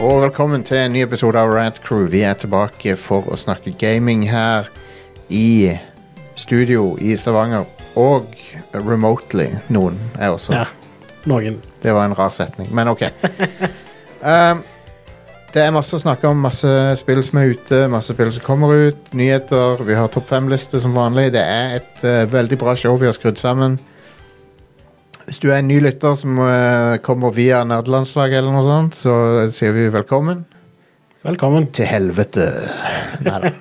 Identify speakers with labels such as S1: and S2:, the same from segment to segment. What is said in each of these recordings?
S1: og velkommen til en ny episode av Rad Crew. Vi er tilbake for å snakke gaming her i studio i Stavanger. Og remotely. Noen er også.
S2: Ja. Noen.
S1: Det var en rar setning, men ok. um, det er masse å snakke om. Masse spill som er ute, masse spill som kommer ut, nyheter. Vi har topp fem-liste som vanlig. Det er et eh, veldig bra show vi har skrudd sammen. Hvis du er en ny lytter som eh, kommer via nerdelandslaget eller noe sånt, så sier vi velkommen.
S2: Velkommen.
S1: Til helvete. Neida.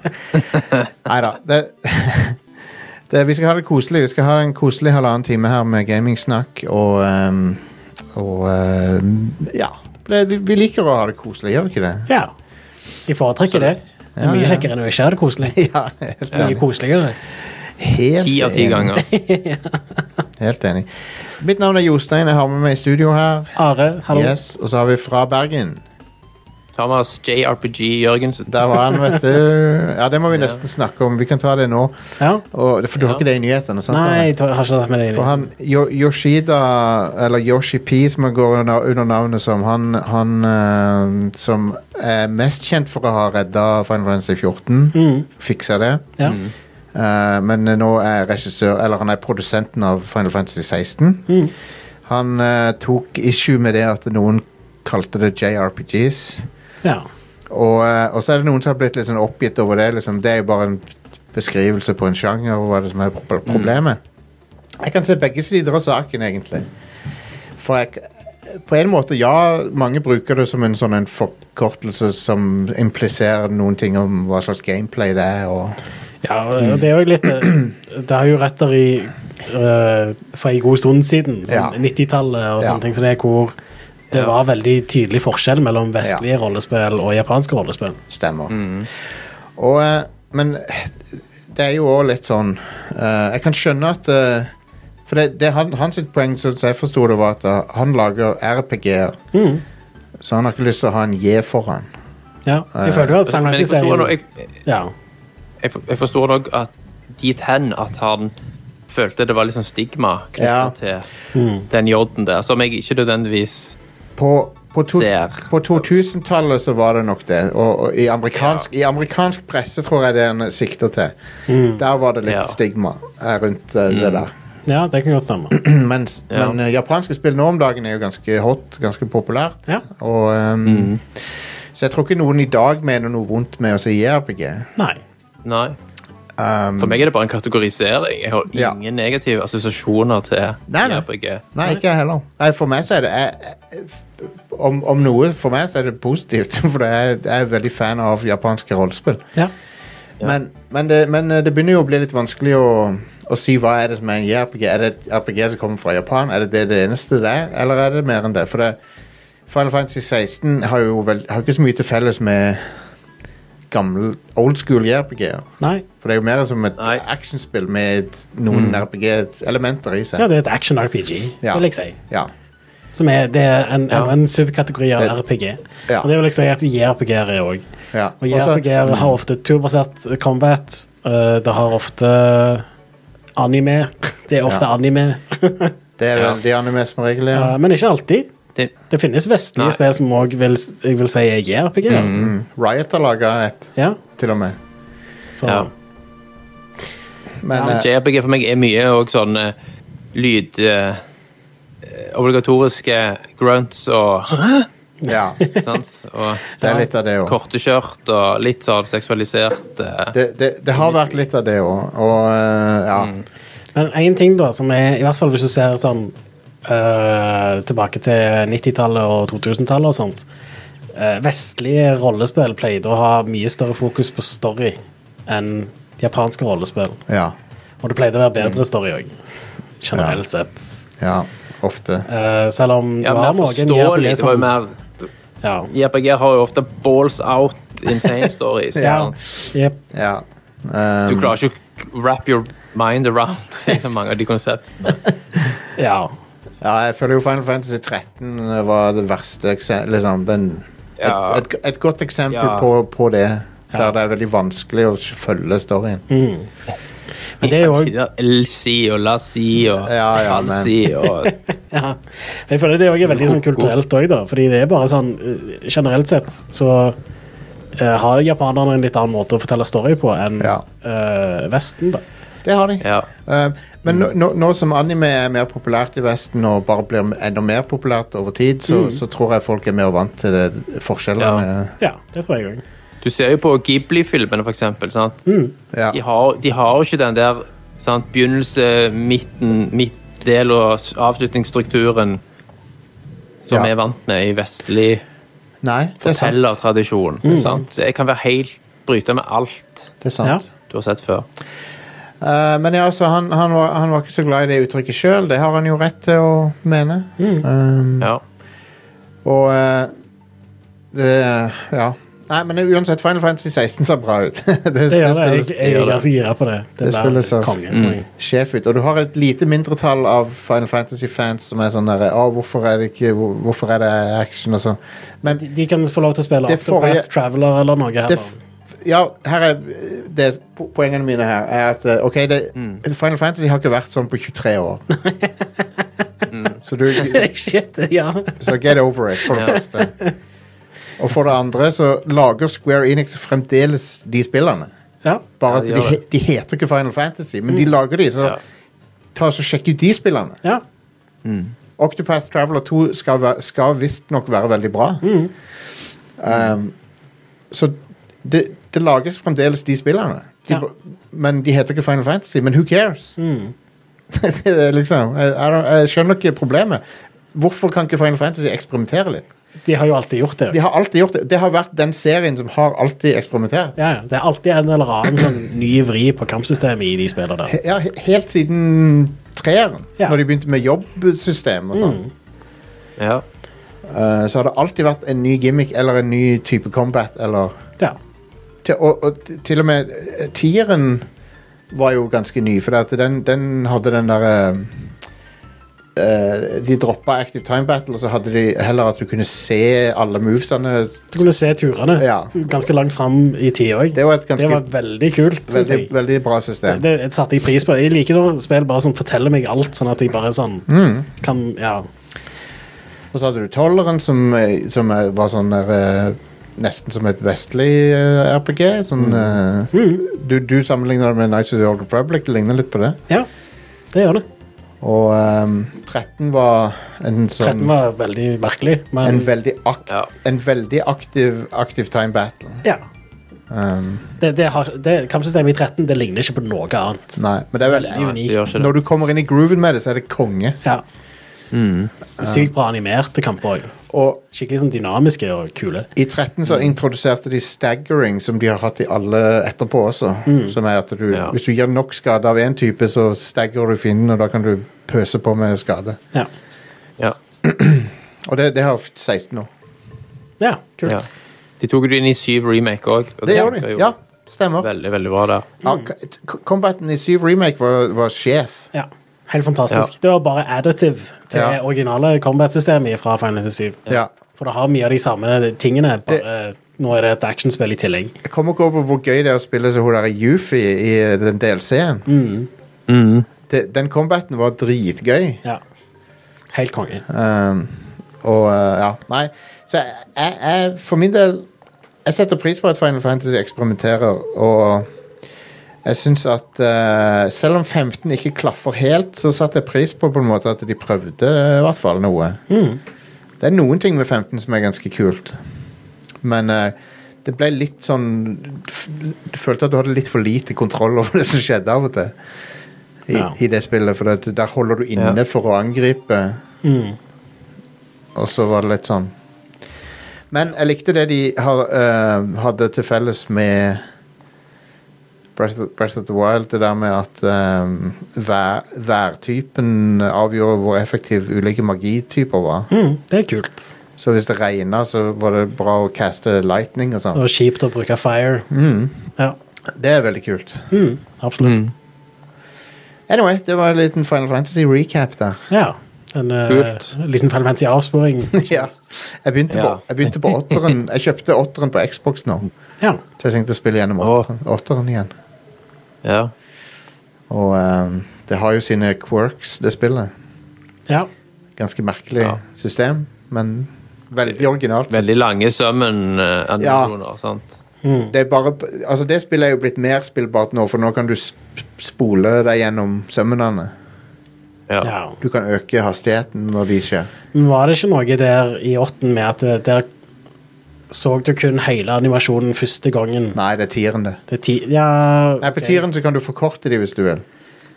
S1: Neida. Det, det, vi skal ha det koselig. Vi skal ha en koselig halvannen time her med gamingsnakk og ehm, Og ehm, ja. Det, vi, vi liker å ha det koselig, gjør vi ikke det?
S2: Ja. De foretrekker det. Det
S1: Ja,
S2: er mye
S1: ja.
S2: kjekkere enn å ikke ha det koselig.
S1: Ja, helt
S2: Det er mye
S1: enig.
S2: koseligere.
S1: Helt
S3: Ti av ti
S1: enig.
S3: ganger.
S1: Helt enig. Mitt navn er Jostein. Jeg har med meg i studio her.
S2: Are, hallo.
S1: Yes, og så har vi fra Bergen.
S3: Thomas JRPG Jørgensen.
S1: Der var han, vet du. Ja, det må vi nesten snakke om. Vi kan ta det nå.
S2: Ja.
S1: Og, for du har
S3: Ja.
S1: ikke det i nyhetene? sant? Arne?
S2: Nei, jeg tror- jeg har ikke tatt med det
S1: For
S2: inn.
S1: han, Yo- Yoshida, eller Yoshi P, som han går under, under navnet som, han, han eh, som er mest kjent for å ha redda Final Fantasy 14,
S2: Mm.
S1: fiksa det.
S2: Ja.
S1: Eh, men nå er regissør, eller han er produsenten av Final Fantasy 16.
S2: Mm.
S1: Han eh, tok issue med det at noen kalte det JRPGs.
S2: ja.
S1: Og, eh, og så er det noen som har blitt litt sånn oppgitt over det. Liksom. Det er jo bare en beskrivelse på en sjanger og hva er det som er pro- problemet. Jeg kan se begge sider av saken, egentlig. For jeg, k- på en måte, ja, mange bruker det som en sånn en forkortelse som impliserer noen ting om hva slags gameplay det er. Og,
S2: ja og det er jo litt eh, Det har jo røtter i eh, fra en god stund siden,
S1: Ja.
S2: sånn 90-tallet og
S1: Ja.
S2: sånne ting, så det er hvor det
S3: Ja.
S2: var veldig tydelig forskjell mellom vestlige rollespill og japanske rollespill.
S1: Stemmer.
S3: Mm.
S1: Og, eh, men det er jo òg litt sånn eh, Jeg kan skjønne at eh, For det, det er han, hans sitt poeng, som jeg forsto det, var at eh, han lager RPG-er.
S2: Mm.
S1: Så han har ikke lyst til å ha en J foran.
S2: Ja. Jeg føler jo at Final
S3: Men jeg forstår, nok,
S2: Fantasy-serien
S3: jeg,
S2: ja.
S3: jeg, for- jeg forstår nok at dit hen at han følte det var litt sånn stigma knyttet til
S1: Hmm.
S3: den jodden der, som jeg ikke nødvendigvis
S1: På, på, to,
S3: Ser.
S1: på 2000-tallet så var det nok det. Og, og i, amerikansk, i amerikansk presse tror jeg det er en sikter til. Der var det litt
S3: Mm. Ja. Mm.
S1: stigma eh, rundt eh, det der.
S2: ja, det kan godt stemme.
S1: Mens,
S3: Ja.
S1: Men eh, japanske spill nå om dagen er jo ganske hot, ganske populært.
S2: Ja.
S1: Og, ehm, Så jeg tror ikke noen i dag mener noe vondt med å si JRPG.
S2: Nei.
S3: Nei. for meg er det bare en kategorisering. Jeg har
S1: Um, Ja.
S3: ingen negative assosiasjoner til
S1: Nei, nei.
S3: JRPG.
S1: Nei, ikke jeg heller. Nei, for meg så er det jeg, jeg- om, om noe for meg så er det positivt, for jeg, jeg er veldig fan av japanske rollespill.
S2: Ja.
S1: Men, men, det, men eh, det begynner jo å bli litt vanskelig å, å si hva er det som er en JRPG. Er det et RPG som kommer fra Japan? Er det det, det eneste det er, eller er det mer enn det? For det, Final Fantasy 16 har jo vel, har ikke så mye til felles med gamle old school JRPG-er.
S2: Nei.
S1: For det er jo mer som et
S3: Nei.
S1: actionspill med noen RPG-elementer i seg.
S2: Ja, det er et action-RPG,
S1: Ja.
S2: vil jeg si.
S1: Ja.
S2: Som er, det er en,
S3: Ja.
S2: en subkategori av
S1: Det-
S2: RPG.
S1: Ja.
S2: Og det vil jeg si at JRPG-er er òg.
S1: ja.
S2: Og
S1: Og så- Mm.
S2: JRPG-er har ofte turbasert combat. eh, det har ofte eh, anime. Det er ofte
S1: Ja.
S2: anime,
S1: det er
S3: Ja.
S1: vel de anime som regel, ja.
S2: eh, men ikke alltid.
S3: Det,
S2: Det finnes vestlige
S3: Nei.
S2: spill som òg vil, jeg vil si er JRPG-er.
S1: Mm. Riot har laga et,
S2: Ja,
S1: til og med.
S2: så
S3: ja.
S1: Men,
S3: Ja, men
S1: eh,
S3: JRPG for meg er mye og sånn eh, lyd eh, Obligatoriske grunts og
S1: ja,
S3: sant? Og
S1: det er litt av det òg.
S3: korte skjørt og litt sånn seksualisert eh.
S1: det, det, det har vært litt av det òg, og eh, ja.
S3: Mm.
S2: Men én ting, da, som er I hvert fall hvis du ser sånn øh, tilbake til 90-tallet og 2000-tallet og sånt øh, Vestlige rollespill pleide å ha mye større fokus på story enn japanske rollespill.
S1: Ja.
S2: Og det pleide å være bedre story òg, generelt sett.
S1: ja. Ofte.
S2: Eh, selv om det
S3: Ja,
S2: var
S3: mer
S2: noen JRPG
S3: forståelig. Det var jo
S2: som-
S1: sånn-
S3: mer
S2: Ja.
S3: JRPG har jo ofte balls out insane stories.
S2: ja.
S3: sant?
S2: Jep.
S1: Ja. Um,
S3: Du klarer ikke å wrap your mind around så mange av de konseptene.
S2: ja.
S1: ja, jeg føler jo Final Fantasy 13 var det verste eksempelet liksom, den-
S3: Ja.
S1: et, et, et godt eksempel
S3: Ja.
S1: på, på det. Der det er veldig vanskelig å følge storyen.
S2: Men det er jo òg
S3: LC og Lassi og
S1: Ja, ja, men-
S3: Falsi og
S2: Ja. Men Jeg føler det også er veldig sånn, kulturelt òg, da. Fordi det er bare sånn eh, Generelt sett så eh, har japanerne en litt annen måte å fortelle story på enn
S1: Ja.
S2: eh, Vesten, da.
S1: Det har de.
S3: Ja.
S1: Eh, men nå, nå, nå som anime er mer populært i Vesten og bare blir enda mer populært over tid, så,
S3: Mm.
S1: så tror jeg folk er mer vant til det, forskjellene.
S2: Ja, det tror jeg òg.
S3: Du ser jo på Ghibli-filmene, for eksempel. Sant?
S1: Ja.
S3: De, har, de har jo ikke den der sant? begynnelse, midten, midtdel og s- avslutningsstrukturen som
S1: Ja.
S3: vi er vant med i vestlig
S1: Nei, det er sant. Mm.
S3: fortellertradisjon. sant? Det kan være helt bryte med alt
S1: Det er sant.
S2: Ja.
S3: du har sett før.
S1: Eh, men ja, altså, han, han, var, han var ikke så glad i det uttrykket sjøl. Det har han jo rett til å mene.
S2: Mm.
S1: Um,
S3: Ja.
S1: og eh, det Ja. Nei, men uansett, Final Fantasy 16 ser bra ut. det,
S2: Det gjør det. Jeg,
S1: spilles
S2: jeg
S3: gjør
S2: er
S3: det.
S2: ganske gira på det.
S1: Det
S2: der
S1: spilles av- Mm.
S2: kongen, tror jeg.
S1: sjef ut. Og du har et lite mindretall av Final Fantasy-fans som er sånn derre Å, hvorfor er det ikke hvor- Hvorfor er det action og sånn? Men
S2: De kan få lov til å spille
S1: Det forrige-
S2: Afterpath Traveler eller noe.
S1: det
S2: Her,
S1: f- ja, her er det, po- Poengene mine her er at eh, OK, det,
S2: Mm.
S1: Final Fantasy har ikke vært sånn på 23 år. Så du
S2: da. Shit, ja.
S1: Så get over it, for det første. Og for det andre så lager Square Enix fremdeles de spillene.
S2: ja.
S1: Bare
S3: Ja,
S1: at
S3: de
S1: de,
S3: gjør Mm.
S1: he- de heter ikke Final Fantasy, men de lager de, så
S3: Ja.
S1: ta oss og sjekk ut de spillene.
S2: Ja.
S1: Octopath Traveler 2 skal, væ- skal visstnok være veldig bra.
S3: Mm.
S1: Um, så det, det lages fremdeles de spillene. De,
S2: Ja.
S1: ba- Men de heter ikke Final Fantasy, men who cares?
S3: Mm.
S1: det er liksom, jeg, jeg don't- jeg skjønner ikke problemet. Hvorfor kan ikke Final Fantasy eksperimentere litt?
S2: De har jo alltid gjort det.
S1: De har alltid gjort det. Det har vært den serien som har alltid eksperimentert.
S2: Ja, ja. Det er alltid en eller annen sånn ny vri på kampsystemet i de spillene der.
S1: Ja, he- helt siden treeren,
S2: Ja. Mm.
S1: når de begynte med jobbsystem og sånn.
S3: Ja.
S1: Eh, så har det alltid vært en ny gimmick eller en ny type combat eller
S2: Ja.
S1: til, og, og t- til og med eh, tieren var jo ganske ny, for det at den, den hadde den derre eh, De droppa Active Time Battle, og så hadde de heller at du kunne se alle movesene.
S2: Du kunne se turene
S1: Ja.
S2: ganske langt fram i tid òg.
S1: Det var et ganske
S2: Det var veldig kult. synes
S1: veldig,
S2: jeg.
S1: veldig bra system.
S2: Det, det satte jeg pris på. Jeg liker når spill bare sånn forteller meg alt, sånn at jeg bare sånn
S1: Mm.
S2: kan Ja.
S1: Og så hadde du Tolleren, som, eh, som eh, var sånn der eh, Nesten som et vestlig eh, RPG. Sånn, eh, du, du sammenligner det med Nights of the Old Republic. Det ligner litt på det.
S2: ja. Det gjør det.
S1: Og ehm, 13 var en
S2: 13
S1: sånn
S2: var veldig merkelig, men
S1: en veldig, ak
S3: Ja.
S1: en veldig aktiv Active Time Battle.
S2: ja.
S1: Ehm,
S2: Det, det har, det, kampsystemet i 13 det ligner ikke på noe annet.
S1: nei, men det er veldig
S2: Veldig
S3: Nei, det gjør
S2: unikt.
S3: ikke det.
S1: Når du kommer inn i grooven med det, så er det konge.
S2: Ja. Sykt bra animerte kamper òg.
S1: Og
S2: Skikkelig sånn dynamiske og kule.
S1: I 13 så introduserte de staggering, som de har hatt i alle etterpå også. Som er at du,
S3: Ja.
S1: Hvis du gir nok skade av én type, så stagger du fienden, og da kan du pøse på med skade.
S2: Ja.
S3: Ja.
S1: Og det, det har 16 nå.
S2: ja kult.
S3: ja. De tok det inn i syv remake òg.
S1: Det gjør de. Ja, stemmer.
S3: Veldig, veldig bra der.
S1: Ja, k- combaten i 7 Remake var, var sjef.
S2: Ja, helt fantastisk.
S3: Ja.
S2: Det var bare additive til
S1: Ja.
S2: originale combat-systemet fra Final Fantasy 7.
S1: Ja.
S2: For det har mye av de samme tingene, bare nå er det et actionspill i tillegg.
S1: Jeg kommer ikke over hvor gøy det er å spille som hun der Yufi i den DLC-en. Det- Den combaten var dritgøy.
S2: Ja. Helt konge.
S1: Um, og uh, ja, nei Så jeg, jeg, jeg, for min del Jeg setter pris på at Final Fantasy eksperimenterer, og jeg syns at uh, selv om 15 ikke klaffer helt, så satte jeg pris på på en måte at de prøvde uh, i hvert fall noe. Det er noen ting med 15 som er ganske kult, men uh, det ble litt sånn Du følte at du hadde litt for lite kontroll over det som skjedde av og til i,
S2: Ja.
S1: i det spillet, for at der holder du inne
S3: Ja.
S1: for å angripe.
S2: Mm.
S1: Og så var det litt sånn Men jeg likte det de har, eh, hadde til felles med Breath of, Breath of the Wild, det der med at eh, vær, værtypen avgjorde hvor effektiv ulike magityper var.
S2: Mm, det er kult.
S1: Så hvis det regna, så var det bra å caste lightning og sånn. Mm.
S2: Og kjipt å bruke fire. Ja, Mm.
S1: Det er veldig kult. Mm.
S2: absolutt.
S1: Anyway, det var en liten Final Fantasy-recap der.
S2: Ja. En eh,
S3: Kult.
S2: liten Final Fantasy-avsporing.
S1: Ja. Jeg begynte på,
S3: Ja.
S1: jeg begynte på åtteren. Jeg kjøpte åtteren på Xbox nå,
S2: ja.
S1: så jeg tenkte å spille gjennom åtteren, åtteren igjen.
S3: Ja.
S1: eh, Og ehm, det har jo sine quirks, det spillet.
S2: ja.
S1: Ganske merkelig
S3: Ja.
S1: system, men veldig originalt.
S3: Veldig lange sømmen-animasjoner. sant?
S1: Det, er bare, altså det spillet er jo blitt mer spillbart nå, for nå kan du sp spole deg gjennom sømmenene.
S3: Ja.
S2: Ja.
S1: Du kan øke hastigheten når de skjer.
S2: Men var det ikke noe der i åtten med at eh, der så du kun hele animasjonen første gangen?
S1: Nei, det er tieren, det.
S2: Det er ti ja,
S1: Nei, på
S2: ok.
S1: tieren så kan du forkorte de hvis du vil.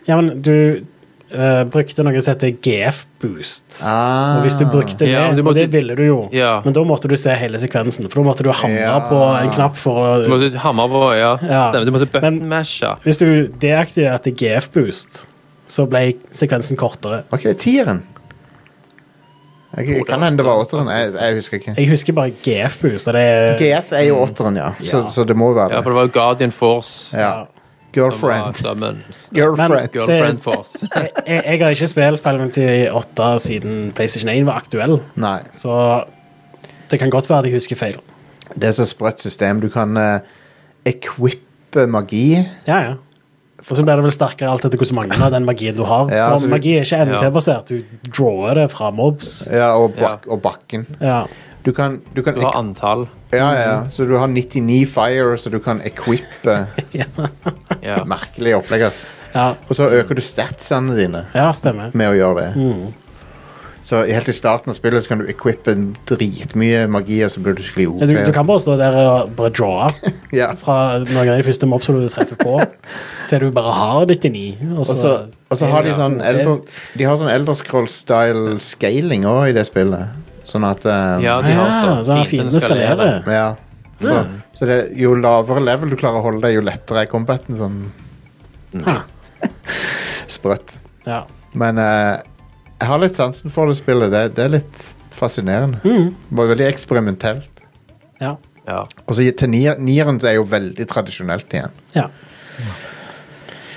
S2: ja, men du eh, brukte noe som heter GF-boost.
S1: Ah.
S2: Og hvis du brukte det,
S3: Ja, men du
S2: og det
S3: måtte-
S2: ville du jo,
S3: Ja.
S2: men da måtte du se hele sekvensen, for da måtte du hamre
S1: Ja.
S2: på en knapp for å
S3: Du måtte hamre på Ja,
S2: Ja.
S3: stemmer. Du måtte
S2: Men-
S3: button-mashe.
S2: Hvis du deaktiverte GF-boost, så ble sekvensen kortere.
S1: Var ikke det tieren? Jeg, jeg kan hende det var åtteren. Jeg, jeg husker ikke.
S2: Jeg husker bare GF-boost, og det er
S1: GF er jo åtteren, ja. Så,
S2: Ja.
S1: så det må være
S3: Ja, for
S1: det.
S3: det var jo Guardian Force
S1: Ja.
S3: som var
S1: Girlfriend.
S3: sømmen.
S1: Girlfriend.
S2: Men-
S3: Girlfriend
S2: Det-
S3: Force.
S2: jeg, jeg jeg har ikke spilt Final Fantasy 8 siden PlayStation 1 var aktuell,
S1: Nei.
S2: så det kan godt være at jeg husker feil.
S1: Det er så sprøtt system. Du kan eh, equippe magi.
S2: Ja, ja. Og så blir det vel sterkere alt etter hvordan mange av den magien du har.
S1: Ja, altså,
S2: For
S1: du-
S2: magi er ikke
S3: Ja.
S2: NT-basert, du drawer det fra mobs.
S1: Ja, og, bak, og bakken.
S2: Ja.
S1: Du kan, du kan
S3: Du har antall.
S1: Ja, ja, ja. Så du har 99 fire, så du kan equippe
S2: Ja.
S3: Ja.
S1: merkelige opplegg. ass.
S2: ja,
S1: Og så øker du statsene dine
S2: ja, stemmer.
S1: med å gjøre det. Så helt i starten av spillet så kan du equippe dritmye magi, og så blir du skikkelig OP.
S2: Ja, Du, du kan bare stå der og bare drawe
S1: Ja.
S2: fra noen av de første mobsene du treffer på, til du bare har 99. Og
S1: Og
S2: så,
S1: så- Og så har de sånn elder, De har sånn Elderscroll-style scaling òg i det spillet. Sånn at eh,
S3: Ja, de
S2: Ja,
S3: har
S2: så
S3: sånn
S2: han fiendene skalerer.
S1: ja. Mm. Så, så det, jo lavere level du klarer å holde deg, jo lettere er combaten. Sånn sprøtt.
S2: Ja.
S1: Men eh, jeg har litt sansen for det spillet. Det, det er litt fascinerende. Det var veldig eksperimentelt.
S2: Ja.
S3: Ja.
S1: Og så til nier- nieren så er jo veldig tradisjonelt igjen.
S2: ja.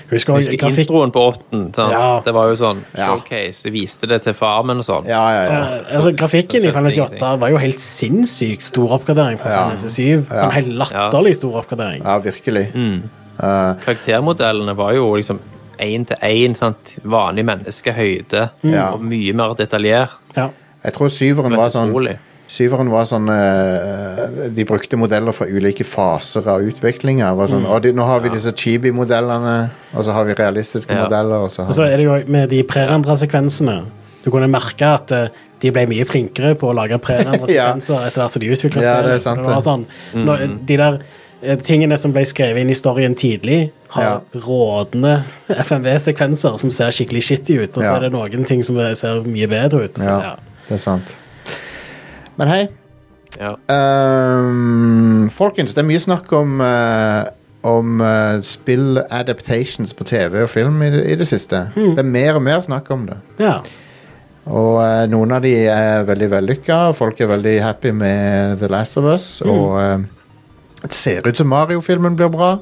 S2: Husker
S3: Jeg
S2: også
S3: husker
S2: grafikk...
S3: introen på åtten. Sant?
S2: Ja.
S3: Det var jo sånn
S1: Ja.
S3: showcase. De viste det til farmen og sånn.
S1: Ja, ja, ja.
S2: Eh, altså, grafikken i Final Fantasy 8 var jo helt sinnssykt stor oppgradering fra
S1: Ja.
S2: Final Fantasy 7.
S1: Ja.
S2: Sånn helt latterlig stor oppgradering.
S1: ja virkelig. Eh,
S3: Karaktermodellene var jo liksom én til én. sant? Vanlig menneskehøyde.
S1: Mm. Ja.
S3: Og mye mer detaljert.
S2: Ja.
S1: Jeg tror syveren
S3: Men
S1: var sånn
S3: utrolig.
S1: Syveren var sånn eh, De brukte modeller fra ulike faser av utviklinga. Det var Sånn, «Å, de, nå har vi disse chibi-modellene, og så har vi realistiske
S3: Ja.
S1: modeller. Og så
S2: Og
S1: har
S2: så er det jo med de prerendra sekvensene. Du kunne merke at eh, de ble mye flinkere på å lage prerendra
S1: Ja.
S2: sekvenser etter hvert som de utvikla
S1: Ja, det er sant
S2: var
S1: det.
S2: sånn, når- de der eh, tingene som ble skrevet inn i storyen tidlig, har
S1: Ja.
S2: rådende FMV-sekvenser som ser skikkelig shitty ut, og så
S1: Ja.
S2: er det noen ting som ser mye bedre ut. Så,
S1: ja,
S2: ja.
S1: det er sant. Men hei,
S3: Ja.
S1: Ehm, folkens, det er mye snakk om eh, om eh, spilladaptations på TV og film i det, i det siste.
S2: Hmm.
S1: Det er mer og mer snakk om det.
S2: Ja.
S1: Og eh, noen av de er veldig vellykka, og folk er veldig happy med The Last of Us.
S2: Hmm.
S1: Og eh, det ser ut som Mario-filmen blir bra.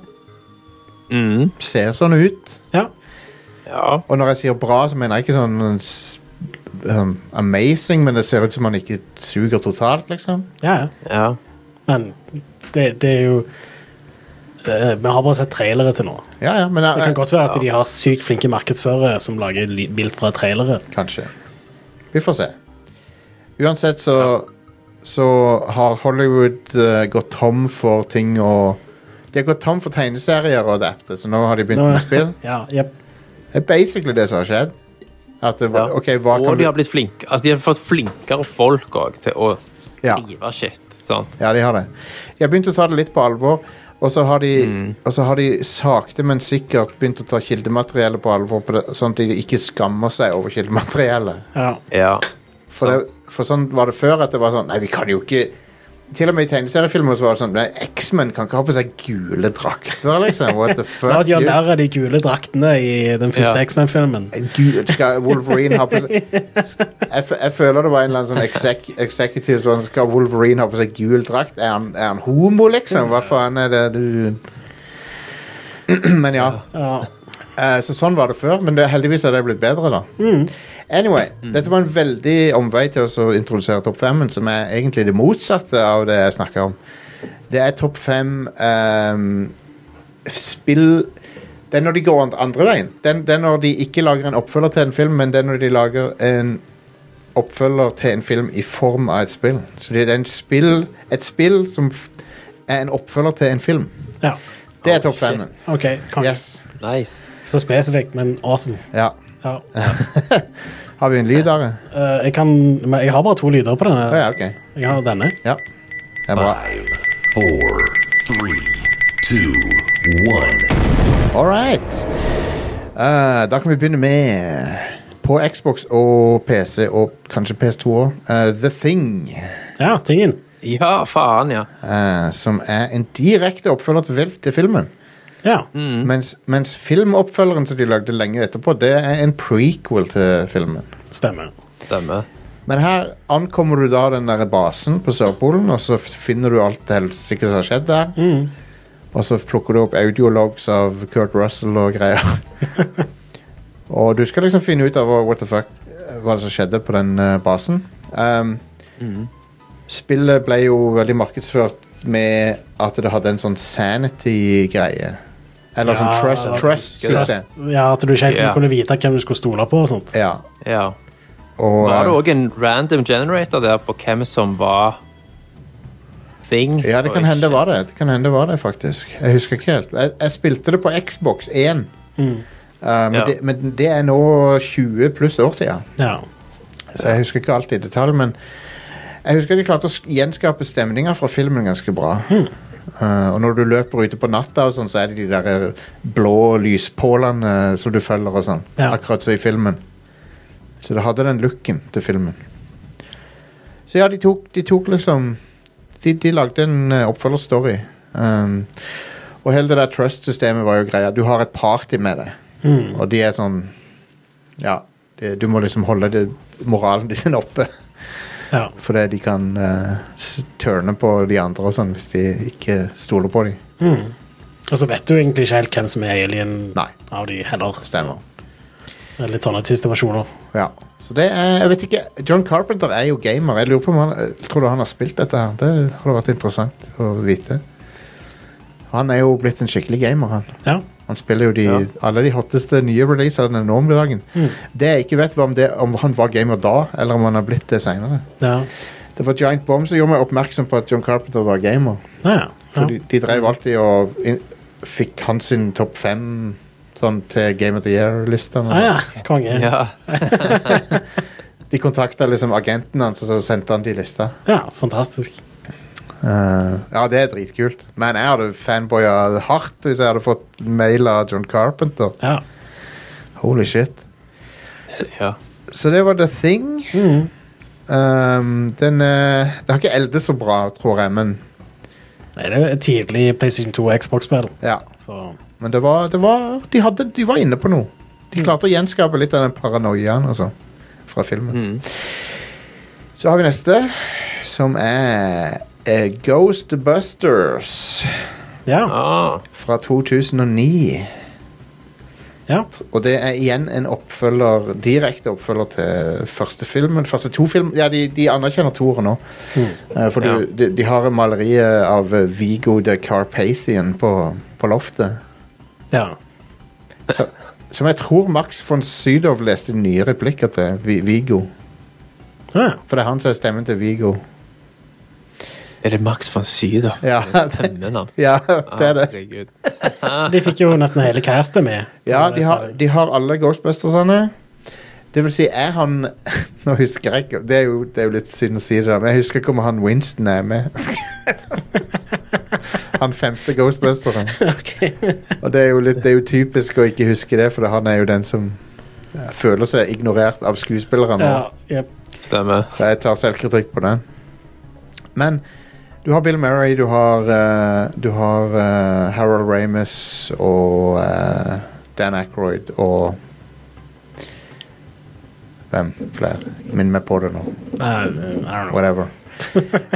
S3: Mm.
S1: Ser sånn ut.
S2: ja.
S3: ja.
S1: Og når jeg sier bra, så mener jeg ikke sånn eh, s- um, amazing, men det ser ut som han ikke suger totalt, liksom.
S2: ja, ja.
S3: ja.
S2: Men det, det er jo eh, Vi har bare sett trailere til nå.
S1: Ja, ja, men jeg-
S2: Det kan
S1: jeg-
S2: godt være at de har sykt flinke markedsførere som lager ly- vilt bra trailere.
S1: Kanskje. Vi får se. Uansett så, så har Hollywood eh, gått tom for ting å De har gått tom for tegneserier og adapte, så nå har de begynt
S2: Nå-
S1: med spill.
S2: Ja, jep.
S1: Det er basically det som har skjedd. At det, var-
S3: Ja.
S1: ok, hva
S3: og
S1: kan
S3: de har
S1: du...
S3: blitt flinke. Altså, de har fått flinkere folk òg til å
S1: Ja.
S3: skrive shit. Sant?
S1: ja, de har det. De har begynt å ta det litt på alvor, og så har de, og så har de sakte, men sikkert begynt å ta kildemateriellet på alvor, på det, sånn at de ikke skammer seg over kildemateriellet.
S2: Ja.
S3: Ja.
S1: For, det, for sånn var det før at det var sånn Nei, vi kan jo ikke Til og med i tegneseriefilmer så var det sånn Nei, X-Men kan ikke ha på seg gule drakter, liksom. What the
S2: La
S1: fuck?
S2: oss gjøre
S1: dude?
S2: mer av de gule draktene i den første
S3: Ja.
S2: X-Men-filmen.
S1: Gul- Skal Wolverine ha på seg jeg, f- jeg føler det var en eller annen sånn exec, executive som var sånn, Skal Wolverine ha på seg gul drakt? Er han, er han homo, liksom? Hva faen er det du Men ja.
S2: Ja.
S1: Eh, Så sånn var det før, men det, heldigvis har det blitt bedre, da. Anyway,
S3: Mm.
S1: dette var en veldig omvei til oss å introdusere Topp 5, som er egentlig det motsatte av det jeg snakker om. Det er Topp 5 spill Det er når de går an- andre veien. Det er, det er når de ikke lager en oppfølger til en film, men det er når de lager en oppfølger til en film i form av et spill. Så det er en spill, et spill som f er en oppfølger til en film.
S2: Ja.
S1: Det er
S3: Oh,
S1: topp
S3: shit.
S1: fem.
S2: OK. Konge.
S1: Yes.
S3: Nice.
S2: Så spesifikt, men awesome.
S1: Ja.
S2: Ja.
S1: Har vi en lyd av det?
S2: Eh, jeg kan Men jeg har bare to lyder på
S1: Å
S2: denne.
S1: ja, OK.
S2: Jeg har denne.
S1: Ja. Det er bra.
S4: Five, four, three, two, one.
S1: All right. Eh, da kan vi begynne med På Xbox og PC, og kanskje PS2 òg, Eh, The Thing.
S2: Ja, tingen.
S3: Ja, faen, ja.
S1: eh, som er en direkte oppfølger til, vil- til filmen.
S2: Ja.
S1: Mens, mens filmoppfølgeren som de lagde lenge etterpå, det er en prequel til filmen.
S2: Stemmer.
S3: Stemmer.
S1: Men her ankommer du da den der basen på Sørpolen, og så finner du alt det helsike som har skjedd der. Og så plukker du opp audiologs av Kurt Russell og greier. og du skal liksom finne ut av hva- what the fuck hva det som skjedde på den eh, basen. Um, Spillet ble jo veldig markedsført med at det hadde en sånn sanity-greie. Eller sånn trust-
S2: Ja,
S1: trust-system.
S2: Trust- Ja, At du ikke helt
S3: Ja.
S2: kunne vite hvem du skulle stole på og sånt.
S1: ja.
S3: Ja.
S1: Og,
S3: Var det
S1: eh,
S3: òg en random generator der på hvem som var thing?
S1: Ja, det kan
S3: og
S1: hende det var
S3: ikke-
S1: det. Det kan hende det var det, faktisk. Jeg husker ikke helt. Jeg, jeg spilte det på Xbox 1. Uh, men,
S3: Ja.
S1: det, men det er nå 20 pluss år siden,
S2: Ja.
S1: så jeg husker ikke alt i detalj. Men jeg husker de klarte å sk- gjenskape stemninger fra filmen ganske bra. Uh, og når du løper ute på natta, og sånn, så er det de der blå lyspålene eh, som du følger. og sånn,
S2: Ja.
S1: Akkurat som i filmen. Så det hadde den looken til filmen. Så ja, de tok, de tok liksom De, de lagde en eh, oppfølgerstory. Um, og hele det der trust-systemet var jo greia. Du har et party med det, og de er sånn Ja, det, du må liksom holde det, moralen din oppe.
S2: ja.
S1: Fordi de kan eh, s- turne på de andre og sånn hvis de ikke stoler på dem.
S2: Og så vet du egentlig ikke helt hvem som er alien
S1: Nei.
S2: av de heller. så
S1: Stemmer.
S2: det er Litt sånn sånne situasjoner.
S1: Ja. Så det er Jeg vet ikke John Carpenter er jo gamer. Jeg lurer på om han jeg Tror du han har spilt dette her? Det hadde vært interessant å vite. Han er jo blitt en skikkelig gamer, han.
S2: Ja.
S1: Han spiller jo de,
S3: Ja.
S1: alle de hotteste nye releasene nå om dagen. Det jeg ikke vet, var om, det, om han var gamer da, eller om han har blitt det seinere.
S2: Ja.
S1: Det var Giant Bomb som gjorde meg oppmerksom på at John Carpenter var gamer.
S2: Ja, ja.
S1: For de, de drev alltid og in, fikk hans sin topp fem sånn, til Game of the Year-listene.
S2: Ah, ja. Konge. Ja.
S3: Ja.
S1: De kontakta liksom agenten hans, og så sendte han de lista.
S2: fantastisk.
S1: Eh, ja, det er dritkult. Men jeg hadde fanboya hardt hvis jeg hadde fått mail av John Carpenter.
S2: Ja.
S1: Holy shit.
S3: Så, ja.
S1: Så det var The Thing.
S2: Mm.
S1: Um, den eh, Det har ikke eldes så bra, tror jeg, men
S2: Nei, det er jo et tidlig PlayStation 2 og Xbox-spill.
S1: ja.
S2: Så
S1: Men det var, det var de, hadde, de var inne på noe. De klarte å gjenskape litt av den paranoiaen altså, fra filmen. Så har vi neste, som er eh, Ghostbusters
S2: ja.
S3: Ah,
S1: fra 2009.
S2: ja.
S1: Og det er igjen en oppfølger, direkte oppfølger til første filmen. Første to film, ja, de, de anerkjenner toeren nå. Eh, For
S3: Ja.
S1: du, de, de har maleriet av eh, Viggo the Carpathian på, på loftet.
S2: ja.
S1: Så, som jeg tror Max von Sydow leste nye replikker til Vi, Viggo.
S2: ja.
S1: For det er han som er stemmen til Viggo.
S3: er det Max von Sydow?
S1: Ja, det,
S3: Stemmen hans.
S1: ja, det er det.
S3: Herregud.
S2: De fikk jo nesten hele castet med.
S1: Ja, de har, de har alle Ghostbustersene. Det vil si, er han Nå husker jeg ikke Det er jo, det er jo litt synd å si det, da, men jeg husker ikke om han Winston er med. han femte Ghostbusteren.
S2: Ok.
S1: Og det er, jo litt, det er jo typisk å ikke huske det, for han er jo den som eh, føler seg ignorert av skuespillerne.
S2: Ja, jep.
S3: Stemmer.
S1: Så jeg tar selvkritikk på den. Men du har Bill Murray, du har, eh, du har eh, Harold Ramis og eh, Dan Aykroyd og Hvem flere? Minn meg på det nå.
S2: Nei, I don't know.
S1: Whatever.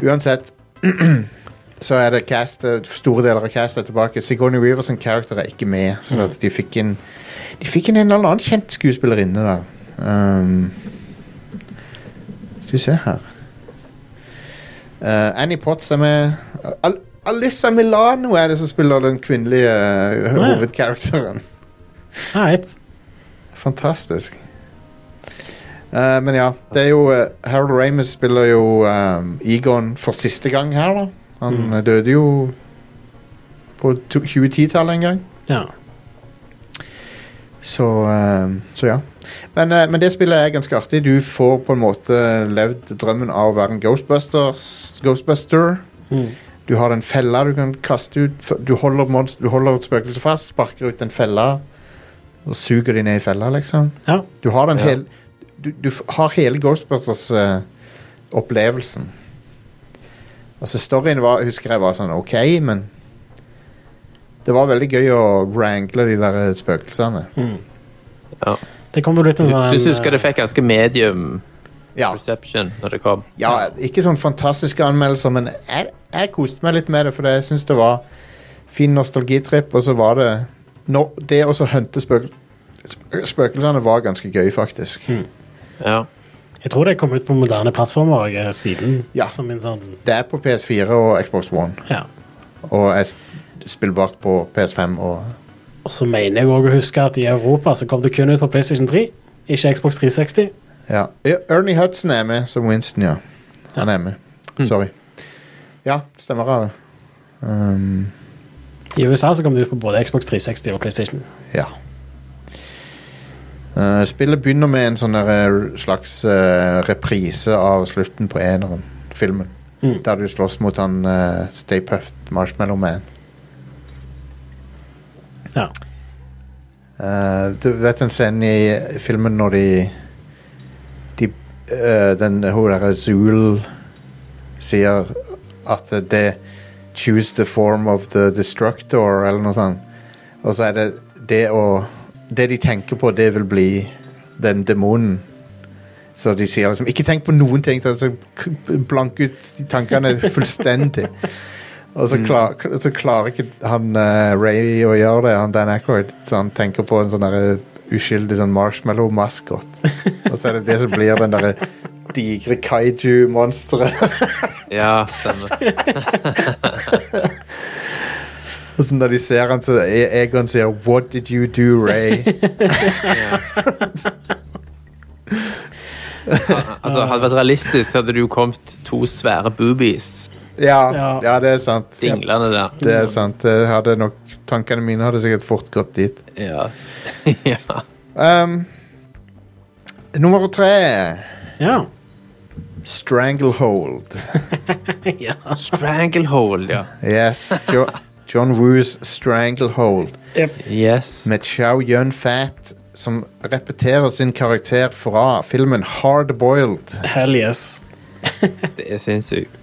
S1: Uansett så er det castet, store deler av castet er tilbake. Sigourney Weavers sin karakter er ikke med. Så at de fikk inn De fikk inn en eller annen kjent skuespillerinne der. Um, skal vi se her Eh, Annie Potts er med. Al Alyssa Milano er det som spiller den kvinnelige eh,
S2: ja.
S1: hovedkarakteren.
S2: Alright.
S1: Fantastisk. Eh, Eh, men ja, det er jo eh, Harold Ramis spiller jo um, Egon for siste gang her, da. Han eh, døde jo på to- 2010-tallet en gang.
S2: Ja.
S1: Så, eh, så ja. Men, eh, men det spillet er ganske artig. Du får på en måte levd drømmen av å være en Ghostbusters, Ghostbuster.
S2: Mm.
S1: Du har den fella du kan kaste ut. f- Du holder, monst- du holder et spøkelse fast, sparker ut den fella og suger de ned i fella, liksom.
S2: ja.
S1: Du har den
S3: Ja.
S1: hel, du, du f- har hele eh, Ghostbusters-opplevelsen. altså, storyen var, husker jeg var sånn OK, men det var veldig gøy å wrangle de der eh, spøkelsene.
S3: Ja.
S2: Det kommer jo litt en sånn
S3: Syns du husker det fikk ganske medium
S1: Ja,
S3: reception når det kom?
S1: ja Ikke sånn fantastiske anmeldelser, men jeg, jeg koste meg litt med det, for jeg syns det var fin nostalgitripp, og så var det no, Det å så hunte spøk, spø- spøkelsene var ganske gøy, faktisk.
S3: Ja.
S2: Jeg tror det kom ut på moderne plattformer også, eh, siden.
S1: Ja.
S2: Som en sånn
S1: Det er på PS4 og Xbox One.
S2: Ja.
S1: Og er sp- spillbart på PS5 og
S2: Og så mener jeg òg å huske at i Europa så kom det kun ut på PlayStation 3, ikke Xbox 360.
S1: ja. Ja, Ernie Hudson er med som Winston, ja. Han er med. Sorry. Ja, stemmer det. Um,
S2: I USA så kom det ut på både Xbox 360 og PlayStation.
S1: ja. Eh, spillet begynner med en sånn der, eh, slags eh, reprise av slutten på eneren, filmen.
S2: Mm.
S1: Der du slåss mot han eh, Stay Puffed Marshmallow Man.
S2: Ja.
S1: Eh, du vet den scenen i filmen når de, de eh, Den hun derre Zool sier at det Choose the form of the destructor, eller noe sånt. Og så er det det å Det de tenker på, det vil bli den demonen. Så de sier liksom Ikke tenk på noen ting! ta- så k- Blank ut tankene fullstendig. Og så, klar, så klarer ikke han eh, Ray å gjøre det, han Dan Aykroyd. Så han tenker på en sånn derre uskyldig sånn marshmallow-maskot. Og så er det det som blir den derre digre kaiju-monsteret.
S3: ja, stemmer.
S1: Og så når de ser han, så E- Egon sier 'What did you do, Ray?'
S3: Ja. Altså, hadde det vært realistisk, så hadde det jo kommet to svære boobies
S1: Ja,
S2: Ja.
S1: ja det er sant.
S3: dinglende der.
S1: Det er sant. Det hadde nok, tankene mine hadde sikkert fort gått dit.
S3: Ja. ja.
S1: Um, nummer tre
S2: Ja.
S1: Stranglehold.
S2: ja.
S3: Stranglehold, ja.
S1: Yes. Jo, John Woos Stranglehold.
S3: Yes.
S1: med Chow Yun-Fat, som repeterer sin karakter fra filmen Hardboiled.
S2: Hell yes.
S3: Det er sinnssykt.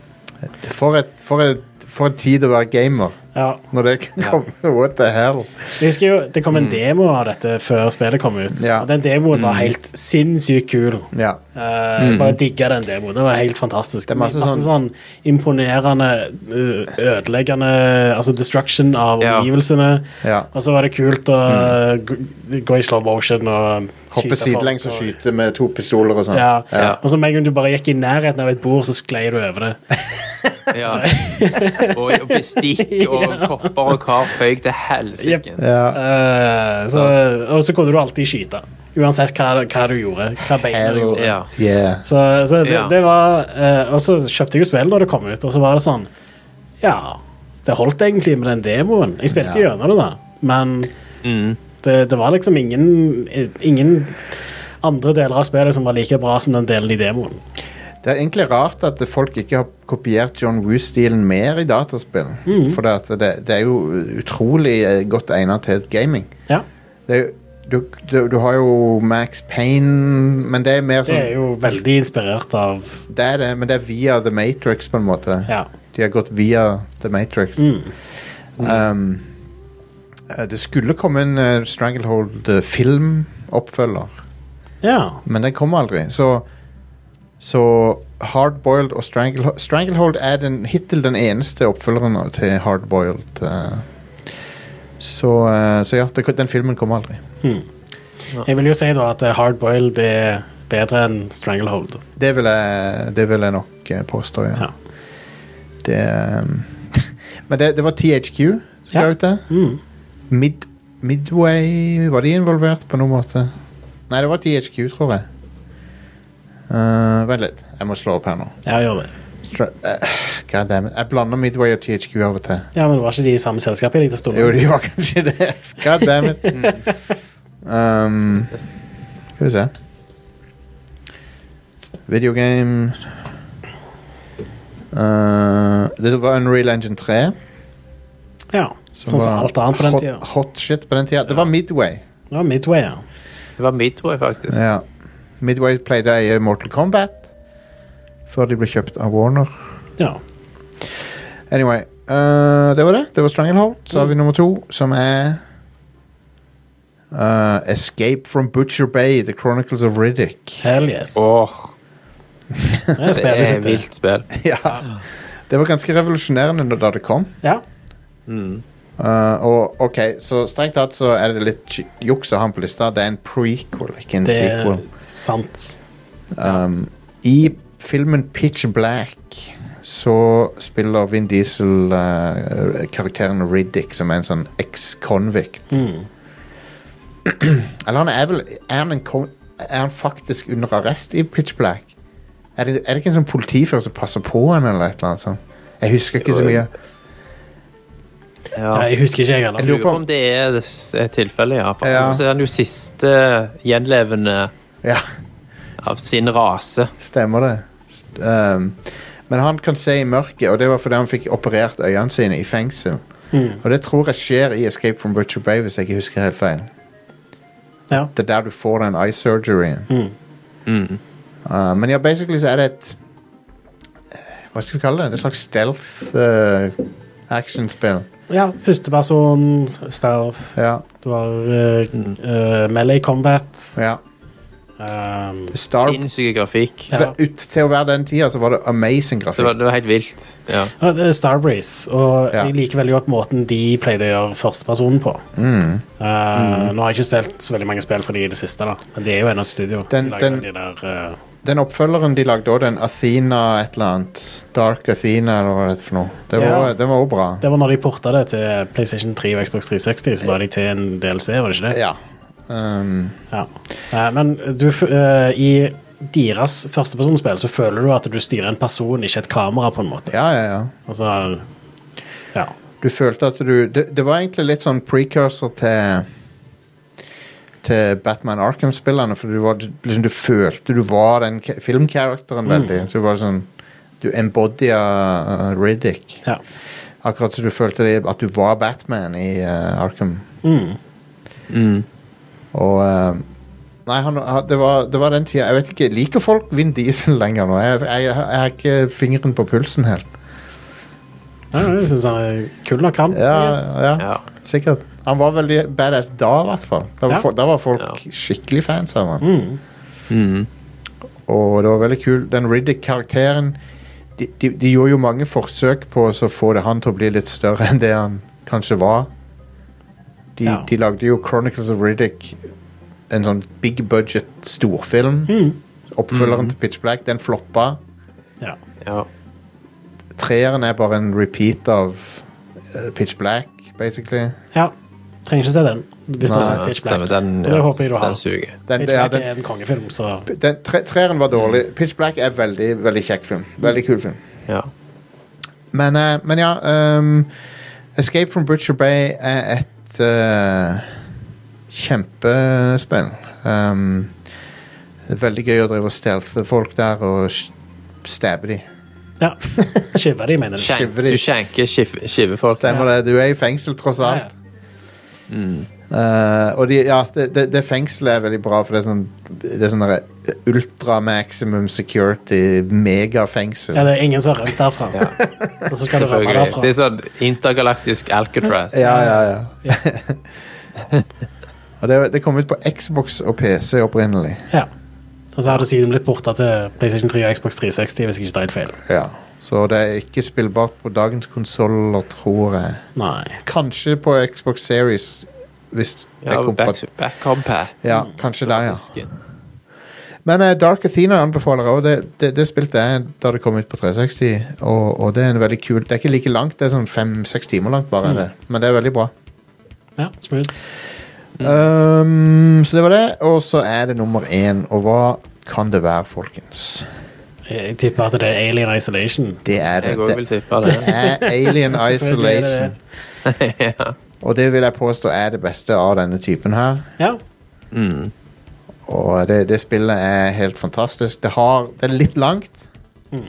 S1: For, et, for, et, for en tid å være gamer.
S2: Ja.
S1: Når det kan
S3: Ja.
S1: komme What the hell?
S2: Jeg husker jo, Det kom en demo av dette før spillet kom ut.
S1: Ja.
S2: Og Den demoen var helt sinnssykt kul.
S1: Ja.
S2: Eh, Bare digga den demoen. Det var helt fantastisk.
S1: Det er masse
S2: sånn, imponerende, ø- ødeleggende Altså destruction av
S3: Ja.
S2: omgivelsene.
S1: ja.
S2: Og så var det kult å g- gå i slow motion og
S1: Hoppe
S2: skyte folk
S1: sidelengs og
S2: og-
S1: skyte med to pistoler og sånn.
S2: Ja.
S1: Ja.
S2: Og så med en gang du bare gikk i nærheten av et bord, så sklei du over det.
S3: Ja. Og, og bestikk og kopper og kar føyk til helsike.
S1: Ja.
S2: Eh, så, og så kunne du alltid skyte. Uansett hva, hva du gjorde. Hva beina du
S1: Hell
S2: gjorde.
S3: Ja.
S1: yeah.
S2: Så, så det,
S3: Ja.
S2: det var eh, Og så kjøpte jeg jo spillet da det kom ut, og så var det sånn Ja, det holdt egentlig med den demoen. Jeg spilte
S1: Ja.
S2: gjennom det, da, men
S3: Mm.
S2: det, det var liksom ingen Ingen andre deler av spillet som var like bra som den delen i demoen.
S1: Det er egentlig rart at folk ikke har kopiert John Woo-stilen mer i dataspill. For det, at det, det er jo utrolig eh, godt egnet til gaming.
S2: Ja,
S1: Det er, jo- du, du, du har jo Max Payne, men det er mer
S2: Det
S1: sånn
S2: er jo veldig inspirert av
S1: Det er det, men det er via The Matrix på en måte.
S2: Ja.
S1: De har gått via The Matrix. Um, eh, det skulle komme en eh, Stranglehold-filmoppfølger,
S2: ja.
S1: men den kom aldri. Så, så Hardboiled og Stranglehold Stranglehold er den, hittil den eneste oppfølgeren til Hardboiled. eh. så, eh, så ja, det, den filmen kom aldri.
S2: Jeg vil jo si da at eh, Hardboiled er bedre enn Stranglehold.
S1: Det vil jeg, det vil jeg nok eh, påstå, ja.
S2: Ja.
S1: Det, um, men det, det var THQ som
S2: Ja.
S1: ga ut det.
S2: Mm.
S1: Mid, Midway Var de involvert på noen måte? Nei, det var THQ, tror jeg. Eh, vent litt. Jeg må slå opp her nå.
S2: Ja, gjør det.
S1: Stra eh, God damn it. Jeg blander Midway og THQ av og til.
S2: Ja, men var ikke de i samme selskap? Jeg likte å stå
S1: Jo, de var kanskje det. God damn it.
S2: Mm.
S1: Um, skal vi se. Videogame uh, Det var Unreal Engine 3.
S2: Ja, sånn som alt annet på den
S1: hot,
S2: tida.
S1: hot shit på den tida. Det var Midway.
S2: Det var Midway, ja.
S3: Det var Midway, faktisk.
S1: Ja. Midway pleide å eie Mortal Kombat før de ble kjøpt av Warner.
S2: ja.
S1: Anyway, eh, det var det. Det var Stranglehold. Så har vi nummer to, som er eh, Escape from Butcher Bay, The Chronicles of Riddick.
S2: Hell yes.
S3: Åh,
S2: det er
S3: det
S2: spillet
S3: er
S2: sitt. det.
S3: vilt spill.
S1: ja. Det var ganske revolusjonerende da- da det kom.
S2: Ja.
S1: Eh, og ok, så strengt tatt så er det litt j- juks å ha den på lista. Det er en prequel, ikke en
S2: Det er
S1: sequel.
S2: sant.
S1: Um, I filmen Pitch Black så spiller Vin Diesel eh, karakteren Riddick, som er en sånn eks-convict. Eller han er vel er han, en, kon- er han faktisk under arrest i Pitch Black? Er det, er det ikke en sånn politifyr som passer på han, eller et eller annet sånt? Jeg husker ikke så mye.
S3: Ja.
S2: Nei,
S3: Jeg
S2: Jeg husker ikke, jeg heller.
S1: lurer
S3: lurer
S1: på
S3: på
S1: om-
S3: om det er det s- er tilfellet, ja. For
S1: Ja.
S3: Så er han jo siste gjenlevende
S1: Ja,
S3: av sin rase.
S1: stemmer det. St- Um, men han kan se i mørket, og det var fordi han fikk operert øynene sine i fengsel. Og det tror jeg skjer i Escape from Butcher Bay, hvis jeg ikke husker helt feil.
S2: Ja.
S1: det er der du får den eye surgeryen.
S3: Mm.
S1: Uh, men ja, basically så er det et eh, Hva skal vi kalle det? Et slags stealth uh, actionspill.
S2: ja. Førsteperson, stealth,
S1: Ja,
S2: du har eh, eh, melee combat.
S1: ja.
S2: Um,
S1: Star,
S3: Sinnssyk grafikk.
S2: Ja.
S1: ut til å være den tida så var det amazing
S3: Så Det var,
S1: grafikk.
S3: det var helt vilt. Ja.
S2: ja, det er Starbreeze, og
S1: Ja.
S2: jeg liker veldig godt måten de pleide å gjøre førstepersonen på.
S3: Mm.
S2: Eh, Nå har jeg ikke spilt så veldig mange spill for de i det siste, da. men de er jo ennå et studio.
S1: Den-
S2: de lager
S1: den-
S2: de der, eh,
S1: Den oppfølgeren de lagde òg, den Athena et eller annet. Dark Athena eller hva det er for noe. Det var,
S2: Ja.
S1: Den var òg bra.
S2: det var når de porta det til PlayStation 3 og Xbox 360, så la de til en DLC, var det ikke det?
S1: Ja. Um,
S2: Ja. Eh, Men du, f- eh, i deres førstepersonspill så føler du at du styrer en person, ikke et kamera, på en måte.
S1: ja, ja, ja.
S2: Altså, ja.
S1: Du følte at du Det, det var egentlig litt sånn precursor til til Batman Arkham-spillerne, for du, var, du- liksom, du følte du var den ka- filmkarakteren veldig. Så du var sånn Du embodya uh, Riddick.
S2: ja.
S1: Akkurat som du følte det, at du var Batman i uh, Arkham. Og eh, Nei, han, han- det, var, det var den tida Jeg vet ikke, liker folk Vin Diesel lenger nå? Jeg, jeg, jeg har ikke fingeren på pulsen helt.
S2: Nei, Jeg syns han er kul nok, han.
S1: Ja,
S2: Yes.
S1: ja.
S3: Ja.
S1: Sikkert. Han var veldig badass da, i hvert fall. Da var,
S2: Ja. Mm.
S1: fol- da var folk
S3: Ja. Mm.
S1: skikkelig fans av han. Og det var veldig kul. Den Riddick-karakteren de, de, de gjorde jo mange forsøk på å så få det han til å bli litt større enn det han kanskje var. De,
S2: Ja.
S1: de lagde jo Chronicles of Riddick, en sånn big budget storfilm.
S2: Mm.
S3: Mm.
S1: Oppfølgeren til Pitch Black. Den floppa.
S2: Ja.
S3: Ja.
S1: Treeren er bare en repeat av eh, Pitch Black, basically.
S2: ja. Trenger ikke se den, hvis du har
S1: Nei,
S2: sett Pitch Black.
S3: Stemmer, den,
S2: Og det håper jeg du har.
S3: Den suger.
S1: Den,
S2: Pitch
S1: ja,
S2: Black
S1: den,
S2: er Mm. en kongefilm, så
S1: den, tre, treeren var dårlig. Pitch Black er veldig veldig kjekk film. Veldig kul film.
S3: Ja.
S1: Men, eh, men ja ehm, Escape from Butcher Bay er et eh, kjempespill. Ehm, det er veldig gøy å drive og stealthe folk der og s- stabbe de.
S2: Ja. Skiva de, mener du?
S3: Skjenk-
S1: Skiveri.
S3: du skjenker skif- skivefolk.
S1: Stemmer det. Du er i fengsel, tross
S2: Ja,
S1: alt.
S2: ja.
S1: Eh, og de, ja, det, det, det fengselet er veldig bra, for det er sånn, det er sånn der ultra maximum security megafengsel.
S2: ja, det er ingen som har rømt derfra. Og så skal du rømme
S3: Selvfølgelig.
S2: derfra.
S3: Det er sånn intergalaktisk Alcatraz.
S1: Ja, ja, ja. og det, det kom ut på Xbox og PC opprinnelig.
S2: Ja. Og så har det siden blitt porta til PlayStation 3 og Xbox 360, hvis jeg ikke tar helt feil.
S1: Ja. Så det er ikke spillbart på dagens konsoller, tror jeg.
S2: Nei.
S1: Kanskje på Xbox Series, hvis det
S3: Ja,
S1: er kompat...
S3: back, back compat.
S1: Ja, kanskje der, ja.
S3: Fisken.
S1: Men eh, Dark Athena anbefaler jeg òg. Det, det, det spilte jeg da det kom ut på 360. Og, og det er en veldig kul Det er ikke like langt, det er sånn fem-seks timer langt, bare. Det. Men det er veldig bra.
S2: Ja, smooth.
S1: Ehm, Um, så det var det. Og så er det nummer én. Og hva kan det være, folkens.
S2: Eh, Jeg tipper at det er Alien Isolation.
S1: Det er det.
S3: Jeg òg vil
S1: Det
S3: tippe det.
S1: er Alien
S2: Selvfølgelig er det det.
S1: Isolation. Og det vil jeg påstå er det beste av denne typen her.
S2: Ja.
S1: Og det, det spillet er helt fantastisk. Det, har, det er litt langt.
S3: Mm.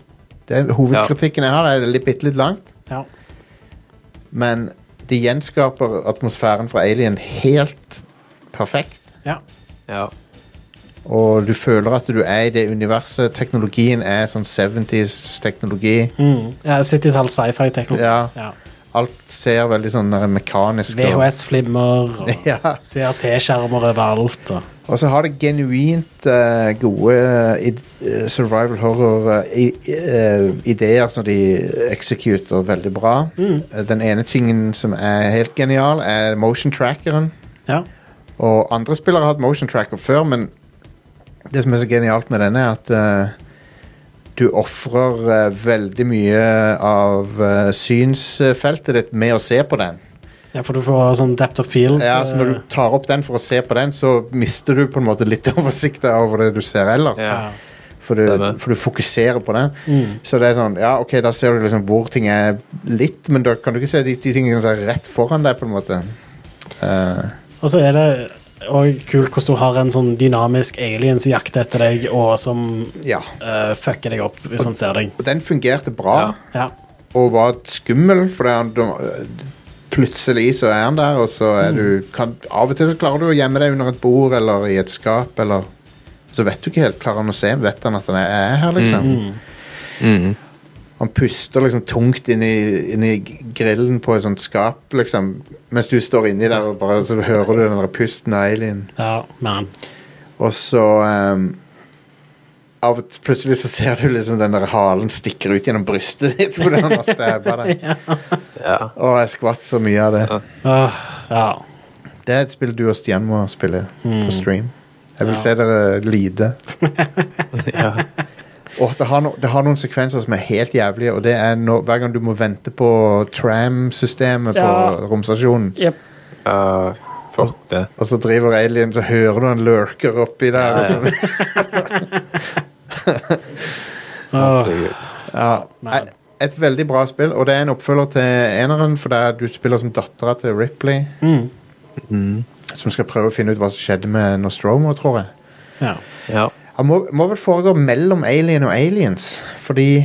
S1: Det, er- hovedkritikken jeg har, er det litt, bitte litt langt.
S2: ja.
S1: Men de gjenskaper atmosfæren fra Alien helt perfekt.
S2: ja.
S3: Ja.
S1: Og du føler at du er i det universet. Teknologien er sånn 70s-teknologi.
S2: Mm. ja 70-tall sci-fi-teknologi.
S1: Ja,
S2: Ja.
S1: alt ser veldig sånn der mekanisk og-
S2: VHS-flimmer og
S1: Ja.
S2: CRT-skjermer overalt. Og.
S1: Og så har det genuint eh, gode eh, survival eh, horror-ideer eh, som de executer veldig bra. Eh, Den ene tingen som er helt genial, er motion trackeren.
S2: Ja.
S1: Og andre spillere har hatt motion tracker før, men det som er så genialt med denne, er at eh, du ofrer eh, veldig mye av eh, synsfeltet ditt med å se på den.
S2: ja, for du får sånn depth of field.
S1: Ja, så når du tar opp den for å se på den, så mister du på en måte litt oversikt over det du ser ellers.
S3: Ja.
S2: Ja.
S1: For du,
S3: Stemmer.
S1: for du fokuserer på den.
S2: Mm.
S1: Så det er sånn, ja, ok, da ser du liksom hvor ting er litt, men da kan du ikke se de, de tingene som er rett foran deg, på en måte. Eh,
S2: Og så er det òg kult hvordan du har en sånn dynamisk alien som jakter etter deg, og som
S1: ja.
S2: eh, fucker deg opp hvis han ser deg.
S1: Og den fungerte bra,
S3: Ja.
S2: Ja.
S1: og var skummel, for det er, da- plutselig så er han der, og så er du kan, Av og til så klarer du å gjemme deg under et bord eller i et skap, eller Så vet du ikke helt, klarer han å se, vet han at han er er her, liksom?
S3: Mm.
S1: Han puster liksom tungt inn i, inn i grillen på et sånt skap, liksom. Mens du står inni der og bare så hører du den der pusten av alien.
S2: ja, man.
S1: Og så ehm, av, og til- Plutselig så ser du liksom den der halen stikker ut gjennom brystet ditt fordi han har stabba deg.
S3: ja.
S1: Å, jeg skvatt så mye av det.
S3: Så-
S2: Åh, ja.
S1: Det er et spill du og Stian må spille på stream. Jeg vil
S2: Ja.
S1: se dere lide.
S3: ja.
S1: Og det har, no, det har noen sekvenser som er helt jævlige, og det er når- hver gang du må vente på tram-systemet
S2: Ja.
S1: på romstasjonen.
S2: Yep.
S3: Ja, fuck det.
S1: Og så driver alien, så hører du han lurker oppi der.
S3: Ja, ja.
S1: liksom.
S2: Åh,
S1: Nei, Et veldig bra spill, og det er en oppfølger til eneren, for der du spiller som dattera til Ripley. Mm. Som skal prøve å finne ut hva som skjedde med Nostromo, tror jeg.
S2: ja.
S3: Ja.
S1: Han må, må vel foregå mellom alien og aliens, fordi,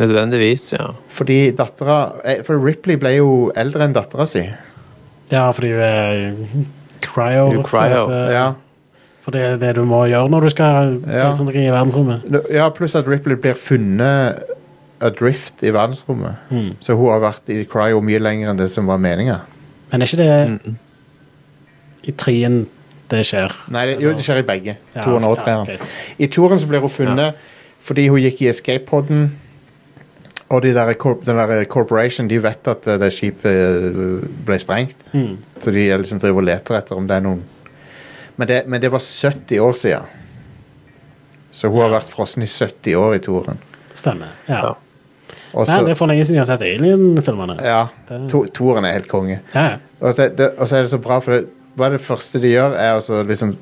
S3: Nødvendigvis, ja.
S1: fordi dattera eh, For Ripley ble jo eldre enn dattera si.
S2: ja, fordi du er cryo.
S3: Du er cryo,
S2: så-
S1: Ja.
S2: For det er det du må gjøre når du skal
S1: Ja.
S2: ja. sånn deg i verdensrommet.
S1: ja, pluss at Ripley blir funnet adrift i verdensrommet. Så hun har vært i cryo mye lenger enn det som var meninga.
S2: Men er ikke det i trien det skjer?
S1: Nei, det, jo, det skjer i begge.
S2: Ja,
S1: Toren og
S2: ja,
S1: treeren.
S2: ok.
S1: I toren så blir hun funnet fordi hun gikk i escape-poden. Og de der, corp- den der corporation de vet at eh, det skipet eh, ble sprengt.
S2: Mm.
S1: Så de er liksom driver og leter etter om det er noen Men det, men det var 70 år siden. Så hun har vært frossen i 70 år i toren.
S2: Stemmer. Ja.
S3: Ja.
S1: Og
S2: Nei, det
S1: så
S2: er for lenge siden jeg har sett Alien-filmene.
S1: Altså- Ja. To, toren er helt konge.
S2: Ja.
S1: Og, det, det, og så er det så bra, for det, hva er det første de gjør, er altså liksom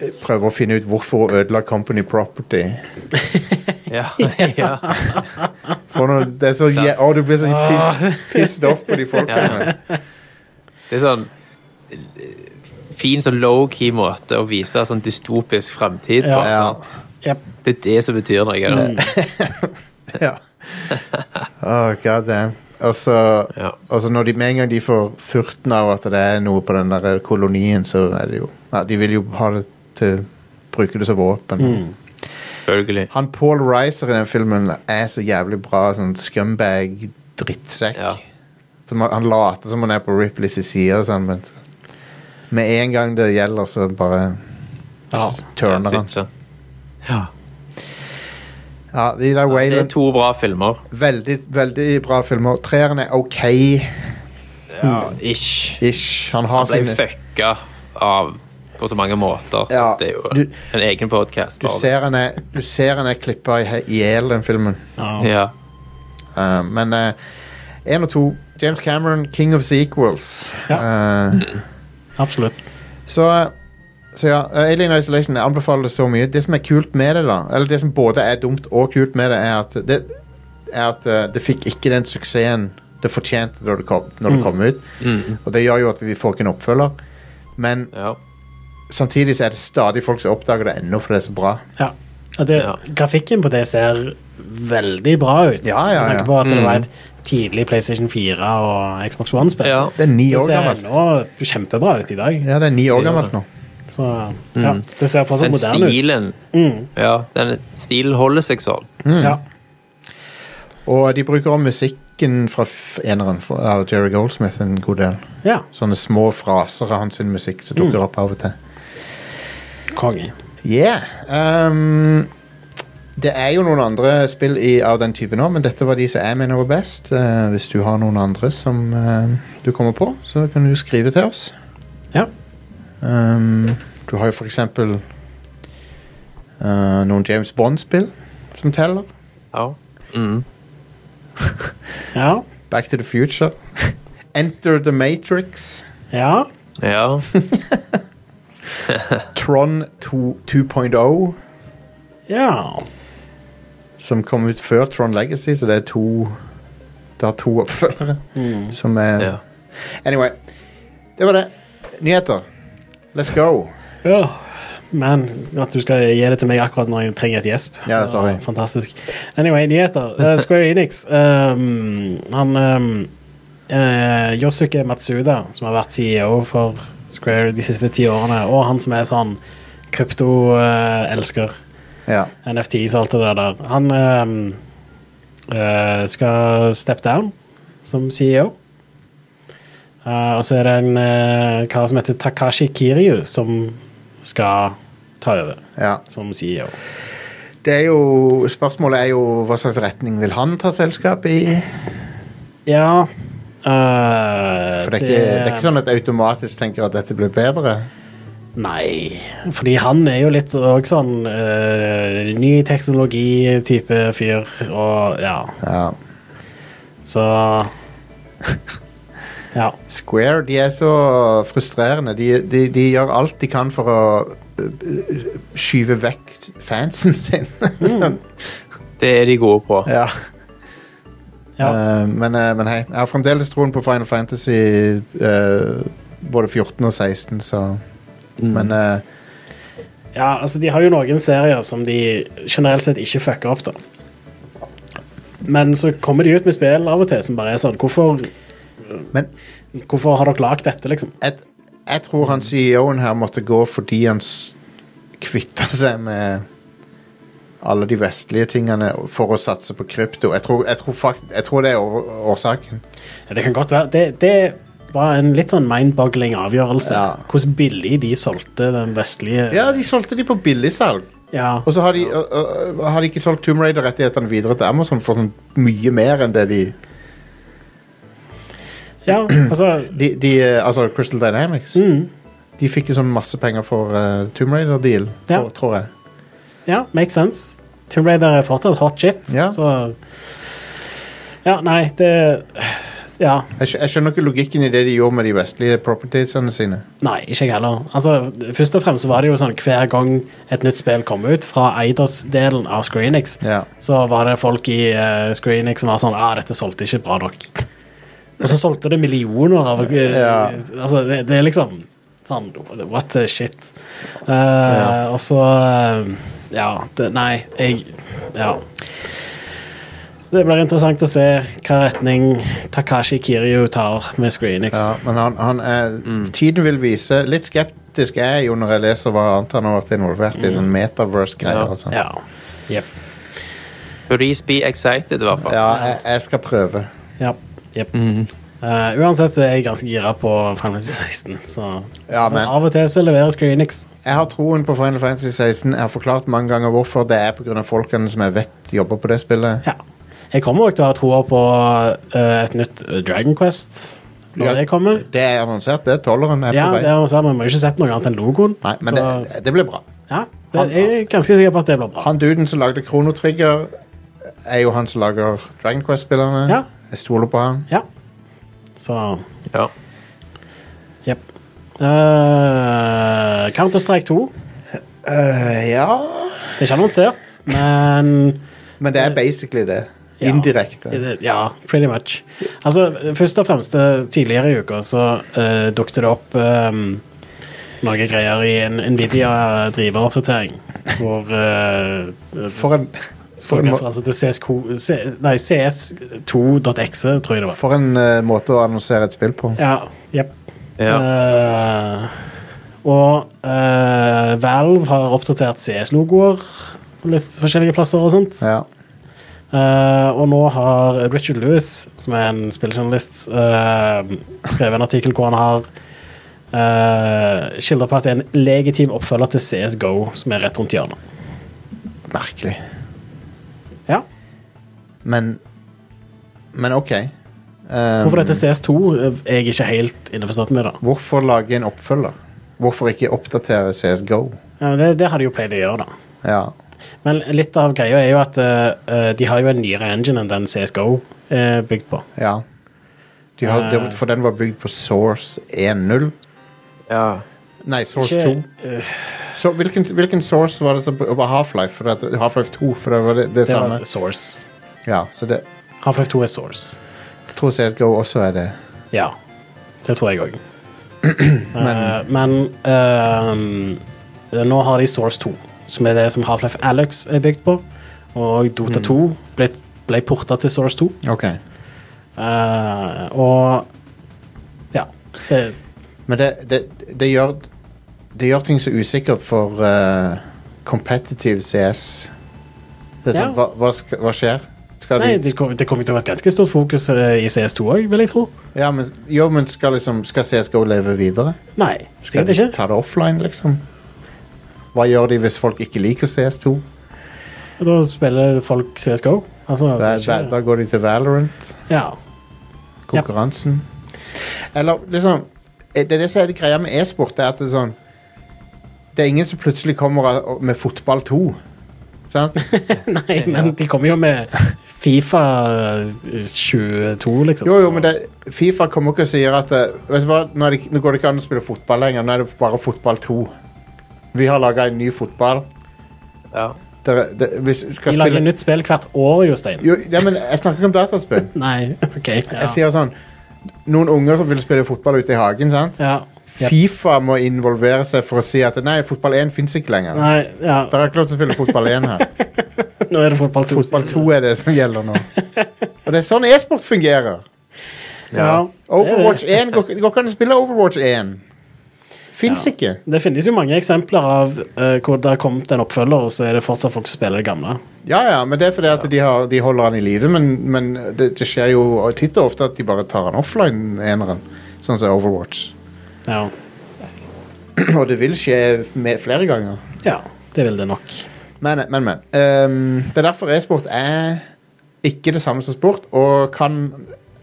S1: eh, prøve å finne ut hvorfor hun ødela Company Property.
S3: Ja. ja.
S1: For når det er så jæ... Å, du blir så
S3: Ah.
S1: piss, pissed off på de folkene.
S3: Det er sånn fin sånn low-key måte å vise sånn dystopisk framtid på.
S2: Ja.
S1: Ja.
S3: sant?
S2: Jep.
S3: Det er det som betyr noe. Da.
S1: ja. Å, god damn. Og så,
S3: Ja.
S1: og så når de med en gang de får furten av at det er noe på den der kolonien, så er det jo ja, De vil jo ha det til Bruke det som våpen.
S3: Selvfølgelig.
S1: Han Paul Reiser i den filmen er så jævlig bra. Sånn scumbag drittsekk.
S3: Ja.
S1: Som han, han later som han er på Ripleys side og sånn, men så- med en gang det gjelder, så bare
S2: Ja.
S1: turner han.
S3: Switcher. Ja.
S1: Ja, de der
S3: Det er
S1: Wayland
S3: to bra filmer.
S1: Veldig, veldig bra filmer. Treeren er OK
S3: Ja, ish.
S1: ish. Han har
S3: Han ble
S1: sine
S3: fucka av på så mange måter.
S1: Ja,
S3: Det er jo
S1: du-
S3: en egen podkast.
S1: Du ser han er, du ser han er klippa i he- i hjel, den filmen.
S2: Ja.
S3: Ja.
S1: Uh, men eh, én og to. James Cameron, king of sequels.
S2: Ja.
S1: Eh,
S2: Absolutt.
S1: Så, Så ja, eh, Alien Isolation anbefales så mye. Det som er kult med det, da, eller det som både er dumt og kult med det, er at det, er at eh, det fikk ikke den suksessen det fortjente da det kom, når det kom ut. Og det gjør jo at vi får ikke en oppfølger. Men
S3: Ja.
S1: samtidig så er det stadig folk som oppdager det ennå, for det er så bra.
S2: Ja. Og det,
S3: Ja.
S2: Grafikken på det ser veldig bra ut.
S1: Ja, ja, ja.
S2: Med tanke på at det var et tidlig PlayStation 4 og Xbox One-spill.
S3: ja.
S1: Det er ni
S2: Det
S1: år
S2: ser
S1: gammelt.
S2: ennå kjempebra ut i dag.
S1: Ja, det er ni år
S3: Ja.
S1: gammelt nå.
S2: Så ja, det ser fortsatt
S3: Den
S2: moderne
S3: stilen
S2: ut. Mm,
S3: ja, den stilen holder seg sånn.
S2: ja.
S1: Og de bruker også musikken fra f- eneren for- av Jerry Goldsmith en god del.
S2: ja.
S1: Sånne små fraser av hans sin musikk som dukker opp av og til.
S2: Konge.
S1: Yeah. ehm, det er jo noen andre spill i, av den typen òg, men dette var de som jeg mener var best. Eh, hvis du har noen andre som eh, du kommer på, så kan du skrive til oss.
S2: Ja.
S1: Ehm, du har jo for eksempel eh, noen James Bond-spill som teller.
S3: Ja. Mm.
S2: Ja.
S1: Back to the Future. Enter the Matrix.
S2: ja.
S3: ja.
S1: Tron 2 2.0,
S2: Ja.
S1: som kom ut før Tron Legacy, så det er to Det har to oppfølgere som er
S3: ja.
S1: Anyway. Det var det. Nyheter. Let's go.
S2: ja. Men at du skal gi det til meg akkurat når jeg trenger et gjesp.
S1: Ja, sorry.
S2: Det var Fantastisk. Anyway, nyheter. Eh, Square Enix. ehm, han ehm, eh, Yosuke Matsuda, som har vært CEO for Square de siste ti årene, og han som er sånn eh, krypto-elsker.
S1: Ja.
S2: NFTs og alt det der der. Han ehm, eh, skal step down som CEO. Eh, og så er det en eh, kar som heter Takashi Kiryu, som skal ta over
S1: ja.
S2: som E CEO.
S1: Det er jo Spørsmålet er jo hva slags retning vil han ta selskap i?
S2: Ja eh,
S1: For det er ikke, det er ikke sånn at jeg automatisk tenker at dette blir bedre.
S2: Nei, fordi han er jo litt òg sånn eh, ny teknologi-type fyr, og ja,
S1: Ja.
S2: så Ja.
S1: Square de er så frustrerende. De, de, de gjør alt de kan for å øh, skyve vekk fansen sin.
S3: Det er de gode på.
S1: ja.
S2: ja.
S1: Eh, men, eh, men hei, jeg har fremdeles troen på Final Fantasy eh, både 14 og 16, så Men eh,
S2: Ja, altså De har jo noen serier som de generelt sett ikke fucker opp, da. Men så kommer de ut med spill av og til som bare er sånn Hvorfor,
S1: Men
S2: hvorfor har dere lagd dette, liksom?
S1: jeg, jeg tror han CEO-en her måtte gå fordi han s- kvitta seg med alle de vestlige tingene for å satse på krypto. Jeg tror, jeg tror, fakt, jeg tror det er år- årsaken.
S2: Ja, Det kan godt være Det, det var en litt sånn mindboggling avgjørelse.
S1: Ja.
S2: Hvordan billig de solgte den vestlige
S1: Ja, de solgte de på billigsalg.
S2: Ja.
S1: Og så har de, og- og- og har de ikke solgt Tomb Raider-rettighetene videre til Amazon for sånn mye mer enn det de
S2: ja, altså
S1: de, de eh, Altså Crystal Dynamics.
S2: Mm.
S1: De fikk jo sånn masse penger for eh, Tomb Raider-deal,
S2: Ja.
S1: tror- tror jeg.
S2: Ja, makes sense. Tomb Raider er fortsatt hot shit,
S1: Ja.
S2: så Ja, nei, det Ja.
S1: jeg. skj- Jeg skjønner ikke logikken i det de gjorde med de vestlige propertiesene sine.
S2: Nei, ikke jeg heller. Altså, først og fremst så var det jo sånn hver gang et nytt spill kom ut fra Eidos-delen av Screenix,
S1: Ja.
S2: så var det folk i uh, Screenix som var sånn ah, dette solgte ikke bra nok. Og så solgte det millioner av eh,
S1: Ja.
S2: Altså, det, det er liksom sånn What the shit? Eh,
S1: Ja.
S2: Og så eh, Ja. Det, nei, jeg Ja. Det blir interessant å se hva retning Takashi Kiryu tar med Screenix.
S1: Ja, Mm. men han, han er, tiden vil vise Litt skeptisk er jeg jo når jeg leser hva annet han har vært involvert i, sånn metaverse-greier
S3: Ja.
S1: og sånn. Ja,
S2: Ja. Jep.
S3: Please be excited, i hvert fall.
S1: jeg, jeg skal prøve.
S2: Ja. Jep. Eh, uansett så er jeg ganske gira på Final Fantasy 16, så
S1: Ja,
S2: Men
S1: men
S2: av og til så leverer Screenix.
S1: jeg har troen på Final Fantasy 16. Jeg har forklart mange ganger hvorfor. Det er pga. folkene som jeg vet jobber på det spillet.
S2: Ja. Jeg kommer nok til å ha troa på eh, et nytt eh, Dragon Quest når
S1: Ja,
S2: det kommer.
S1: Det er annonsert, det. Tolleren er
S2: Ja,
S1: på vei.
S2: det er jo sånn, Vi har ikke sett noe annet enn logoen.
S1: Nei, men
S2: så
S1: det, det blir bra.
S2: ja, det, jeg er ganske sikker på at det blir bra.
S1: Han duden som lagde Chrono Trigger, er jo han som lager Dragon Quest-spillerne.
S2: Ja.
S1: Jeg stoler på han.
S2: Ja. Så
S3: Ja.
S2: jepp. Eh, Counter-Strike 2.
S1: Eh, ja
S2: Det er ikke annonsert, men
S1: Men det er basically det.
S2: Ja.
S1: Indirekte.
S2: Det- Ja, pretty much. Altså, først og fremst eh, tidligere i uka så uh, dukte det opp ehm, noen greier i en Nvidia-driveroppdatering. Hvor eh,
S1: For en,
S2: så
S1: for en, må-
S2: referanse altså, til CSK C, Nei, CS2.exe, tror jeg det var.
S1: for en eh, måte å annonsere et spill på.
S2: Ja, jepp.
S3: Ja.
S2: Eh, og eh, Valve har oppdatert CS-logoer litt forskjellige plasser og sånt.
S1: Ja.
S2: Eh, og nå har Richard Lewis, som er en spilljournalist, eh, skrevet en artikkel hvor han har uh, skildret på at det er en legitim oppfølger til CSGO, som er rett rundt hjørnet.
S1: Merkelig.
S2: Ja.
S1: Men Men OK. Um,
S2: Hvorfor dette CS2 er jeg ikke helt innforstått med. da.
S1: Hvorfor lage en oppfølger? Hvorfor ikke oppdatere CSGO?
S2: Ja, men det, det har de jo pleid å gjøre, da.
S1: Ja.
S2: Men litt av greia er jo at eh, eh, de har jo en nyere engine enn den CSGO er eh, bygd på.
S1: ja. De har, det var- for den var bygd på Source 1.0.
S3: ja.
S1: Nei, Source
S2: Ikke- eh,
S1: 2. Så, hvilken, hvilken Source var det som var Half-Life? For det- Half-Life 2, for det var det, det,
S2: Det
S1: samme.
S2: var Source.
S1: Ja, så det,
S2: Half-Life 2 er Source.
S1: jeg tror CSGO også er det.
S2: Ja, det tror jeg òg. men eh, nå har de Source 2, som er det som Half-Life Alex er bygd på. Og Dota 2 ble, ble porta til Source 2.
S1: Ok.
S2: eh, og ja. Det,
S1: Men det, det, det, gjør, det gjør ting så usikkert for eh, competitive CS. Det er
S2: Ja.
S1: sånn, hva, hva, sk- hva skjer? Skal
S2: nei,
S1: de,
S2: det kom- det kommer til å være et ganske stort fokus eh, i CS2 òg, vil jeg tro.
S1: ja, men, jo, men skal, liksom, skal CSGO leve videre?
S2: Nei,
S1: Skal
S2: sikkert
S1: de
S2: ikke.
S1: ta det offline, liksom? Hva gjør de hvis folk ikke liker CS2?
S2: Da spiller folk CSGO.
S1: Da,
S2: Altså, det
S1: da,
S2: er ikke,
S1: da går de til Valorant.
S2: ja.
S1: konkurransen. Eller liksom Det er det som er det greia med e-sport, det er at det er sånn Det er ingen som plutselig kommer og- med fotball 2. Sant?
S2: Nei, men de kommer jo med Fifa eh, 22, liksom.
S1: Jo, jo, men det, Fifa kommer ikke og sier at eh, Vet du hva, nå, er det, ikke- nå går det ikke an å spille fotball lenger. Nå er det bare fotball 2. Vi har laga en ny fotball.
S3: ja.
S1: Dere, det, hvis du skal
S2: De lager
S1: spille
S2: nytt spill hvert år, Jostein.
S1: jo, ja, men Jeg snakker ikke om dataspill.
S2: Nei, OK. Ja.
S1: Jeg sier sånn Noen unger som vil spille fotball ute i hagen. sant?
S2: ja.
S1: Fifa må involvere seg for å si at nei, fotball 1 fins ikke lenger.
S2: Nei, ja.
S1: Dere har ikke lov til å spille fotball 1 her.
S2: Nå er det fotball 2.
S1: Fotball 2 er det som gjelder nå. Og det er sånn e-sport fungerer.
S2: Ja.
S1: Overwatch 1 går, går ikke an å spille Overwatch 1. Fins
S2: Ja.
S1: ikke.
S2: Det finnes jo mange eksempler av eh, hvor det har kommet en oppfølger, og så er det fortsatt folk som spiller det gamle.
S1: Ja, ja, men det er fordi at de, har, de holder han i live, men, men det, det skjer jo titt og ofte at de bare tar han offline, eneren. Sånn som Overwatch.
S2: Ja.
S1: Og det vil skje med, flere ganger.
S2: ja. Det vil det nok.
S1: Men, men. men. Ehm, det er derfor e-sport er ikke det samme som sport, og kan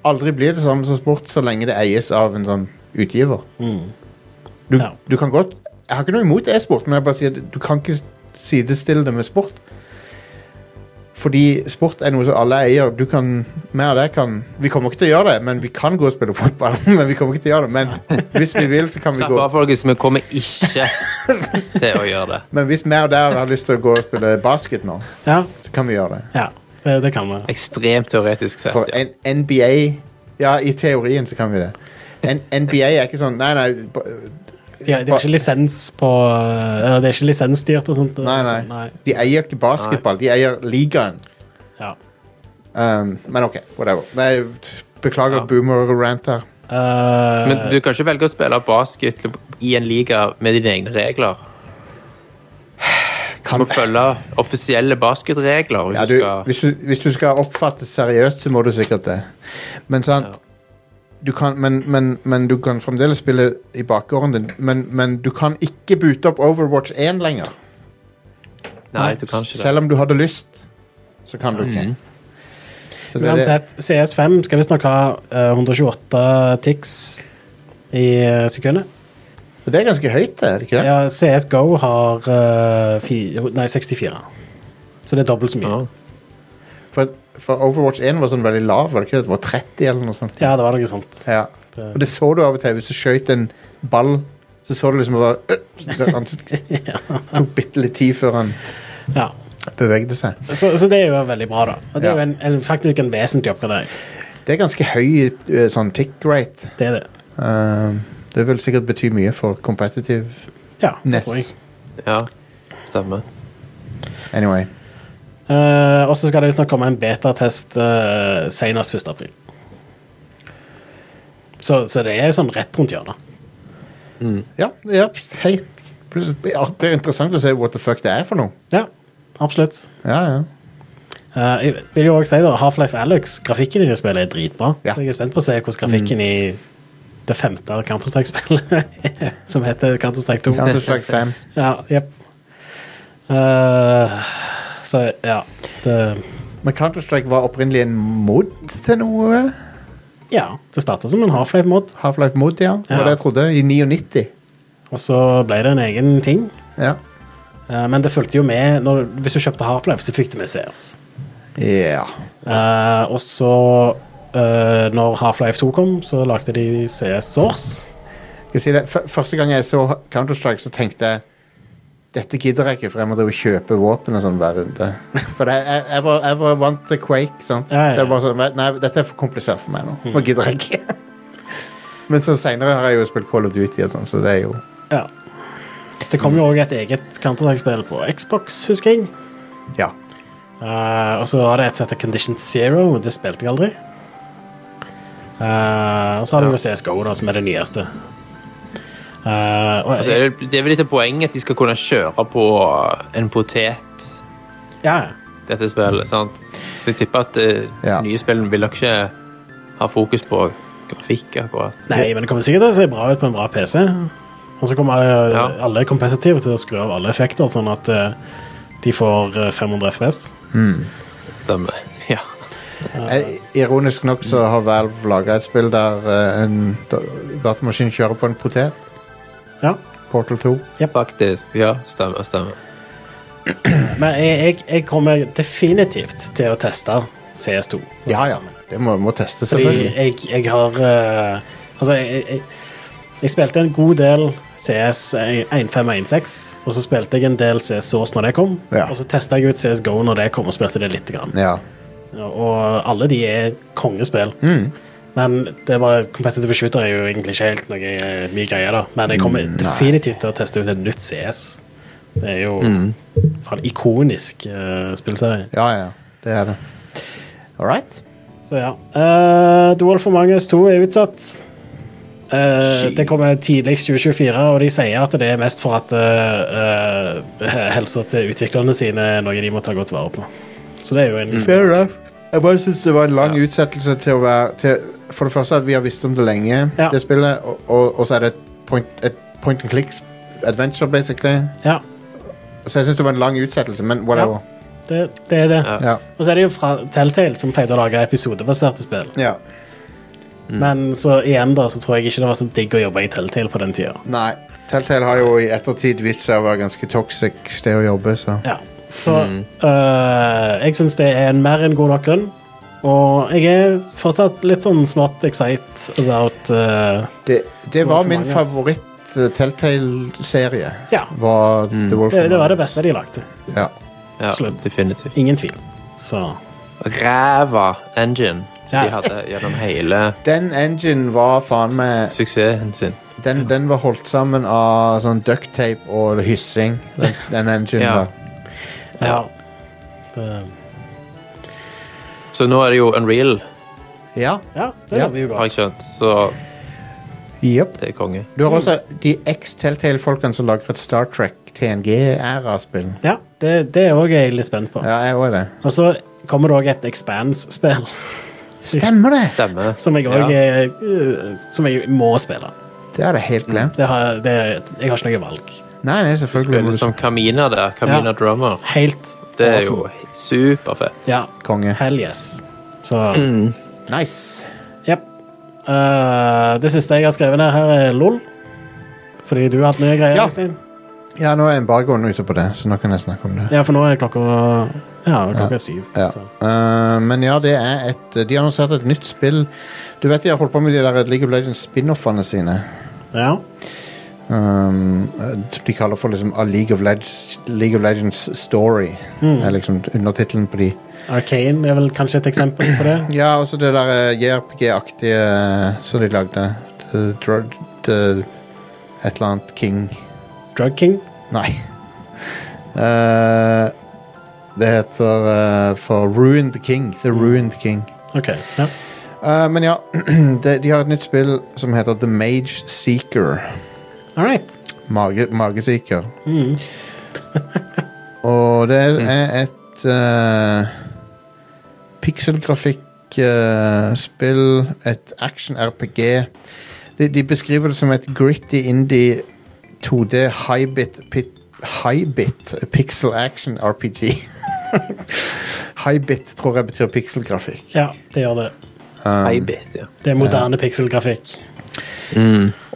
S1: aldri bli det samme som sport så lenge det eies av en sånn utgiver. Du,
S2: Ja.
S1: du kan godt Jeg har ikke noe imot e-sport, men jeg bare sier at du kan ikke sidestille det med sport. Fordi sport er noe som alle eier. Du kan, mer av det kan Vi kommer ikke til å gjøre det, men vi kan gå og spille fotball. Men vi kommer ikke til å gjøre det, men hvis vi vil, så kan vi
S3: Slapp
S1: gå.
S3: av, folkens. Vi kommer ikke til å gjøre det.
S1: Men hvis mer der har lyst til å gå og spille basket nå,
S2: Ja.
S1: så kan vi gjøre det.
S2: ja. Det, det kan vi.
S3: Ekstremt teoretisk sett.
S1: For
S3: ja.
S1: en, NBA Ja, i teorien så kan vi det. En, NBA er ikke sånn Nei, nei. b-
S2: De har, de har ikke lisens på eh, Det er ikke lisensstyrt og sånt.
S1: nei,
S2: Sånn,
S1: nei. De eier ikke basketball, de eier ligaen.
S2: Ja.
S1: Um, men OK, whatever. Nei, beklager
S2: Ja.
S1: boomer-rant her.
S2: Eh,
S3: Men du kan ikke velge å spille basket i en liga med dine egne regler. Du må følge offisielle basketregler. Hvis
S1: Ja,
S3: du,
S1: du,
S3: skal...
S1: hvis, du, hvis du skal oppfattes seriøst, så må du sikkert det. Men sant
S3: Ja.
S1: du kan, men, men, men du kan fremdeles spille i bakgården din. Men, men du kan ikke boote opp Overwatch 1 lenger.
S3: Nei, du kan ikke det.
S1: Selv om du hadde lyst, så kan du ikke. Så det er det-
S2: Uansett, CS5 skal visstnok ha eh, 128 tics i eh, sekundet.
S1: Og Det er ganske høyt, det, er det ikke det?
S2: Ja, CSGO har eh, fi, nei, 64. Så det er dobbelt så mye.
S3: Ja.
S1: For, for Overwatch 1 var sånn veldig lav, var det ikke? det? Det var 30 eller noe sånt.
S2: Ja, det var noe sånt.
S1: Ja. Og det så du av og til hvis du skjøt en ball Så så du liksom bare øh, Han tok bitte litt tid før han
S2: Ja.
S1: bevegde seg.
S2: Så, så det er jo veldig bra, da. Og det er
S1: Ja.
S2: jo en, en, faktisk en vesentlig oppgradering.
S1: Det er ganske høy eh, sånn tick rate.
S2: Det er det.
S1: Eh, det vil sikkert bety mye for competitive
S2: Ja, det tror jeg.
S1: nets.
S3: Ja, stemmer.
S1: Anyway.
S2: Eh, og så skal det visstnok komme en betatest eh, senest 1. april. Så, så det er sånn rett rundt hjørnet.
S1: Ja, ja hei. Plutselig blir det blir interessant å se what the fuck det er for noe.
S2: Ja, absolutt.
S1: Ja, ja.
S2: Eh, jeg vil jo også si da, Half-Life Alyx, grafikken i det spillet er dritbra.
S1: Ja.
S2: Så Jeg er spent på å se hvordan grafikken i det femte Counter-Strike-spillet er, som heter Counter-Strike 2.
S1: Counter-Strike 5.
S2: Ja, jep. Eh, så ja, det,
S1: Men Counter-Strike var opprinnelig en mod til noe?
S2: ja, det starta som en Half-Life-mod,
S1: Half-Life Mod, ja. Det
S2: Ja.
S1: var det jeg trodde. I 99.
S2: og så ble det en egen ting.
S1: Ja.
S2: Eh, Men det fulgte jo med når, Hvis du kjøpte Half-Life, så fikk du med CS.
S1: Ja.
S2: Eh, og så, eh, når Half-Life 2 kom, så lagde de CS Source.
S1: Skal jeg si det? F- Første gang jeg så Counter-Strike, så tenkte jeg dette gidder jeg ikke, for jeg må drive og kjøpe våpen og sånn hver runde. For det, jeg, jeg, var, jeg var vant til Quake, sant?
S2: Ja, ja, ja.
S1: så jeg bare sånn Nei, dette er for komplisert for meg nå. Nå gidder jeg ikke. Men så seinere har jeg jo spilt Call of Duty og sånn, så det er jo
S2: Ja. Det kom jo òg et eget Counter-Strike-spill på Xbox, husker jeg.
S1: Ja.
S2: Eh, og så var det et som heter Condition Zero, men det spilte jeg aldri. Eh, og så har du jo CSGO, da, som er det nyeste. Eh, og,
S3: Altså, er det, det er vel litt av poenget at de skal kunne kjøre på en potet,
S2: ja, ja.
S3: dette spillet, sant? Så jeg tipper at eh,
S1: Ja.
S3: nye spillene vil nok ikke ha fokus på grafikk, akkurat.
S2: Nei, men det kommer sikkert til å se bra ut på en bra PC. Og så kommer eh,
S3: Ja.
S2: alle kompetitive til å skru av alle effekter, sånn at eh, de får eh, 500 FPS.
S3: Stemmer. Ja.
S1: Eh, Ironisk nok så har Valve laga et spill der eh, en da- datamaskin kjører på en potet.
S2: Ja.
S1: Portal 2.
S3: Faktisk. Ja, stemmer, stemmer.
S2: Men jeg, jeg, jeg kommer definitivt til å teste CS2.
S1: Ja ja, det må, må testes,
S2: Fordi
S1: selvfølgelig.
S2: jeg, jeg har eh, Altså, jeg, jeg, jeg spilte en god del eh, CS 1516, og så spilte jeg en del CS Source når det kom,
S1: Ja.
S2: og så testa jeg ut CS GO når det kom, og spilte det lite grann.
S1: Ja. Mm.
S2: Og alle de er kongespill. Men det er bare competitive shooter er jo egentlig ikke helt noe eh, min greie, da. Men jeg kommer definitivt til å teste ut et nytt CS. Det er jo
S1: Mm.
S2: faen ikonisk eh, spillserie.
S1: ja ja, det er det. All right.
S2: Så ja. Uh, Dual for Magnus 2 er utsatt. Eh, det kommer tidligst 2024, og de sier at det er mest for at uh, helsa til utviklerne sine er noe de må ta godt vare på. Så det er jo en
S1: Fair enough. Jeg bare synes det var en lang utsettelse til å være til, For det første at vi har visst om det lenge,
S2: Ja.
S1: det spillet, og, og, og så er det et point, et point and click adventure, basically.
S2: Ja,
S1: Så jeg syns det var en lang utsettelse, men whatever.
S2: det, det er det.
S3: Ja.
S1: Ja.
S2: Og så er det jo fra Telltale som pleide å lage episodebaserte spill.
S1: ja.
S2: Men så igjen da, så tror jeg ikke det var så digg å jobbe i Telltale på den tida.
S1: Nei. Telltale har jo i ettertid vist seg å være ganske toxic sted å jobbe, så
S2: Ja. Så
S3: Mm.
S2: øh, jeg syns det er en mer enn god nok grunn. Og jeg er fortsatt litt sånn smått excited about øh,
S1: Det, det
S2: Wolf
S1: var
S2: Among
S1: min
S2: Us.
S1: favoritt-Telltale-serie.
S2: Ja.
S1: Var The Wolf
S2: Det, det var det
S1: Among Us.
S2: beste de lagde.
S1: Ja.
S3: Ja,
S2: Absolutt.
S3: definitivt.
S2: Ingen tvil. Så
S3: Ræva engine som
S2: Ja.
S3: de hadde gjennom hele
S1: Den engine var faen meg
S3: suksessen sin.
S1: Den, den var holdt sammen av sånn ducktape og hyssing. Den, den enginen
S3: Ja.
S1: der.
S2: ja. eh, Det-
S3: Så nå er det jo Unreal,
S1: Ja.
S2: Ja, det
S1: Ja.
S2: lover jo
S3: har
S2: godt.
S3: jeg skjønt. Så
S1: Jep.
S3: det er konge.
S1: Du har også de ex-Telltale-folkene som lager et Star Trek TNG-æra-spill.
S2: Ja, det, det er òg jeg litt spent på.
S1: Ja, jeg òg det.
S2: Og så kommer det òg et Expanse-spill
S1: Stemmer det!
S3: Stemmer.
S2: som jeg eh, òg er- øh, Som jeg må spille.
S1: Det hadde jeg helt glemt.
S2: Det har, det, jeg har ikke noe valg.
S1: Nei, nei, selvfølgelig.
S3: Spiller
S1: må
S3: som
S1: du-
S3: Kamina der. Kamina
S2: Ja.
S3: Drummer.
S2: Helt
S3: Det er
S2: awesome.
S3: jo superfett.
S2: Ja.
S1: Konge.
S2: Hell yes. Så
S3: Mm.
S1: Nice.
S2: jepp. Eh, det siste jeg har skrevet ned her, er LOL. Fordi du har hatt mye greier.
S1: Ja.
S2: Øystein.
S1: Ja, nå er embargoen ute på det, så nå kan jeg snakke om det.
S2: ja, for nå er klokka Ja, klokka er syv.
S1: Ja.
S2: Så.
S1: Eh, men ja, det er et De har annonsert et nytt spill. Du vet de har holdt på med de der League of Legends-spin-offene sine.
S2: ja.
S1: um, eh, som de kaller for liksom A League of Legends, League of Legends Story. er liksom undertittelen på de.
S2: Arcane er vel kanskje et eksempel på det.
S1: Ja, også det der eh, JRPG-aktige eh, som de lagde. The, Drug- the, et eller annet King
S2: Drug King.
S1: Nei. Eh, det heter eh, for Ruined King. The Ruined King.
S2: Ok, ja.
S1: Eh, men ja, de, de har et nytt spill som heter The Mage Seeker.
S2: All right.
S1: Mage, magesiker.
S2: Mm.
S1: Og det er et eh, pixelgrafikk eh, spill, et action-RPG. De, de beskriver det som et gritty indie 2D high-bit pit- high-bit pixel action RPG. high-bit tror jeg betyr pixelgrafikk.
S2: ja, det gjør det. Um.
S3: Eibit, ja.
S2: Det er moderne pikselgrafikk.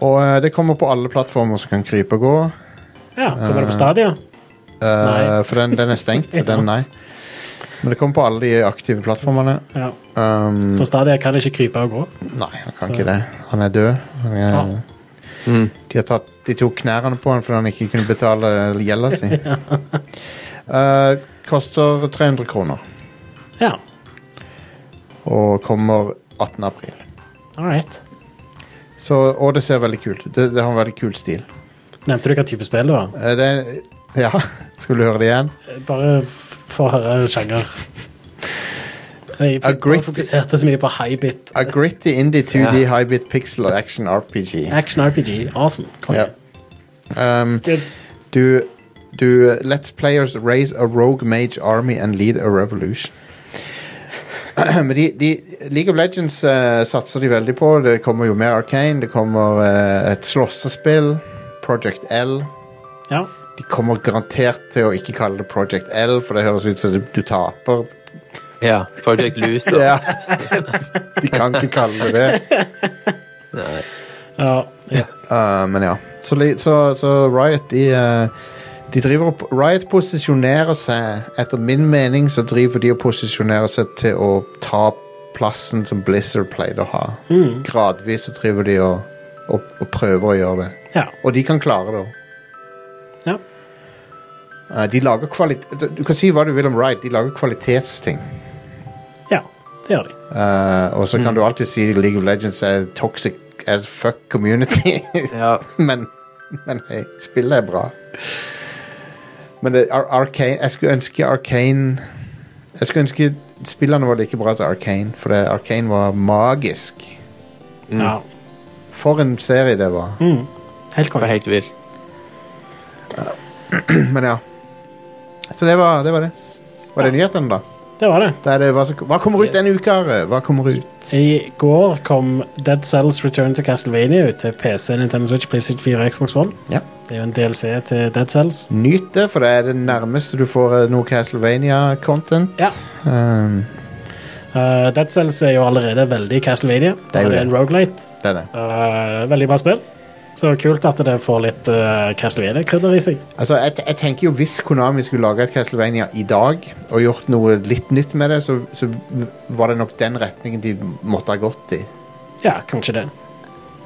S1: Og eh, det kommer på alle plattformer som kan krype og gå.
S2: Ja, kommer det på Stadia?
S1: Eh,
S2: Nei.
S1: For den, den er stengt, så den nei. Men det kommer på alle de aktive plattformene.
S2: Ja.
S1: Um,
S2: For Stadia kan ikke krype og gå.
S1: Nei, han kan
S2: Så- Ah.
S1: ikke det. Han er død. Han er, de, har tatt, de tok knærne på han fordi han ikke kunne betale gjelda si. Eh, koster 300 kroner
S2: Ja,
S1: og kommer 18. april.
S2: all right.
S1: Så, og det ser veldig kult ut. Det, det har en veldig kul stil.
S2: Nevnte du hva type spill det var?
S1: Eh, det, er- ja, skulle du høre det igjen?
S2: Bare få høre sjanger. Jeg
S1: A grit-
S2: fokuserte så mye på high-bit.
S1: A gritty indie 2D
S3: Ja.
S1: high-bit pixel og action RPG.
S2: Action RPG, awesome. Konge.
S1: Ja. Um,
S2: Good.
S1: du, du Let's players raise a rogue mage army and lead a revolution. Men de, de, League of Legends eh, satser de veldig på. Det kommer jo mer Arcane. Det kommer eh, et slåssespill. Project L.
S2: Ja.
S1: De kommer garantert til å ikke kalle det Project L, for det høres ut som du, du taper.
S3: ja. Project Loser.
S1: Ja. De kan ikke kalle det det.
S2: Ja. ja.
S1: Eh, men ja. Så, li- så, så Riot, de eh, De driver opp Riot posisjonerer seg Etter min mening så driver de og posisjonerer seg til å ta plassen som Blizzard pleide å ha. Gradvis så driver de og, og, og prøver å gjøre det.
S2: ja.
S1: Og de kan klare det.
S2: ja.
S1: Eh, de lager kvalitet... Du kan si hva du vil om Riot, de lager kvalitetsting.
S2: Ja, det gjør de.
S1: Eh, og så kan du alltid si League of Legends er toxic as fuck community.
S3: Ja.
S1: men, men hei, spillet er bra. Men det, Ar Arcane, jeg skulle ønske Arcane Jeg skulle ønske spillene var like bra som Arcane, for det, Arcane var magisk. Mm.
S2: Ja.
S1: For en serie det var.
S2: Helt
S3: Det var
S2: konge.
S3: helt vilt.
S1: Men ja. Så det var det. Var det, var det nyhetene, da?
S2: Det var det.
S1: Det er det, hva, som, hva kommer ut
S3: Yes.
S1: denne uka? Are? Hva kommer ut?
S2: I går kom Dead Cells Return to Castlevania ut til PC, Nintendo Switch, PlayStation 4 og Xbox One.
S1: Ja.
S2: Det er jo en DLC til Dead Cells.
S1: Nyt det, for det er det nærmeste du får eh, noe Castlevania-content.
S2: Ja.
S1: Um,
S2: Eh, Dead Cells er jo allerede veldig Castlevania.
S1: er
S2: Det
S1: jo
S2: er, det
S1: det.
S2: en roguelite.
S1: det er det.
S2: Eh, veldig bra spill. Så kult at det får litt eh, Castlevania-krydder i seg.
S1: Altså, jeg, jeg tenker jo Hvis Konami skulle lage et Castlevania i dag, og gjort noe litt nytt med det, så, så var det nok den retningen de måtte ha gått i.
S2: Ja, kanskje det.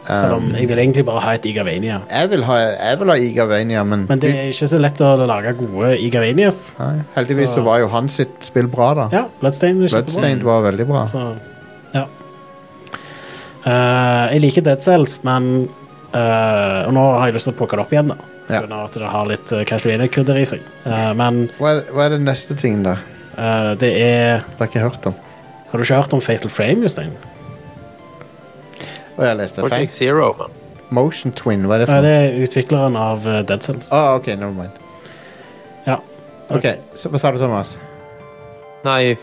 S1: Um.
S2: Selv om jeg vil egentlig bare ha et Igavania.
S1: Jeg vil ha, jeg vil ha Igavania, men,
S2: Men det er ikke så lett å lage gode Igavanias.
S1: Nei, heldigvis så...
S2: så-
S1: var jo hans sitt spill bra, da.
S2: Ja, Bloodstained er kjempebra.
S1: Bloodstained var veldig bra.
S2: Så, ja. Eh, jeg liker Dead Cells, men eh, Og nå har jeg lyst til å plukke det opp igjen, da. På
S1: Ja.
S2: grunn av at det har litt uh, Castlevania-krydder i seg. Eh, men
S1: Hva er, hva er det neste tingen der?
S2: eh, det er
S1: Det har jeg ikke hørt om.
S2: Har du ikke hørt om Fatal Frame, Jostein?
S1: Og jeg leste feil.
S3: Project Zero, mann.
S1: Motion Twin, hva er det
S2: Nei,
S1: for
S2: Eh, det
S1: noe?
S2: er utvikleren av eh, Dead Cells.
S1: Ah, OK, never mind.
S2: Ja.
S1: Ok, så, Hva sa du, Thomas?
S3: Nei,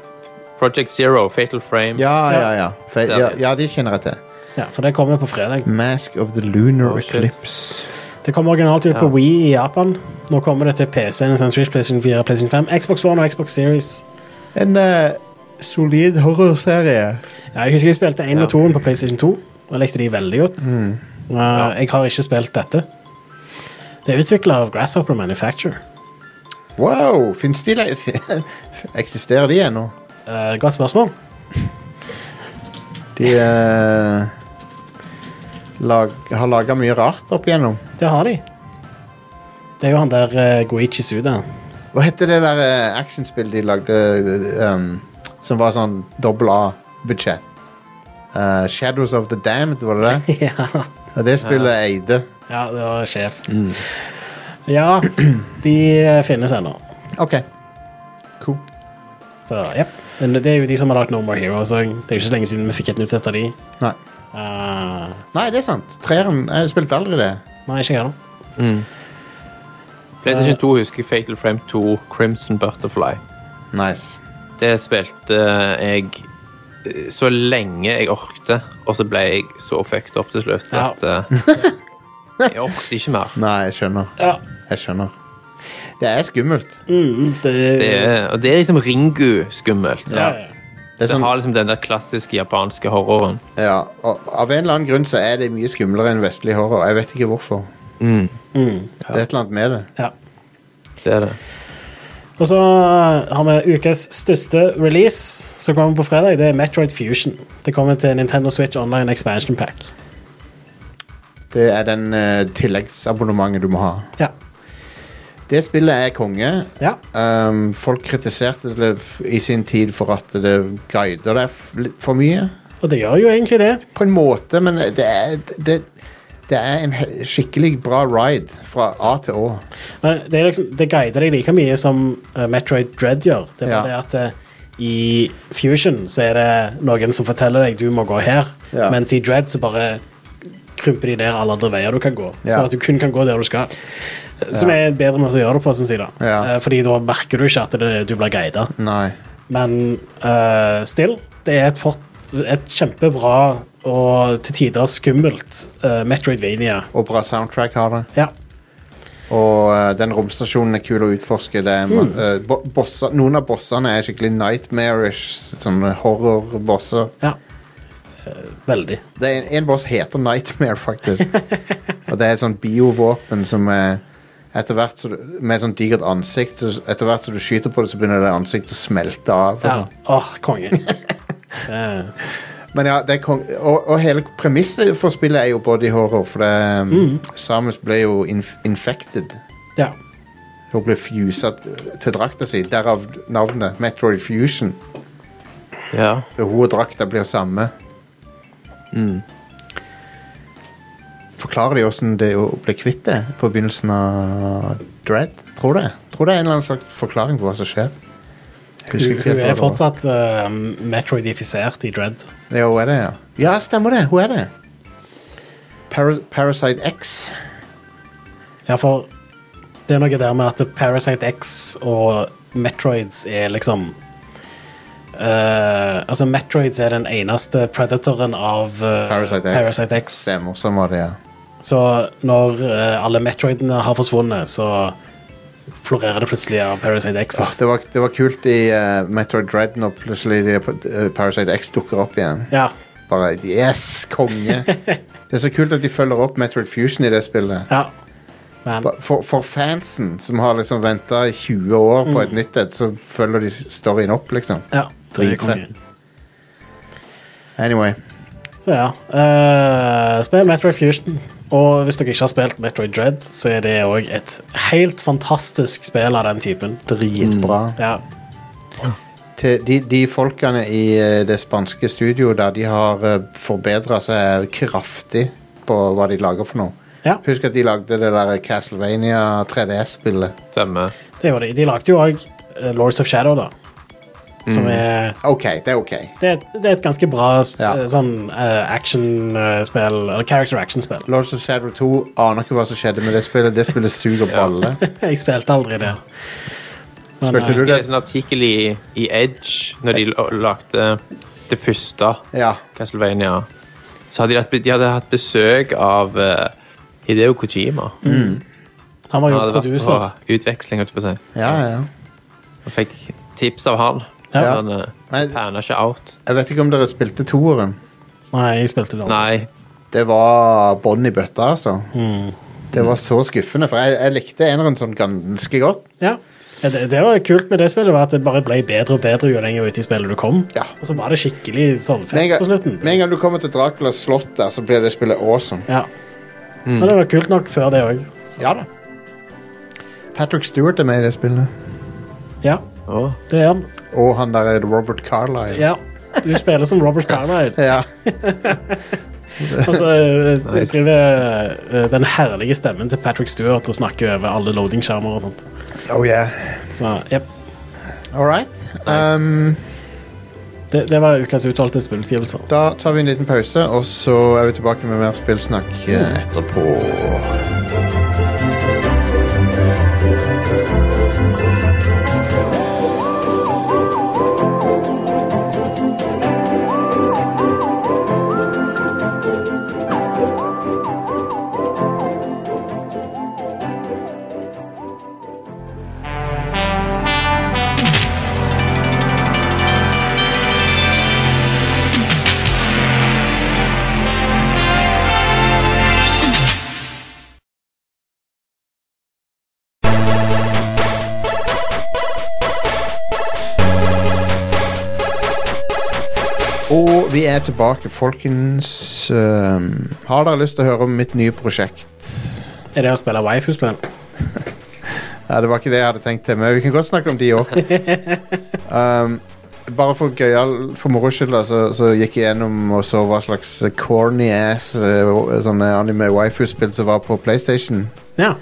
S3: Project Zero, Fatal Frame.
S1: Ja, ja, ja. Fe ja, ja de kjenner jeg til.
S2: ja, for det kommer jo på fredag.
S1: Mask of the Lunar
S3: Oh, shit.
S1: Eclipse.
S2: Det kom originalt ut på
S3: Ja.
S2: Wii i Japan. Nå kommer det til PC, Nintendo Switch, PlayStation 4, PlayStation 5, Xbox One og Xbox Series.
S1: En eh, solid horrorserie.
S2: Ja, jeg husker jeg spilte 1
S3: Ja.
S2: og 2 på PlayStation 2. Og jeg likte de veldig godt. Uh, Jeg har ikke spilt dette. Det er utvikla av Grasshopper Manufacture.
S1: Wow, finnes de le- Eksisterer de ennå?
S2: Uh, godt spørsmål.
S1: De eh, lag, har laga mye rart opp igjennom.
S2: Det har de. Det er jo han der eh, Goichi Suda.
S1: Hva heter det der eh, actionspillet de lagde eh, um, som var sånn dobbel A-budsjett? Eh, Shadows of the Damned, var det det?
S2: ja. Mm.
S1: Ja, Det spillet eide.
S2: ja, det var sjef. Ja, de eh, finnes ennå.
S1: OK. Cool.
S2: Så jepp. Men det er jo de som har lagd No More Heroes òg. Det er jo ikke så lenge siden vi fikk et nytt et av de.
S1: Nei.
S2: Eh,
S1: Nei, det er sant. Treeren Jeg spilte aldri det.
S2: nei, ikke jeg heller.
S1: eh.
S3: PlayStation 2 husker jeg Fatal Frame 2, Crimson Butterfly.
S1: Nice.
S3: Det spilte jeg eh, så lenge jeg orkte, og så ble jeg så fucked opp til slutt
S2: Ja.
S3: at eh, jeg orket ikke mer.
S1: Nei, jeg skjønner.
S2: Ja.
S1: Jeg skjønner. Det er skummelt.
S2: Mm, det,
S3: Det er, og det er liksom Ringu-skummelt.
S2: ja,
S3: sant?
S2: ja.
S1: Det er
S3: Det
S1: sånn,
S3: har liksom den der klassiske japanske horroren.
S1: ja, og av en eller annen grunn så er det mye skumlere enn vestlig horror. Jeg vet ikke hvorfor. Det er et eller annet med det.
S2: ja.
S3: Det er det.
S2: Og så har vi ukas største release, som kommer på fredag. Det er Metroid Fusion. Det kommer til Nintendo Switch Online Expansion Pack.
S1: Det er den eh, tilleggsabonnementet du må ha.
S2: Ja.
S1: Det spillet er konge.
S2: ja.
S1: Um, folk kritiserte det f- i sin tid for at det guider deg f- litt for mye.
S2: Og det gjør jo egentlig det.
S1: På en måte, men det er, det, det er en he- skikkelig bra ride fra A til Å.
S2: Men det, er liksom, det guider deg like mye som eh, Metroid Dread gjør. Det er bare
S1: Ja.
S2: det at eh, i Fusion så er det noen som forteller deg du må gå her,
S1: Ja.
S2: mens i Dread så bare krymper de ned alle andre veier du kan gå, så
S1: Ja.
S2: at du kun kan gå der du skal. Eh, Som
S1: Ja.
S2: er en bedre måte å gjøre det på, syns jeg. da.
S1: Ja.
S2: Eh, Fordi da merker du ikke at det, du blir guidet.
S1: Nei.
S2: Men eh, still, det er et, fort, et kjempebra og til tider skummelt eh, Metroidvania.
S1: Og bra soundtrack har det.
S2: Ja.
S1: Og eh, den romstasjonen er kul å utforske. Det er, ma- eh, bo bosser, noen av bossene er skikkelig nightmarish. Sånne horrorbosser.
S2: ja. Eh, veldig.
S1: Det er en, en boss heter Nightmare, faktisk. og det er et sånt biovåpen som er etter hvert så, du- Med et sånt digert ansikt. Så, etter hvert som du skyter på det, så begynner det ansiktet å smelte av. og
S2: Ja.
S1: sånn.
S2: Altså, Åh, konge. Eh,
S1: Men ja, det er kong og, og hele premisset for spillet er jo body horror, for det, um, Samus ble jo inf infected.
S2: ja.
S1: Hun ble fusa t- til drakta si, derav navnet Metroid Fusion.
S3: Ja.
S1: Så hun og drakta blir samme. Forklarer de åssen det å bli kvitt det på begynnelsen av Dread? Tror det. Tror det er en eller annen slags forklaring på hva som skjer. Jeg husker
S2: Hun,
S1: ikke
S2: hun
S1: helt hva
S2: er
S1: det var.
S2: fortsatt eh, metroidifisert i Dread.
S1: Ja, hun er det, ja. Ja, stemmer det. Hun er det. Para Parasite X.
S2: Ja, for det er noe der med at Parasite X og Metroids er liksom eh, Altså, Metroids er den eneste predatoren av eh,
S1: Parasite X.
S2: Parasite X.
S1: Stemmer, sånn var det, ja.
S2: Så når eh, alle Metroidene har forsvunnet, så florerer det plutselig av Parasite X.
S1: Åh, det, var, det var kult i eh, Metroid Dread når plutselig de, eh, Parasite X dukker opp igjen.
S2: Ja,
S1: Bare Yes, konge! det er så kult at de følger opp Metroid Fusion i det spillet.
S2: ja. Men
S1: Ba- For, for fansen som har liksom venta i 20 år på et nytt et, så følger de storyen opp, liksom.
S2: ja, det er
S1: Dritfett.
S2: kongen.
S1: Anyway.
S2: Så ja. eh, spill Metroid Fusion. Og hvis dere ikke har spilt Metroid Dread, så er det òg et helt fantastisk spill av den typen.
S1: Dritbra.
S2: Ja.
S1: Til de, de folkene i eh, det spanske studioet der, de har uh, forbedra seg kraftig på hva de lager for noe.
S2: ja.
S1: Husk at de lagde det der Castlevania 3DS-spillet.
S3: Stemmer.
S2: Det var de. De lagde jo òg Lords of Shadow, da. Som
S1: Mm.
S2: er
S1: OK, det er OK.
S2: det, er- det er et ganske bra sp
S1: Ja.
S2: sånn action-spill, eller character action-spill.
S1: Lords of Shadow 2 aner ikke hva som skjedde med det spillet. Det spillet suger balle.
S2: Jeg spilte aldri det. Men,
S1: Spilte
S2: eh,
S1: du
S3: Jeg
S1: det?
S3: leste en sånn artikkel i, i Edge når de la- lagde det første
S1: Ja.
S3: Castlevania. Så hadde de, hatt, de hadde hatt besøk av eh, Hideo Kojima.
S1: Mm.
S2: Han var
S3: Han
S2: jo
S3: hadde vært
S2: producer.
S3: på utveksling, holdt jeg på å si.
S1: ja, ja.
S3: Og fikk tips av han.
S2: Ja.
S3: Han eh,
S1: Men-
S3: panna ikke out.
S1: Jeg vet ikke om dere spilte toeren.
S2: Nei, jeg spilte det. aldri.
S3: Nei.
S1: Det var bånn i Mm. bøtta, altså. Det var så skuffende, for jeg, jeg likte eneren sånn ganske godt.
S2: Ja. Ja, Det, det var kult med det spillet var at det bare ble bedre og bedre jo lenger ut i spillet du kom.
S1: Ja.
S2: Og så var det skikkelig sånn
S1: Med en
S2: fett
S1: gang-
S2: på slutten.
S1: med en gang du kommer til Draculas slott der, så blir det spillet awesome.
S2: Ja.
S1: Mm.
S2: Men det var kult nok før det òg.
S1: Ja da. Patrick Stewart er med i det spillet.
S2: Ja,
S3: Åh.
S2: det er han.
S1: Og han der er Robert Carlyle.
S2: Ja. Du spiller som Robert Carnide.
S1: Ja.
S2: Og så eh,
S3: Nice.
S2: driver eh, den herlige stemmen til Patrick Stewart og snakker over alle loading-skjermer og sånt.
S1: Oh yeah.
S2: Så jep.
S1: All right.
S3: Nice.
S1: Um,
S2: Det, det var ukas utvalgte spillutgivelser.
S1: da tar vi en liten pause, og så er vi tilbake med mer spillsnakk eh, etterpå. Og vi er tilbake, folkens. Um, har dere lyst til å høre om mitt nye prosjekt?
S2: Er det å spille waifu-spill?
S1: Ja, det var ikke det jeg hadde tenkt til, men vi kan godt snakke om de òg. Um, bare for gøyal, for moro skyld, da, så, så gikk jeg gjennom og så hva slags corny ass eh, sånne anime waifu-spill som var på PlayStation.
S2: Ja.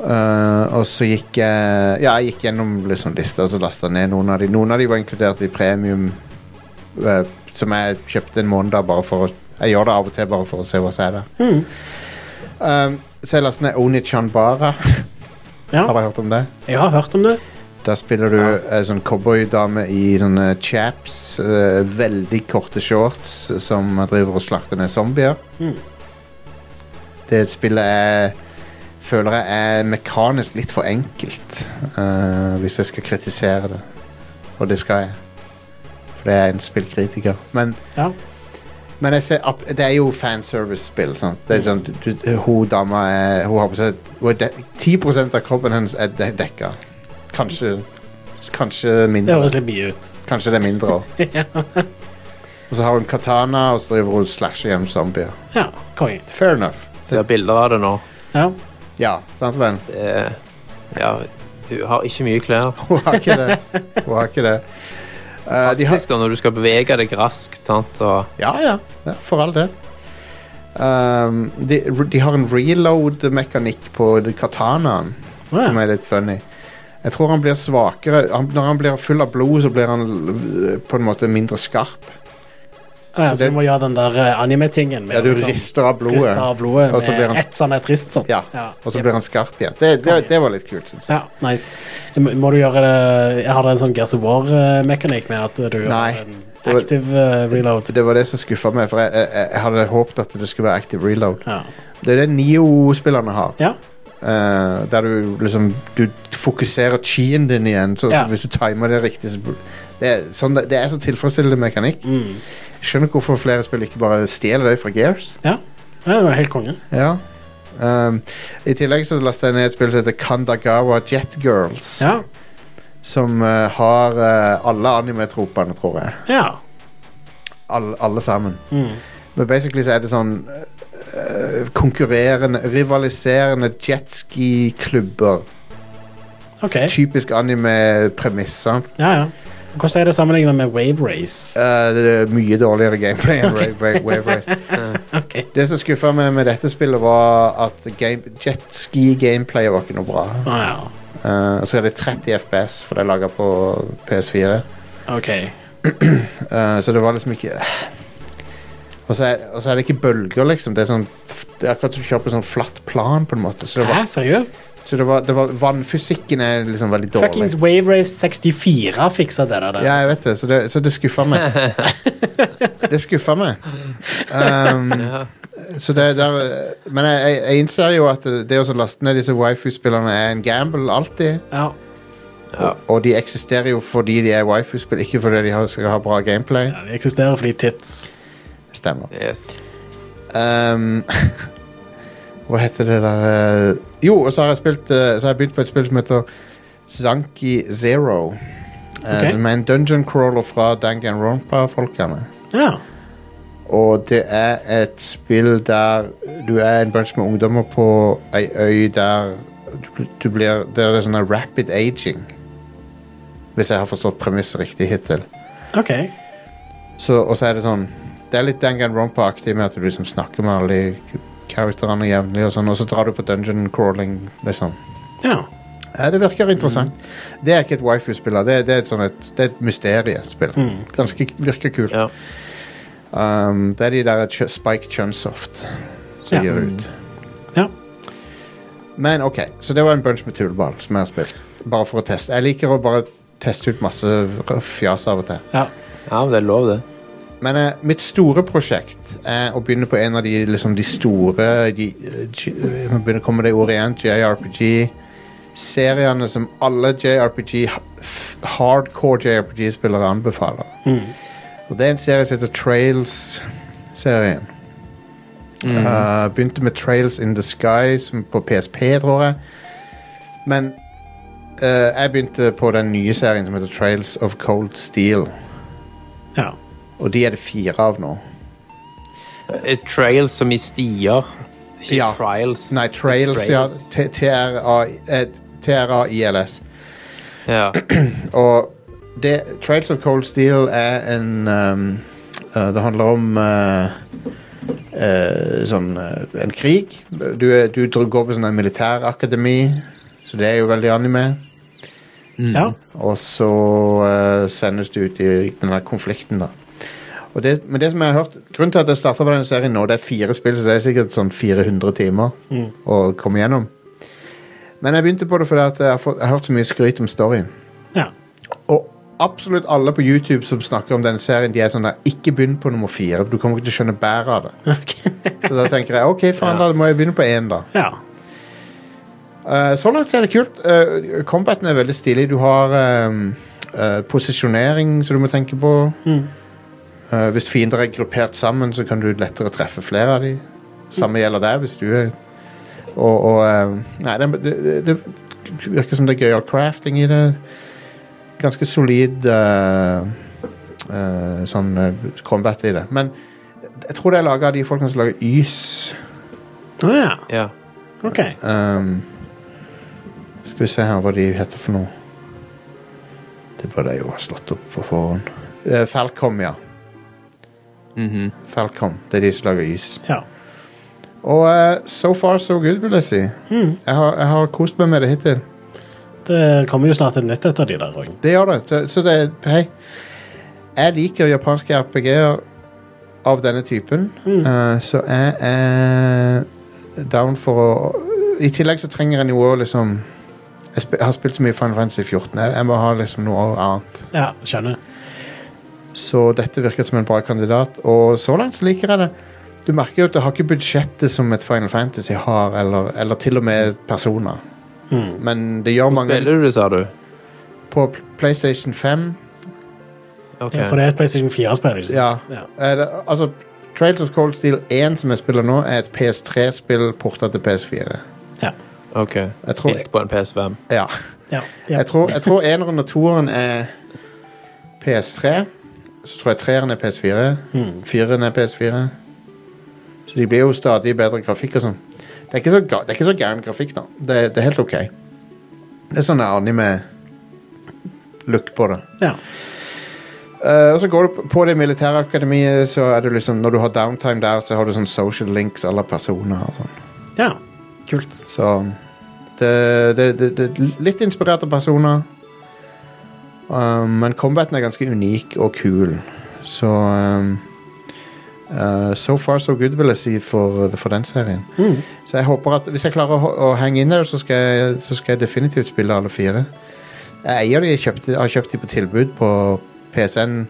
S1: Uh, og så gikk jeg Ja, jeg gikk gjennom liksom lista og så lasta jeg ned noen av de. Noen av de var inkludert i premium, eh, som jeg kjøpte en måned av bare for å Jeg gjør det av og til bare for å se hva som er der. Um, så jeg lasta ned Oni Chanbara.
S2: ja.
S1: Har dere hørt om det?
S2: Jeg har hørt om det.
S1: Da spiller du en sånn cowboydame i sånne chaps, eh, veldig korte shorts, som driver og slakter ned zombier.
S2: Mm.
S1: Det spillet er føler jeg er mekanisk litt for enkelt, eh, hvis jeg skal kritisere det. Og det skal jeg. For det er en spillkritiker. Men,
S2: Ja.
S1: men jeg ser, opp- det er jo fanservice-spill. sant? Det er sånn, du, du, hun dama er, hun har på seg hun er de- 10 av kroppen hennes er de dekka. Kanskje, kanskje
S2: Det
S1: mindre.
S2: høres litt mye ut.
S1: Kanskje det er mindre òg.
S2: ja.
S1: Og så har hun katana, og så driver hun og slasher gjennom zombier.
S2: ja. Konge.
S1: Fair enough.
S3: Ser bilder av det nå.
S2: Ja.
S1: Ja, sant, venn?
S3: Det er, ja, hun har ikke mye klær.
S1: Hun har ikke det. Hun har ikke det. Eh, de har,
S3: Faktisk da, når du skal bevege deg raskt, sant, og
S1: ja, ja, ja, for all del. Um, de, de har en reload-mekanikk på katanaen
S2: Å, ja.
S1: som er litt funny. Jeg tror han blir svakere. Han, når han blir full av blod, så blir han l- på en måte mindre skarp.
S2: Ah, ja,
S1: Så
S2: så
S1: det-
S2: du må gjøre den der eh, anime-tingen. med
S1: Ja, du
S2: sånn-
S1: rister av blodet,
S2: rister av blodet
S1: og så blir han-
S2: med ett sånn et rist sånn.
S1: Ja, og så
S2: jep.
S1: blir han skarp igjen. Det, det, det var litt kult, syns jeg.
S2: Ja, nice. Må må du gjøre det Jeg har en sånn Gears of War-mekanikk med at du
S1: Nei.
S2: gjør en active eh, reload.
S1: Det var det som skuffa meg, for jeg, jeg, jeg hadde håpet at det skulle være active reload.
S2: Ja.
S1: Det er det Nio-spillerne har.
S2: ja.
S1: Eh, der du liksom Du fokuserer chien din igjen. Så,
S2: Ja.
S1: så hvis du timer det riktig, så det er, sånn, det er så tilfredsstillende mekanikk.
S2: Mm.
S1: Skjønner ikke hvorfor flere spill ikke bare stjeler det fra Gears.
S2: ja. Ja, Det var helt konge.
S1: Ja. Um, I tillegg så lasta jeg ned et spill som heter Kandagawa Jet Girls.
S2: Ja.
S1: Som eh, har eh, alle animetropene, tror jeg.
S2: ja.
S1: All, alle sammen.
S2: Mm.
S1: Men basically så er det sånn eh, konkurrerende, rivaliserende jetski-klubber.
S2: OK.
S1: Typisk anime-premiss, sant?
S2: Ja, ja. Hvordan er det sammenlignet med Wave Race?
S1: Eh, det er mye dårligere gameplay enn Wave- Wave- Wave Race.
S2: Ok.
S1: Det som skuffa meg med dette spillet, var at game, jetski-gameplayet var ikke noe bra.
S2: Å ja.
S1: Eh, og så er det 30 FPS, for det er laga på PS4.
S2: OK.
S1: Eh, så det var liksom ikke eh. og så, er, og så er det ikke bølger, liksom. Det er, sånn, det er akkurat som du kjører på sånn flatt plan. på en måte Så det
S2: Hæ,
S1: var,
S2: seriøst?
S1: så det var, det var vannfysikken er liksom veldig dårlig.
S2: Fuckings Wave Race 64 fiksa det der.
S1: Ja, jeg vet det, så det, så det skuffa meg. Det skuffa meg. Um, så det der, men jeg, jeg- jeg innser jo at det det å så laste ned disse wifi-spillerne er en gamble alltid.
S2: Ja.
S3: ja,
S1: Og de eksisterer jo fordi de er wifi-spill, ikke fordi de har, skal ha bra gameplay.
S2: ja, de eksisterer fordi tits.
S1: Stemmer.
S3: yes.
S1: Um, hva heter det der eh, Jo, og så har jeg spilt eh, Så har jeg begynt på et spill som heter Zanki Zero. eh,
S2: Ok.
S1: Som er en dungeon crawler fra Danganronpa-folkene.
S2: Ja.
S1: Og det er et spill der du er en bunch med ungdommer på ei øy der du, bl- du blir Der er det sånn rapid aging. Hvis jeg har forstått premisset riktig hittil.
S2: OK.
S1: Så, og så er det sånn Det er litt Danganronpa-aktig med at du liksom snakker med alle de karakterene jevnlig, og sånn, og så drar du på dungeon crawling, liksom.
S2: Ja.
S1: Ja, det virker interessant. Det er ikke et waifu-spill. da. Det, det er et, sånn et, det er et mysteriespill. Ganske virker kult.
S3: Ja.
S1: Um, det er de der Ch- Spike Chunsoft som
S2: Ja.
S1: gir ut.
S2: ja.
S1: Men ok, så det var en bunch med tullball som jeg har spilt. Bare for å teste. Jeg liker å bare teste ut masse r- fjas av og til.
S2: ja.
S3: Ja, men det er lov, det.
S1: Men eh, mitt store prosjekt er å begynne på en av de, liksom, de store de, eh, J- eh, Nå begynner å komme det ordet igjen. JRPG-seriene som alle JRPG ha- f- hardcore JRPG-spillere anbefaler. Og det er en serie som heter Trails-serien. Eh, begynte med Trails in the Sky som på PSP, tror jeg. Men eh, jeg begynte på den nye serien som heter Trails of Cold Steel.
S2: ja.
S1: Og de er det fire av nå.
S3: Eh, Trails som i stier. Ikke
S1: Ja.
S3: trials.
S1: Nei, Trails, ja. T- TRA eh, T-R-A-I-L-S.
S3: ja.
S1: Og det, Trails of Cold Steel er en um, eh, Det handler om eh, eh, sånn eh, en krig. Du, er, du dr- går på sånn en militærakademi, så det er jo veldig anime.
S2: ja.
S1: Og så eh, sendes du ut i denne konflikten, da. Og det, men det som jeg har hørt Grunnen til at jeg starta på denne serien nå, det er fire spill, så det er sikkert sånn 400 timer å komme gjennom. Men jeg begynte på det fordi at jeg har, fått, jeg har hørt så mye skryt om storyen.
S2: ja.
S1: Og absolutt alle på YouTube som snakker om denne serien, de er sånn der Ikke begynn på nummer fire, for du kommer ikke til å skjønne bæret av det. Så da tenker jeg OK, faen, da må jeg begynne på én, da.
S2: ja.
S1: Eh, så langt er det kult. Eh, combaten er veldig stilig. Du har ehm, eh, posisjonering som du må tenke på. Eh, hvis fiender er gruppert sammen, så kan du lettere treffe flere av dem. Samme gjelder der hvis du er Og, og ehm, Nei, det, det, det virker som det er gøyal crafting i det. Ganske solid eh, eh, sånn eh, combat i det. Men jeg tror det er laga av de folkene som lager Ys.
S2: Å ja.
S3: ja.
S2: OK.
S1: Ehm, skal vi se her hva de heter for noe. Det burde jeg jo ha slått opp på forhånd. Eh, Falcom, ja.
S3: Mhm.
S1: Falcom. Det er de som lager is.
S2: Ja.
S1: Og eh, so far so good, vil jeg si. Jeg, har, jeg har kost meg med det hittil.
S2: Det kommer jo snart et nytt et av de der òg.
S1: Det gjør det. Så- Så det er Hei. Jeg liker japanske RPG-er av denne typen,
S3: Mm.
S1: eh, så jeg er down for å I tillegg så trenger jeg noe å liksom jeg, sp jeg har spilt så mye Final Fantasy 14. Jeg, jeg må ha liksom noe annet.
S2: Ja, skjønner.
S1: Så dette virker som en bra kandidat, og så langt så liker jeg det. Du merker jo at det har ikke budsjettet som et Final Fantasy har, eller, eller til og med personer. Men det gjør mange
S3: Mm. Spiller du det, sa du?
S1: På P- PlayStation 5
S3: Ok.
S2: Ja, for det er et PlayStation 4-spill, ikke
S1: Ja.
S2: sant? Ja.
S1: Er det, altså, Trails of Cold Steel 1, som jeg spiller nå, er et PS3-spill porta til PS4.
S2: Ja.
S3: Ok.
S1: Jeg tror,
S3: Spilt på en PS5.
S1: ja.
S2: Ja. ja.
S1: jeg tror, jeg tror eneren og toeren er PS3. Så tror jeg treeren er PS4.
S2: Hmm.
S1: Fireren er PS4. Så de blir jo stadig bedre grafikk og sånn. Det er ikke så, ga- det er ikke så gæren grafikk, da. Det, det er helt OK. Det er sånn anime-look på det.
S2: ja.
S1: Eh, og så går du på- på det militære akademiet, så er det liksom Når du har downtime der, så har du sånn social links alle personer og sånn.
S2: ja. Kult.
S1: Så det, det, det, det er Litt inspirerte personer. Um, men combaten er ganske unik og kul. Så um, eh, So far so good, vil jeg si, for, uh, for den serien. Så jeg håper at hvis jeg klarer å, ho- å henge inn der, så skal, jeg, så skal jeg definitivt spille alle fire. Jeg eier de, jeg kjøpte, har kjøpt de på tilbud på PSN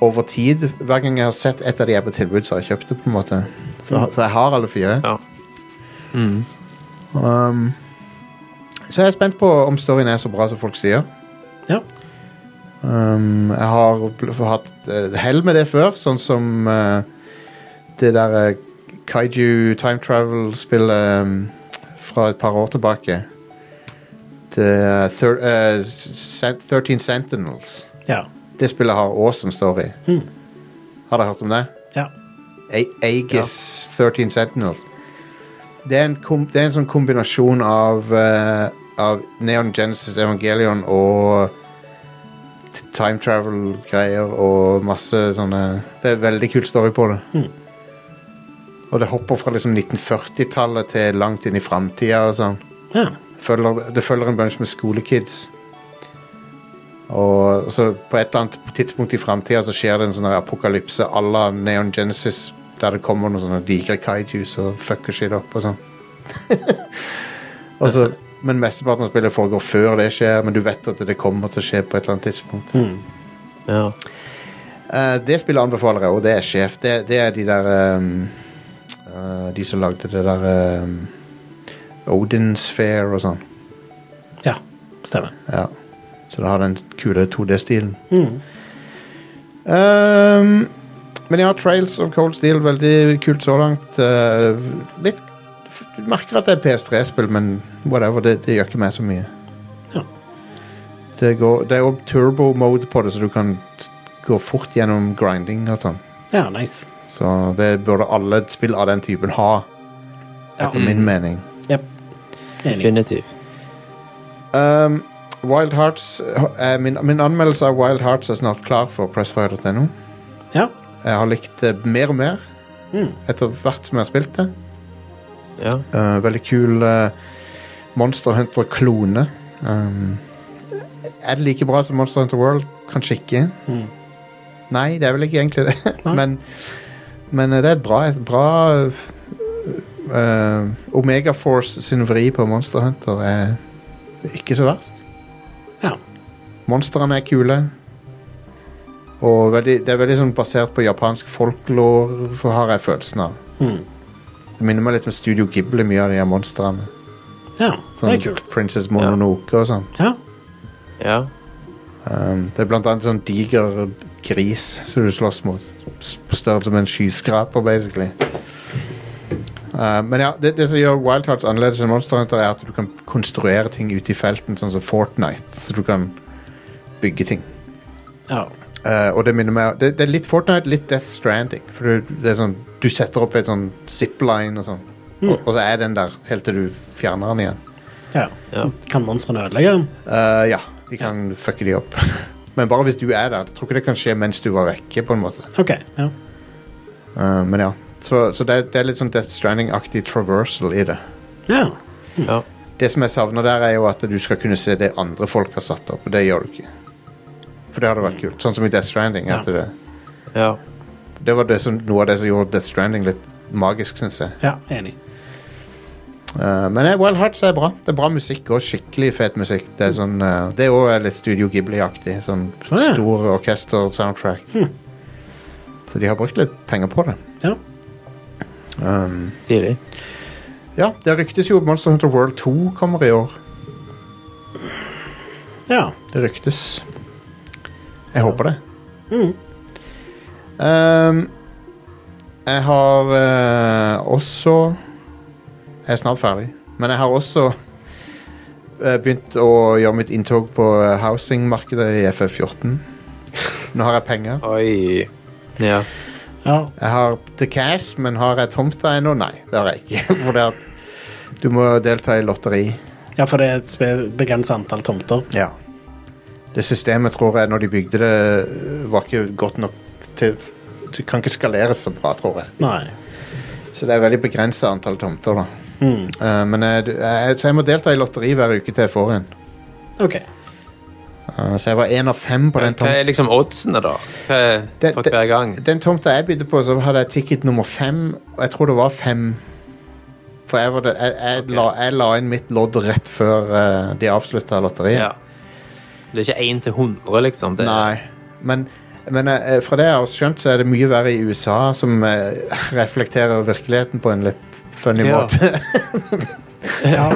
S1: over tid. Hver gang jeg har sett et av de er på tilbud, så har jeg kjøpt det. på en måte Så, så jeg har alle fire.
S3: Ja.
S1: Um, så jeg er spent på om storyen er så bra som folk sier.
S2: Ja.
S1: Um, jeg har bl- hatt eh, hell med det før, sånn som eh, det der eh, Kaiju time travel-spillet um, fra et par år tilbake. eh, thir, eh, Sen- 13 Sentinels.
S2: Ja.
S1: Det spillet har awesome story. Har dere hørt om det?
S2: ja.
S1: A- Aegis 13 Sentinels. Det er en, kom, det er en sånn kombinasjon av, eh, av Neon Genesis Evangelion og t- time travel-greier og masse sånne Det er en veldig kul story på det. Og det hopper fra liksom 1940-tallet til langt inn i framtida og sånn
S2: ja.
S1: følger, det følger en bunch med skolekids. Og så på et eller annet tidspunkt i framtida så skjer det en sånn her apokalypse à la Neon Genesis, der det kommer noen sånne digre kaijus og fucker shit opp og sånn. Og så- men mesteparten av spillet foregår før det skjer, men du vet at det kommer til å skje på et eller annet tidspunkt.
S3: Ja.
S1: Eh, det spillet anbefaler jeg, og det er sjef. Det, det er de der ehm, eh, De som lagde det der um, Odin's Fair og sånn.
S2: ja. Stemmer.
S1: Ja. Så det har den kule 2D-stilen. Ehm, men ja, Trails of Cold Steel, veldig kult så langt. Eh, litt f- Du merker at det er PS3-spill, men whatever, det, det gjør ikke meg så mye.
S2: Ja.
S1: Det, går, det er òg turbo-mode på det, så du kan t- gå fort gjennom grinding og sånn.
S2: Ja, nice.
S1: Så det burde alle spill av den typen ha,
S2: Ja.
S1: etter min mening.
S2: Jep. Enig.
S3: Definitivt.
S1: Um, Wild Hearts eh, min, min anmeldelse av Wild Hearts er snart klar for pressfire.no.
S2: Ja.
S1: Jeg har likt det mer og mer etter hvert som jeg har spilt det.
S3: Ja.
S1: Eh, veldig kul eh, Monster Hunter-klone. Um, er det like bra som Monster Hunter World? Kanskje ikke. Nei, det er vel ikke egentlig det.
S2: Nei.
S1: men, men eh, det er et bra, et bra eh, Omega Force sin vri på Monster Hunter er ikke så verst.
S2: ja.
S1: Monstrene er kule. Og veldig, det er veldig sånn basert på japansk folklore, for har jeg følelsen av.
S2: Mm.
S1: Det minner meg litt om Studio Ghibli, mye av de her monstrene.
S2: Ja, det
S1: Sånn
S2: er kult.
S1: Princess Mononoke og sånn.
S2: Ja.
S3: ja.
S1: Um, det er blant annet sånn diger gris som du slåss mot. S- På størrelse med en skyskraper, basically. Uh, men ja, det, det som gjør Wild Hearts annerledes enn Monster Hunter, er at du kan konstruere ting ute i felten, sånn som Fortnite. Så du kan bygge ting.
S2: Ja.
S1: Eh, og det minner meg det, det er litt Fortnite, litt Death Stranding. For du, det er sånn, du setter opp et sånn zipline og sånn, og, og så er den der helt til du fjerner den igjen.
S2: ja.
S3: Ja.
S2: Kan monstrene ødelegge den?
S1: Eh, ja, de kan fucke de opp. men bare hvis du er der. Jeg tror ikke det kan skje mens du var vekke, på en måte.
S2: OK. Ja.
S1: Eh, men ja. Så, så det, er- det er litt sånn Death Stranding-aktig traversal i det.
S2: ja.
S3: ja.
S1: Det som jeg savner der, er jo at du skal kunne se det andre folk har satt opp, og det gjør du ikke. For det hadde vært kult. Sånn som i Death Stranding. At
S2: Ja.
S1: det,
S3: ja.
S1: det var det som, noe av det som gjorde Death Stranding litt magisk, syns jeg.
S2: ja. Enig.
S1: Uh, men eh, Wild Hearts er bra. Det er bra musikk og skikkelig fet musikk. Det er sånn, uh, det er også litt Studio Ghibli-aktig. Sånn
S2: Ah, ja.
S1: stor orkester-soundtrack. Så de har brukt litt penger på det.
S2: Ja.
S3: Tidlig.
S1: Ja, Det ryktes jo Monster Hunter World 2 kommer i år.
S2: ja.
S1: Det ryktes. Jeg håper det. Um, jeg har eh, også Jeg er snart ferdig, men jeg har også eh, begynt å gjøre mitt inntog på eh, housing-markedet i FF14. Nå har jeg penger.
S3: Oi. Ja.
S2: ja.
S1: Jeg har the cash, men har jeg tomta ennå? Nei, det har jeg ikke. For det at du må delta i lotteri.
S2: Ja, for det er et spe- begrenset antall tomter.
S1: Ja. Det systemet tror jeg, når de bygde det, eh, var ikke godt nok til Det kan ikke skaleres så bra, tror jeg.
S2: Nei.
S1: Så det er veldig begrensa antall tomter, da.
S3: Hmm.
S1: Eh, men jeg, jeg, så jeg må delta i lotteri hver uke til jeg får en.
S2: OK.
S1: Eh, så jeg var én av fem på den
S3: Hva
S1: tomta.
S3: er liksom oddsene, da? Hva er
S1: Det-
S3: for
S1: det-
S3: hver gang?
S1: Den tomta jeg bydde på, så hadde jeg ticket nummer fem, og jeg tror det var fem. For jeg, var det, jeg, jeg, la, jeg la inn mitt lodd rett før eh, de avslutta lotteriet.
S3: Ja. Det er ikke 1 til 100, liksom? Det,
S1: Nei, men, men eh, fra det jeg har skjønt, så er det mye verre i USA, som eh, reflekterer virkeligheten på en litt funny
S3: Ja.
S1: måte.
S2: Ja.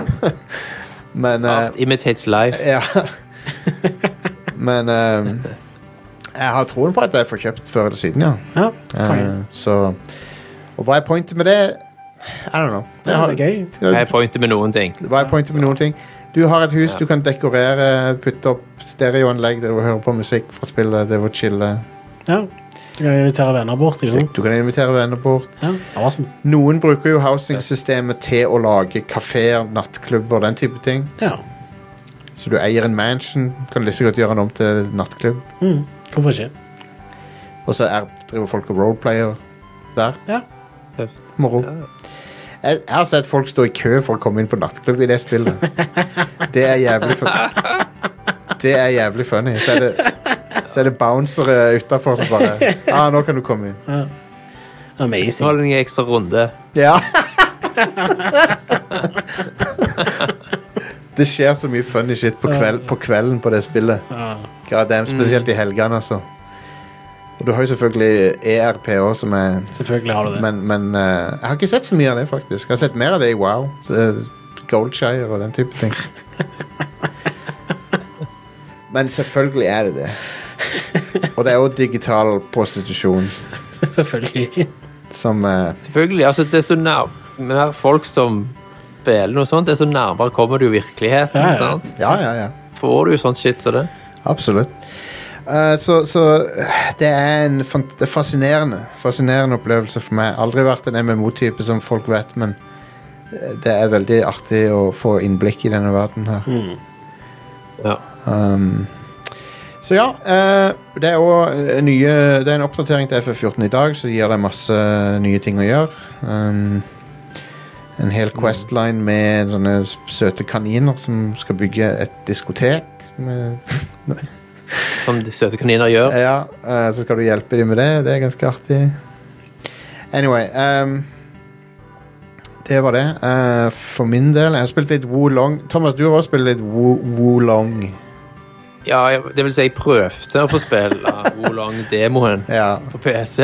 S1: Men, eh,
S3: Art imitates life.
S1: ja. men eh, jeg har troen på at jeg får kjøpt før eller siden, ja.
S2: ja.
S1: Eh,
S2: Konge.
S1: så Og hva er pointet med det? I don't know.
S2: Ja, det er gøy.
S3: Jeg pointer med noen ting.
S1: Hva er pointet med noen ting? Du har et hus du kan dekorere, putte opp stereoanlegg der du hører på musikk fra spillet. Det var chille.
S2: Ja. Du kan invitere venner bort. ikke sant?
S1: Du kan invitere venner bort.
S2: Ja, awesome.
S1: Noen bruker jo housing-systemet til å lage kafeer, nattklubber, den type ting.
S2: ja.
S1: Så du eier en mansion, kan like godt gjøre den om til nattklubb.
S2: Mm. Hvorfor ikke?
S1: Og så er, driver folk og roleplayer der.
S2: Ja.
S3: Tøft.
S1: Moro. Jeg, jeg har sett folk stå i kø for å komme inn på nattklubb i det spillet. Det er jævlig fun. Det er jævlig funny. Så er det, så er det bouncere utafor som bare ah, 'Nå kan du komme inn'.
S3: Nå har
S2: Amazing.
S3: du en ekstra runde.
S1: Ja. det skjer så mye funny shit på, kveld, på kvelden på det spillet.
S2: Ja.
S1: God damn, spesielt i helgene, altså. Og du har jo selvfølgelig E ERP òg, som er
S2: Selvfølgelig har du det.
S1: Men, men eh, jeg har ikke sett så mye av det, faktisk. Jeg har sett mer av det i Wow. eh, Goldshire og den type ting. men selvfølgelig er det det. Og det er jo digital prostitusjon
S2: Selvfølgelig.
S1: som eh,
S3: Selvfølgelig. altså Desto nær, mer folk som spiller noe sånt, desto nærmere kommer du jo virkeligheten.
S2: Ja, ja.
S3: sant?
S1: Ja, ja, ja.
S3: Får du jo sånt shit som det.
S1: Absolutt. Eh, så, så eh, det er en fant- det er fascinerende Fascinerende opplevelse for meg. Aldri vært en MMO-type, som folk vet, men eh, det er veldig artig å få innblikk i denne verden her.
S3: Ja.
S1: Um, så ja, eh, det er også nye Det er en oppdatering til FF14 i dag, så gir det masse nye ting å gjøre. Um, en hel questline med sånne s- søte kaniner som skal bygge et diskotek. Som er,
S3: Som de søte kaniner gjør.
S1: ja, eh, så skal du hjelpe dem med det. Det er ganske artig. Anyway um, Det var det. Eh, for min del Jeg har spilt litt Wolong. Thomas, du har også spilt litt Wo- Wolong.
S3: Ja, jeg- det vil si, jeg prøvde å få spille Wolong-demoen
S1: Ja.
S3: på PC,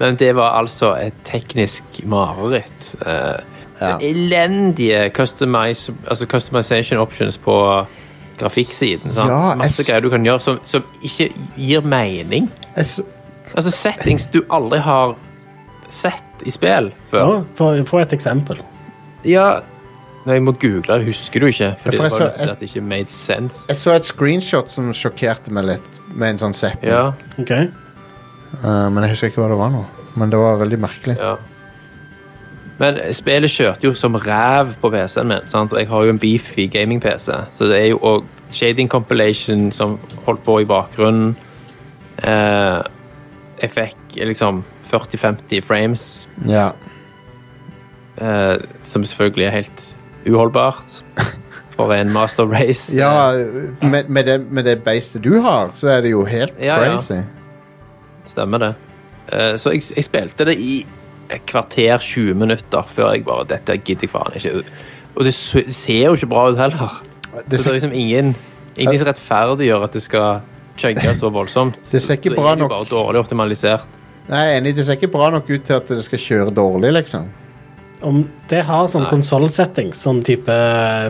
S3: men det var altså et teknisk mareritt. Eh,
S1: Ja.
S3: Elendige customize, altså customization options på grafikksiden. sant?
S1: Ja, jeg
S3: Masse
S1: s-
S3: greier du kan gjøre som, som ikke gir mening.
S1: Jeg så
S3: Altså settings du aldri har sett i spill
S2: Ja,
S3: før.
S2: få- Få et eksempel.
S3: Ja, Nei, jeg må google det, husker du ikke? Fordi
S1: for jeg
S3: det, var
S1: så-
S3: jo at det ikke made sense.
S1: Jeg så et screenshot som sjokkerte meg litt, med en sånn setting.
S3: Ja,
S2: OK?
S1: Uh, men jeg husker ikke hva det var nå. Men det var veldig merkelig.
S3: ja. Men spillet kjørte jo som ræv på PC-en min, sant? og jeg har jo en beefy gaming-PC, så det er jo og shading compilation som holdt på i bakgrunnen. Eh, jeg fikk liksom 40-50 frames,
S1: Ja.
S3: eh, som selvfølgelig er helt uholdbart for en master race.
S1: ja, med, med det, med det beistet du har, så er det jo helt
S3: Ja, ja.
S1: crazy.
S3: Stemmer det. Eh, så jeg, jeg spilte det i et kvarter 20 minutter før jeg bare Dette gidder jeg faen ikke. Og det s- det ser jo ikke bra ut heller.
S1: Det
S3: Så det er
S1: ser,
S3: liksom ingen Ingen som rettferdiggjør at det skal chugge så voldsomt.
S1: Det ser ikke
S3: Så
S1: bra
S3: er det jo
S1: nok.
S3: bare dårlig optimalisert.
S1: Nei, jeg er enig, det ser ikke bra nok ut til at det skal kjøre dårlig, liksom.
S2: Om det har sånn
S3: Nei.
S2: konsollsettings, sånn type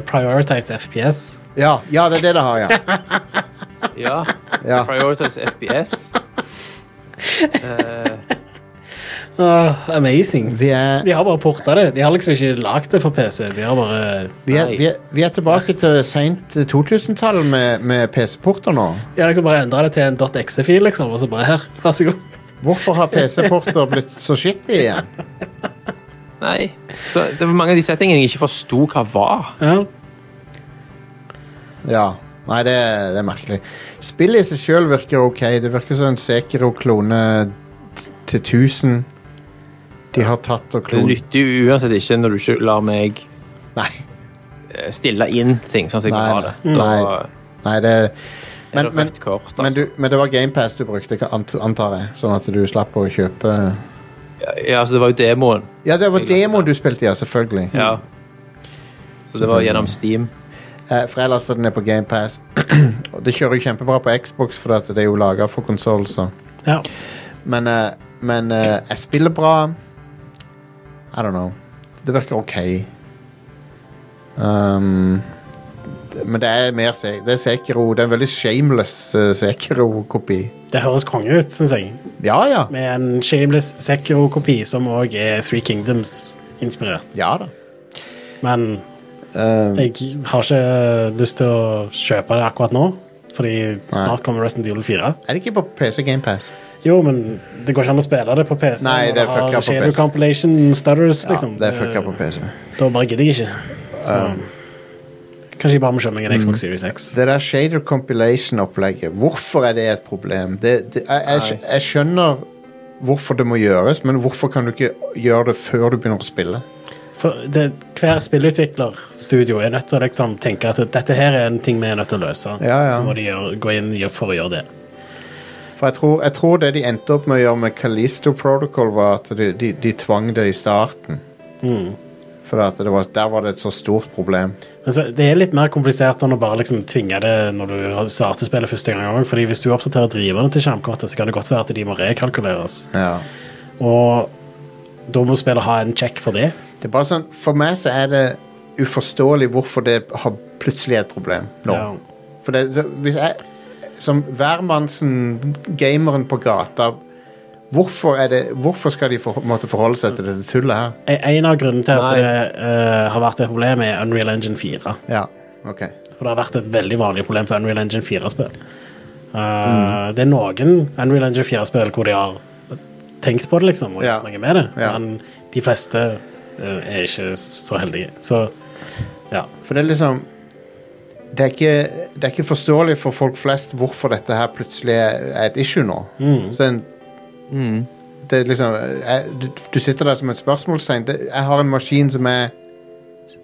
S2: prioritized FPS
S1: Ja, ja, det er det det har, ja.
S3: Ja.
S1: ja.
S3: Prioritize FPS. Eh,
S2: Åh, Ah, Amazing.
S1: Vi, er,
S2: De har bare porta det. De har liksom ikke lagd det for PC. De har bare
S1: vi, er, vi, er, vi er tilbake til seint 2000-tallet med, med PC-porter nå.
S2: De har liksom bare endra det til en .exe-fil, liksom, og så bare her, vær så god.
S1: Hvorfor har PC-porter blitt så skittig igjen?
S3: nei. Så det var mange av de settingene jeg ikke forsto hva var.
S2: Ja.
S1: Ja. Nei, det, det er merkelig. Spillet i seg sjøl virker ok. Det virker som en Sekiro-klone t- til 1000. De har tatt og
S3: Det
S1: klont
S3: nytter jo uansett ikke når du ikke lar meg
S1: Nei.
S3: eh, stille inn ting sånn som jeg vil
S1: Nei,
S3: ha det.
S1: nei.
S3: Da-
S1: Nei, det Men,
S3: Er det
S1: men,
S3: rødt kort, altså?
S1: men, du, men det var GamePass du brukte, kan- ant- antar jeg? Sånn at du slapp å kjøpe
S3: Ja, altså det var jo demoen.
S1: Ja, det var demoen du spilte, ja. Selvfølgelig.
S3: Ja. Så det var gjennom Steam.
S1: Eh, For jeg lasta den ned på GamePass. Og det kjører jo kjempebra på Xbox, for det er jo laga for konsoll, så
S2: ja.
S1: Men, eh, men eh, jeg spiller bra. I don't know. Det virker ok. Um, d- men det er mer se det er Sekiro. Det er en veldig shameless eh, Sekiro-kopi.
S2: Det høres konge ut, syns jeg.
S1: Ja, ja.
S2: Med en shameless Sekiro-kopi som òg er Three Kingdoms-inspirert.
S1: Ja da.
S2: Men
S1: Um,
S2: Jeg har ikke lyst til å kjøpe det akkurat nå, fordi snart kommer Resident Evil 4.
S1: er det ikke på PC GamePass?
S2: Jo, men det går ikke an å spille det på PC.
S1: Nei,
S2: når
S1: det er
S2: har
S1: fucka på
S2: shadow
S1: PC.
S2: compilation stutters,
S1: Ja,
S2: liksom.
S1: det er fucka på Um. PC.
S2: Da bare gidder jeg ikke. Så kanskje jeg bare må kjøpe meg en
S1: Mm.
S2: Xbox Series X.
S1: Det der shader compilation-opplegget, hvorfor er det et problem? Det, det, jeg, jeg, skj- jeg skjønner hvorfor det må gjøres, men hvorfor kan du ikke gjøre det før du begynner å spille?
S2: For det, hver spillutviklerstudio er nødt til å liksom tenke at dette her er en ting vi er nødt til å løse.
S1: Ja, ja.
S2: Så må de gjøre, gå inn gjøre- for å gjøre det.
S1: For jeg tror, jeg tror det de endte opp med å gjøre med Callisto Protocol, var at de, de, de tvang det i starten. For at det var, der var det et så stort problem.
S2: Men så, det er litt mer komplisert enn å bare liksom tvinge det når du har- starter spillet første gang. også, Fordi hvis du oppdaterer driverne til skjermkortet, så kan det godt være at de må rekalkuleres.
S1: Ja.
S2: Og da må spillet ha en check for det.
S1: Det er bare sånn, For meg så er det uforståelig hvorfor det har plutselig er et problem nå.
S2: Ja.
S1: For det, så, hvis jeg Som hvermannsen, gameren på gata Hvorfor, er det, hvorfor skal de for, måtte forholde seg til dette tullet her?
S2: En- En av grunnene til at
S3: Nei.
S2: det eh, har vært et problem, er Unreal Engine 4.
S1: Ja, ok.
S2: For det har vært et veldig vanlig problem på Unreal Engine 4-spill. Eh,
S1: Mm.
S2: Det er noen Unreal Engine 4-spill hvor de har tenkt på det, liksom, og
S1: Ja.
S2: gjort noe med det.
S1: Ja.
S2: Men de fleste eh, er ikke så heldige. Så ja.
S1: For det er liksom det er, ikke, det er ikke forståelig for folk flest hvorfor dette her plutselig er er et issue nå. Så en, Mm. det er liksom jeg, du, du sitter der som et spørsmålstegn. Det, jeg har en maskin som er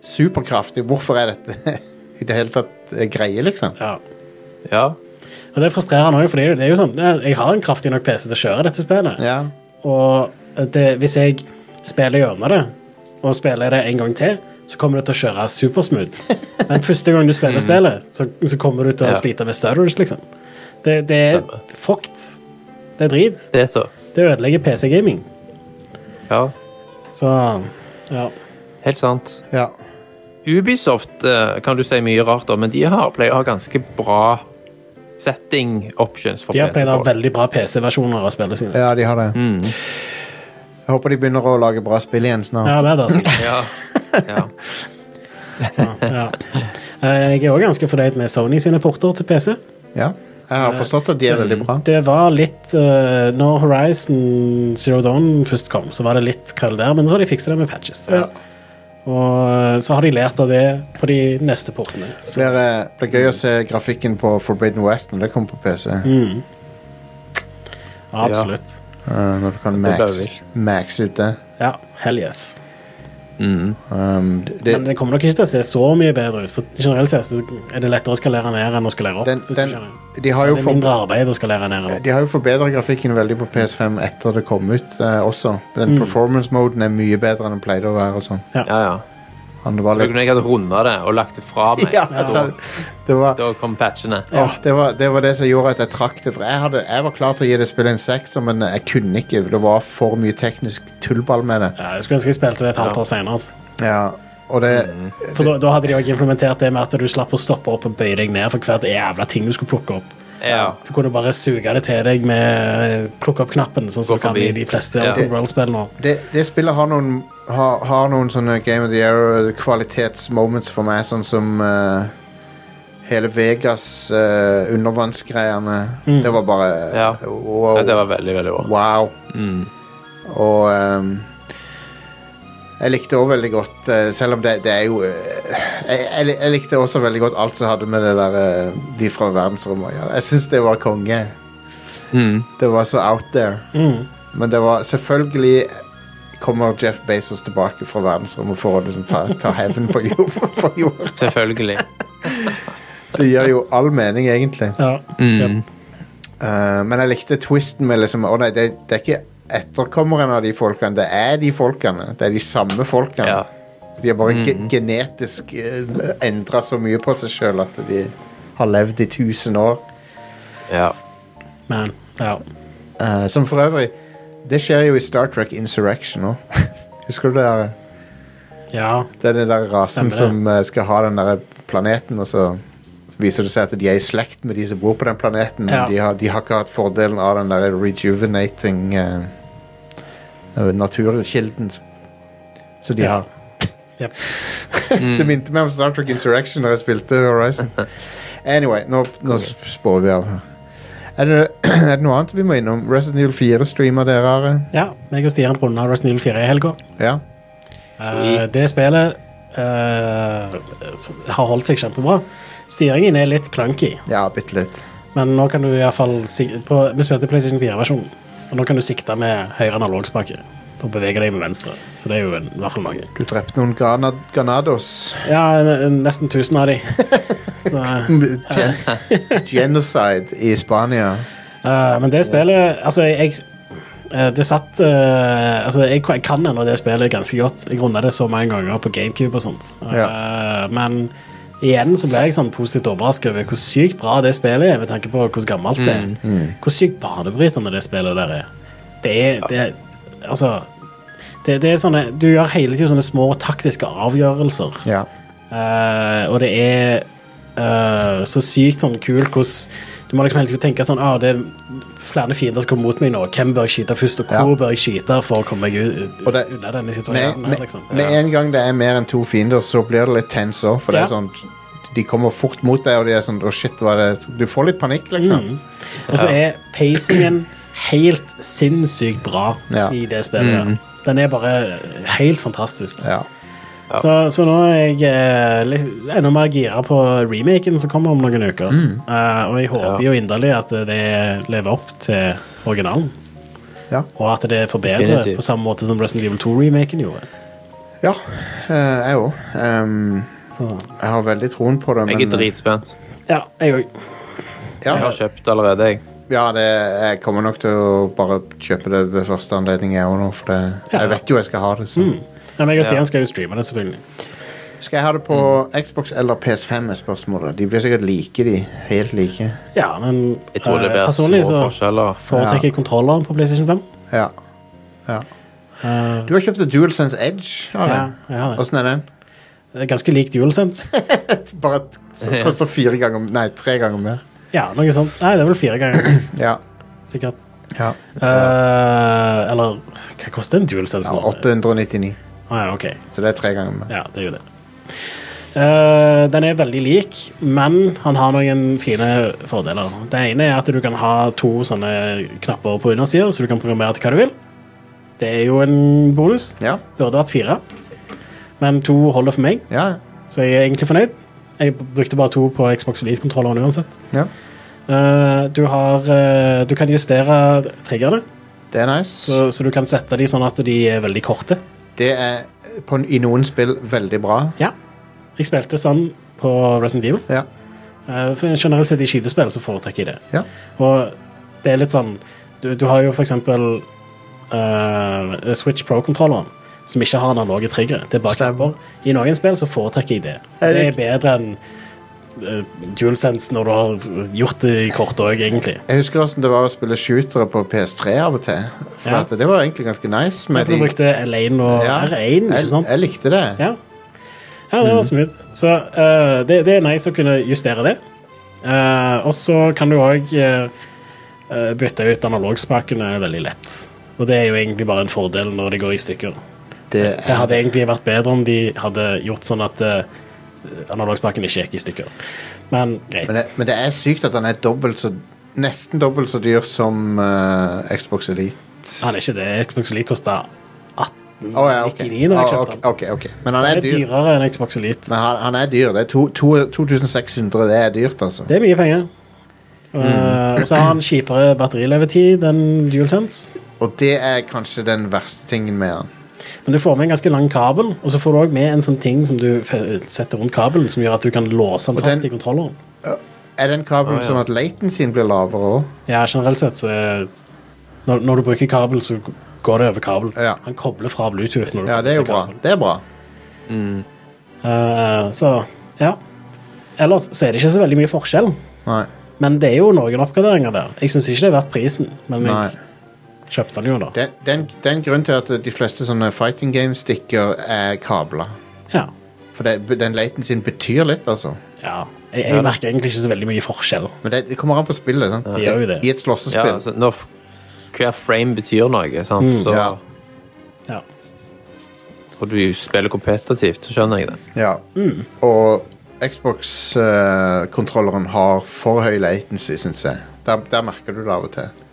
S1: superkraftig. Hvorfor er dette i det hele tatt eh, greie, liksom?
S2: ja.
S3: Ja.
S2: Og det er frustrerende òg, for det er jo- det er jo sånn eh, Jeg har en kraftig nok PC til å kjøre dette spillet.
S1: Ja.
S2: Og det, hvis jeg spiller gjennom det, og spiller det en gang til, så kommer det til å kjøre supersmooth. Men første gang du spiller spillet, så, så kommer du til å
S3: Mm. Ja.
S2: slite med stutters, liksom. Det, det er
S3: Stemmer.
S2: fucked. Det er drit.
S3: Det er så.
S2: Det ødelegger PC-gaming.
S3: Ja.
S2: Så ja.
S3: Helt sant.
S1: ja.
S3: Ubisoft eh, kan du si mye rart om, men de har, pleier å ha ganske bra setting options for
S2: De har
S3: PC.
S2: pleid å ha
S3: folk.
S2: veldig bra PC-versjoner av spillene sine.
S1: Ja, de har det.
S3: Mm.
S1: Jeg håper de begynner å lage bra spill igjen
S2: Ja,
S1: snart.
S2: det er det. altså.
S3: Ja. ja.
S2: Ja. Eh, Jeg er òg ganske fornøyd med Sony sine porter til PC.
S1: Ja. Jeg har forstått at de er veldig bra.
S2: Det var litt eh, Når Horizon Zero Dawn først kom, så var det litt krøll der, men så har de fiksa det med patches.
S1: Ja.
S2: Og eh, så har de lært av det på de neste portene.
S1: Det blir, eh, blir gøy å se grafikken på Forbidden West når det kommer på PC.
S2: Mm. Absolutt.
S1: Eh, når du kan
S3: blir
S1: max,
S3: vilt.
S1: max ut det.
S2: Ja, hell yes.
S1: Um, det,
S2: Men det kommer nok ikke til å se så mye bedre ut, for generelt sett så er det lettere å skalere ned enn å skalere opp.
S1: den,
S2: hvis du
S1: den,
S2: skjønner.
S1: de, har jo
S2: det er mindre
S1: for,
S2: arbeid å skalere ned enn opp.
S1: de har jo forbedra grafikken veldig på PS5 etter det kom ut eh, også.
S2: Mm.
S1: Den performance-moden er mye bedre enn den pleide å være. og sånn.
S3: ja, ja.
S1: Han var
S3: Da
S1: litt...
S3: kunne jeg hatt runda det og lagt det fra meg.
S1: Ja, altså, det, var,
S3: Da kom patchene.
S1: åh, det, var, det var det som gjorde at jeg trakk det. For jeg, hadde, jeg var klar til å gi det spillet en sekser, men jeg kunne ikke. Det var for mye teknisk tullball med det.
S2: Ja, jeg skulle ønske jeg spilte det et halvt
S3: Ja.
S2: år senere. Altså.
S1: Ja, og det...
S3: Mm.
S2: For da, da hadde de òg implementert det med at du slapp å stoppe opp og bøye deg ned for hvert jævla ting du skulle plukke opp.
S3: Ja.
S2: Du kunne bare suge det til deg med eh, plukke opp knappen, sånn som
S3: Gå
S2: du kan
S3: forbi.
S2: i de fleste
S3: Ja.
S2: open world-spill nå.
S1: det, det spillet har noen, har, har noen sånne Game of the Year kvalitetsmoments for meg, sånn som eh, hele Vegas eh, undervannsgreiene. Det var bare
S3: Mm.
S1: eh,
S3: Ja.
S1: wow.
S3: Ja, det var veldig, veldig bra.
S1: wow. Og ehm, jeg likte også veldig godt, eh, selv om det, det er jo eh, jeg, jeg, li- jeg likte også veldig godt alt som hadde med det der eh, de fra verdensrommet å gjøre. Jeg syns det var konge. Det var så out there. Men det var selvfølgelig kommer Jeff Bezos tilbake fra verdensrommet for å liksom ta, ta hevn på jord. på jord.
S3: Selvfølgelig.
S1: Det gir jo all mening, egentlig.
S2: Ja. Jep.
S1: Eh, men jeg likte twisten med liksom Å nei, det, det er ikke etterkommeren av de folkene. Det er de folkene. Det er de samme folkene.
S3: Ja.
S1: De har bare ge genetisk uh, endra så mye på seg sjøl at de har levd i 1000 år.
S3: Ja.
S2: Men, ja.
S1: Eh, som for øvrig Det skjer jo i Star Trek Insurrection òg. Husker du det? der?
S2: ja.
S1: Det er den der rasen
S2: Stemmer det.
S1: som eh, skal ha den der planeten, og så så viser det seg at de er i slekt med de som bor på den planeten. men
S2: Ja.
S1: De, har, de har ikke hatt fordelen av den der rejuvenating eh, eh, naturkilden. Så de
S2: Ja.
S1: har
S2: Jep.
S1: det minte meg om Star Trek Insurrection når jeg spilte Horizon. Anyway, nå, nå spår vi av. her. Er det, er det noe annet vi må innom? Resident Evil 4 streamer dere, Are?
S2: Ja, meg og Stian runda Resident Evil 4 i helga.
S1: Ja.
S2: Eh, det spillet eh, har holdt seg kjempebra. Styringen er litt clunky,
S1: ja, bitte litt.
S2: men nå kan du iallfall Vi spilte PlayStation 4-versjonen, og nå kan du sikte med høyre analogspake og bevege deg med venstre. Så det er jo en, i hvert fall noe.
S1: Du drepte noen gana- ganados.
S2: Ja, en- en- nesten 1000 av de. Så, eh,
S1: Gen genocide i Spania.
S2: eh, men det spillet Altså, jeg eh, det satt eh, Altså, jeg, jeg kan ennå det spillet ganske godt. Jeg runda det så mange ganger på GameCube og sånt. Eh, men igjen så ble jeg sånn positivt overrasket over hvor sykt bra det spillet er, med tanke på hvor gammelt det er. Hvor sykt banebrytende det spillet der er. Det er det, er- Altså det, det er sånne, Du gjør hele tiden sånne små taktiske avgjørelser.
S1: Ja.
S2: Eh, og det er eh, så sykt sånn kult hvordan Du må liksom hele tiden tenke sånn ah, det er flere fiender som kommer mot meg nå. Hvem bør jeg skyte først, og hvor
S1: Ja.
S2: bør jeg skyte for å komme meg ut
S1: Og det-
S2: unna denne
S1: Med,
S2: situasjonen? her,
S1: med,
S2: liksom.
S1: med en gang det er mer enn to fiender, så blir det litt tense òg. For det
S2: Ja.
S1: er sånn De kommer fort mot deg, og de er sånn Å, shit, hva er det Du får litt panikk,
S2: Mm.
S1: liksom.
S2: Og så er pacingen helt sinnssykt bra
S1: Ja.
S2: i det spillet. Den er bare helt fantastisk.
S1: Ja.
S2: Så, så nå er jeg eh, litt, enda mer gira på remaken som kommer om noen uker.
S1: Mm.
S2: Eh, og jeg håper jo inderlig at det lever opp til originalen.
S1: Ja.
S2: Og at det forbedrer
S3: Definitivt.
S2: på samme måte som Resident Evil 2-remaken gjorde.
S1: ja eh, jeg òg. Ehm,
S2: Så,
S1: jeg har veldig troen på det,
S3: Jeg er dritspent.
S2: ja, jeg òg.
S1: ja,
S3: Jeg har kjøpt allerede, jeg.
S1: ja det, jeg kommer nok til å bare kjøpe det ved første anledning, jeg òg nå. For det,
S2: Ja. Mm.
S1: jeg vet jo jeg skal ha det. Så.
S2: Ja, meg og Stian
S3: Ja.
S2: skal jo streame det, selvfølgelig.
S1: Skal jeg ha det på
S3: Mm.
S1: Xbox eller PS5? er spørsmålet. De blir sikkert like, de. Helt like.
S2: Ja, men
S3: Jeg tror det
S2: eh,
S3: blir
S2: personlig
S3: små
S2: så
S3: forskjeller.
S2: foretrekker jeg kontrolleren på PlayStation 5.
S1: Ja. ja.
S2: Eh,
S1: Du har kjøpt en DualSense Edge. Are.
S2: ja, jeg har det.
S1: Åssen er den?
S2: Det er ganske lik DualSense.
S1: Bare at det koster fire ganger Nei, tre ganger mer.
S2: Ja, noe sånt. Nei, det er vel fire ganger,
S1: Ja.
S2: sikkert.
S1: ja.
S2: Eh, eller hva koster en DualSense? nå?
S1: 899.
S2: Ah, ja, ok.
S1: Så det er tre ganger mer.
S2: Ja, det er jo det. Eh, den er veldig lik, men han har noen fine fordeler. Det ene er at du kan ha to sånne knapper på undersida, så du kan programmere til hva du vil. Det er jo en bonus.
S1: Ja.
S2: Burde vært fire, men to holder for meg,
S1: Ja.
S2: så jeg er egentlig fornøyd. Jeg brukte bare to på Xbox Elite-kontrolleren uansett.
S1: ja.
S2: Eh, du, har, eh, du kan justere triggerne,
S1: Det er nice.
S2: så, så du kan sette de sånn at de er veldig korte.
S1: Det er eh, på, i noen spill veldig bra.
S2: Ja. Jeg spilte sånn på Resident Evil.
S1: Ja.
S2: Eh, for generelt sett i skytespill så foretrekker jeg det.
S1: Ja.
S2: Og det er litt sånn Du, du har jo for eksempel eh, Switch Pro-kontrolleren, som ikke har analoge triggere. Det er bare
S1: Stemmer.
S2: knapper. I noen spill så foretrekker jeg det.
S1: Er
S2: Det
S1: det-
S2: er bedre enn eh, DualSense når du har gjort det i kort òg, egentlig.
S1: Jeg husker hvordan det var å spille shootere på PS3 av og til. For
S2: Ja.
S1: at det var egentlig ganske nice.
S2: Derfor du brukte L1 og
S1: Ja.
S2: R1,
S1: jeg,
S2: ikke sant?
S1: jeg likte det.
S2: Ja, ja det
S1: Mm.
S2: var smooth. Så eh, det, det er nice å kunne justere det. Eh, og så kan du òg bytte ut analogspakene veldig lett. Og det er jo egentlig bare en fordel når det går i stykker.
S1: Det,
S2: Det hadde egentlig vært bedre om de hadde gjort sånn at eh, analogspakene ikke gikk i stykker. Men greit.
S1: men, det, men det er sykt at den er dobbelt så Nesten dobbelt så dyr som eh, Xbox Elite.
S2: Han er ikke det. Xbox Elite kosta 1899
S1: Å ja, ok.
S2: når jeg
S1: Å,
S2: kjøpte den.
S1: ok, ok, ok. Men han
S2: Det
S1: er
S2: er
S1: dyr.
S2: dyrere enn Xbox Elite.
S1: Men han, han er dyr. Det er to- to- 2600. Det er dyrt, altså.
S2: Det er mye penger. Eh,
S1: Mm.
S2: og så har han kjipere batterilevetid enn DualSense.
S1: Og det er kanskje den verste tingen med han.
S2: Men du får med en ganske lang kabel, og så får du også med en sånn ting som du fe- setter rundt kabelen, som gjør at du kan låse den
S1: Og
S2: fast
S1: den-
S2: i kontrolleren.
S1: Er den kabelen
S3: Å, ja.
S1: sånn at latencyen blir lavere òg?
S2: Ja, generelt sett så er når, når du bruker kabel, så går det over kabel.
S1: Ja.
S2: Han kobler fra Bluetooth. Når du
S1: Ja, det er jo
S2: bruker
S1: bra.
S2: kabel.
S1: Det er bra.
S2: Eh, så ja. Ellers så er det ikke så veldig mye forskjell,
S1: Nei.
S2: men det er jo noen oppgraderinger der. Jeg syns ikke det er verdt prisen, men
S1: Nei.
S2: jeg kjøpte den jo da.
S1: Den, den, den grunnen til at de fleste sånne fighting game-stikker er kabla.
S2: Ja.
S1: For det, den latencyen betyr litt, altså.
S2: ja. Jeg, jeg merker egentlig ikke så veldig mye forskjell.
S1: Men det, det kommer an på spillet. Sant?
S2: Det gjør jo det.
S1: I et
S3: Ja,
S1: slåssespill.
S3: altså, når f- hver frame betyr noe, sant? så
S1: Ja.
S2: Ja.
S3: og du spiller kompetitivt, så skjønner jeg det.
S1: Ja.
S2: Mm.
S1: Og Xbox-kontrolleren har for høy latency, syns jeg. Der, der merker du det av og til.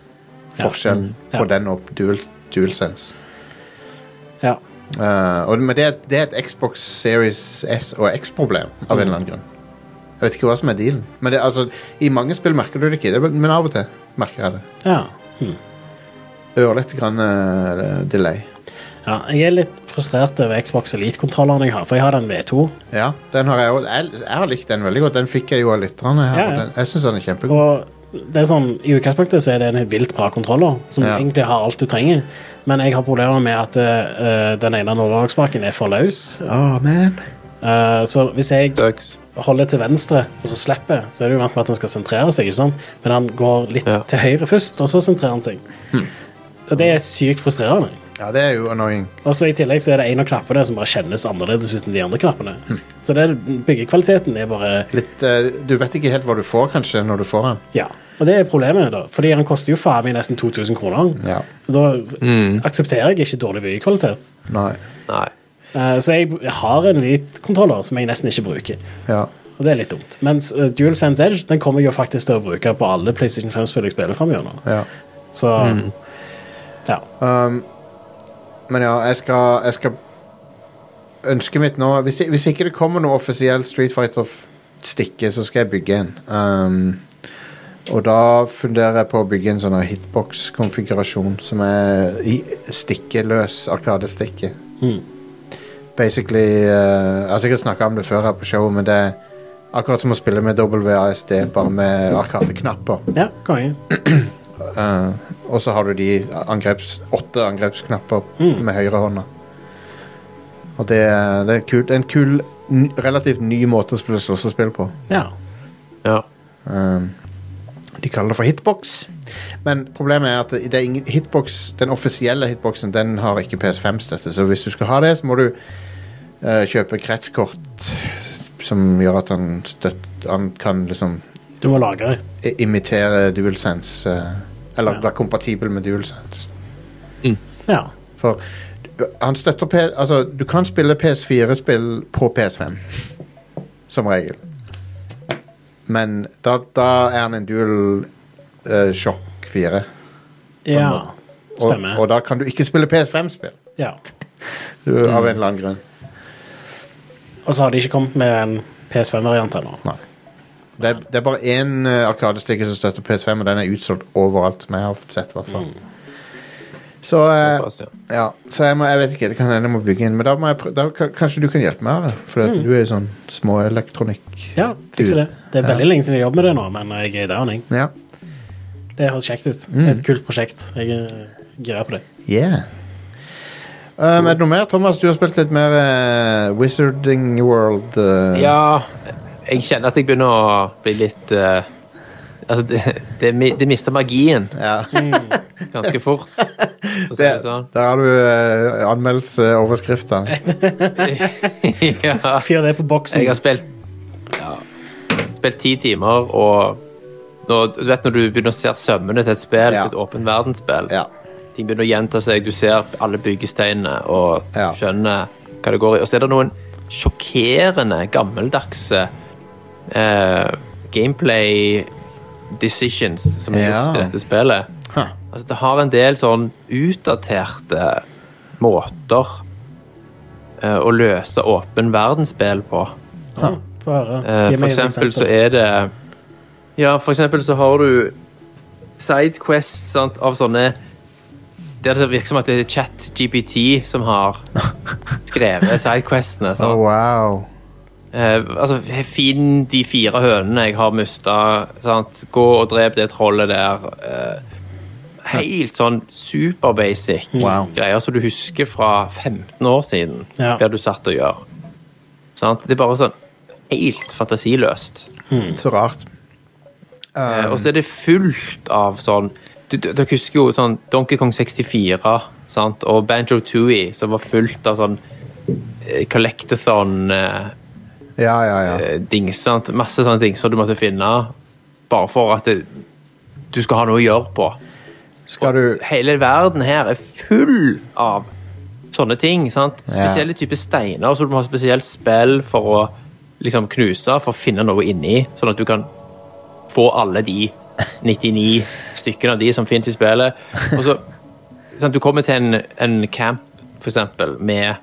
S1: Forskjell
S2: Ja.
S1: på den og dual, DualSense.
S2: Ja.
S1: Eh, og, men det er, det er et Xbox Series S og X-problem, av en eller
S2: Mm.
S1: annen grunn. Jeg vet ikke hva som er dealen. Men det, altså, I mange spill merker du det ikke, det- men av og til merker jeg det.
S2: ja.
S1: Ørlite grann eh, delay.
S2: Ja, jeg er litt frustrert over Xbox Elite-kontrolleren jeg har, for jeg har den V2.
S1: Ja, den har jeg, også- jeg, jeg har likt den veldig godt. Den fikk jeg jo av lytterne. her.
S2: Ja, ja.
S1: og Den, jeg syns den er kjempegod.
S2: Og det er sånn, I utgangspunktet så er det en vilt bra kontroller, som
S1: Ja.
S2: egentlig har alt du trenger. Men jeg har problemer med at eh, den ene overgangsspaken er for løs.
S1: Å, man.
S2: Eh, så hvis jeg
S3: Ducks.
S2: holder til venstre, og så slipper, så er du vant med at han skal sentrere seg, ikke sant? Men han går litt
S3: Ja.
S2: til høyre først, og så sentrerer han seg. Og det er sykt frustrerende.
S1: Ja, det er jo annoying.
S2: Og så I tillegg så er det en av knappene som bare kjennes annerledes uten de andre knappene. Så det, byggekvaliteten er bare
S1: Litt, eh, du vet ikke helt hva du får, kanskje, når du får den.
S2: Ja. Og det er problemet, da. Fordi han koster jo faen meg nesten 2000 kroner.
S1: Ja.
S2: Og Da aksepterer jeg ikke dårlig byggekvalitet.
S1: Nei.
S3: Nei.
S2: Eh, så jeg b- har en elite-kontroller som jeg nesten ikke bruker.
S1: Ja.
S2: Og det er litt dumt. Mens eh, DualSense Edge den kommer jeg jo faktisk til å bruke på alle PlayStation 5-spill jeg spiller framover.
S1: ja.
S2: Så ja.
S1: Men ja, jeg skal, jeg skal Ønsket mitt nå hvis, hvis ikke det kommer noe offisiell Street Fighter-stikke, så skal jeg bygge en. Um, og da funderer jeg på å bygge en sånn her hitbox-konfigurasjon som er i- stikkeløs arkadestikke.
S2: Mhm.
S1: Basically eh, Jeg har sikkert snakka om det før her på showet, men det er akkurat som å spille med WASD, bare med arkadeknapper.
S2: ja konge.
S1: Eh, og så har du de angreps, åtte angrepsknapper med høyrehånda. Og det, er- det er kult, det er en kul, n- relativt ny måte å spille slåssespill på.
S2: Ja.
S3: Ja.
S1: Um, de kaller det for hitbox, men problemet er at det er ingen hitbox, den offisielle hitboxen den har ikke PS5-støtte, så hvis du skal ha det, så må du eh, kjøpe kretskort som gjør at han, støtt, han kan liksom
S2: Du må lagre det.
S1: i- imitere DualSense, eh, eller
S2: Ja.
S1: være kompatibel med DualSense.
S2: Ja.
S1: For du- han støtter P altså, Du kan spille PS4-spill på PS5. Som regel. Men da, da er han en dual uh, shock 4.
S2: ja.
S1: Og,
S2: Stemmer.
S1: og da kan du ikke spille PS5-spill.
S2: ja.
S1: Av en eller annen grunn.
S2: Og så har de ikke kommet med en PS5-variant ennå.
S1: Det er, det er bare én eh, arkadestikke som støtter PS5, og den er utsolgt overalt. Som jeg har sett, hvertfall. Så, eh,
S3: Såpass, ja.
S1: ja, så jeg, må, jeg vet ikke, det kan hende jeg må bygge inn. Men da må jeg prø da, kan- kanskje du kan hjelpe meg? da? For at du er jo sånn småelektronikk.
S2: Ja,
S1: Du-
S2: fikser det. Det er veldig lenge siden jeg jobber med det nå, men eh, jeg er down, jeg.
S1: Ja.
S2: Det høres kjekt ut. Det er Et kult prosjekt. Jeg er gira på det.
S1: Yeah. Um, er det noe mer? Thomas, du har spilt litt mer eh, Wizarding World. eh,
S3: Ja, jeg kjenner at jeg begynner å bli litt eh, Altså, det, det, mi- det mister magien
S1: ja.
S3: ganske fort. for å si
S1: Det,
S3: det sånn.
S1: der har du uh, anmeldelseoverskrifter.
S3: ja.
S2: Fyr det på boksen.
S3: Jeg har spilt ja, Spilt ti timer, og nå, du vet når du begynner å se sømmene til et spill,
S1: Ja.
S3: et åpen verdensspill
S1: Ja.
S3: Ting begynner å gjenta seg, du ser alle byggesteinene og du
S1: Ja.
S3: skjønner hva det går i. Og så er det noen sjokkerende gammeldagse eh, gameplay decisions som er
S1: Ja.
S3: gjort i dette spillet.
S1: Huh.
S3: Altså, det har en del sånn utdaterte måter eh, å løse åpen verdensspill på.
S2: Ja, Få høre.
S3: Eh,
S2: Gi
S3: For
S2: meg et
S3: eksempel så er det Ja, for eksempel så har du sidequests sant, av sånne Der det virker som at det er ChatGPT som har skrevet sidequestene.
S1: Oh,
S3: sant.
S1: wow.
S3: Eh, altså, finn de fire hønene jeg har mista. Gå og drep det trollet der. Eh, helt sånn superbasic
S1: Wow.
S3: greier som du husker fra 15 år siden.
S2: Ja.
S3: Blir du satt og gjør. Sant? Det er bare sånn helt fantasiløst.
S1: Så rart.
S3: Eh, og så er det fullt av sånn du- du- Dere husker jo sånn Donkey Kong 64 sant? og Banjo Tooie, som var fullt av sånn eh, collectathon-dings.
S1: Ja, ja,
S2: Eh,
S1: ja.
S3: sant? Masse sånne dingser du måtte finne bare for at det, du skal ha noe å gjøre på.
S1: Skal du
S3: Hele verden her er full av sånne ting. sant?
S1: Ja.
S3: Spesielle typer steiner, så du må ha spesielt spill for å liksom knuse, for å finne noe inni, sånn at du kan få alle de 99 stykkene av de som finnes i spillet. Og så, sant? Du kommer til en, en camp, for eksempel, med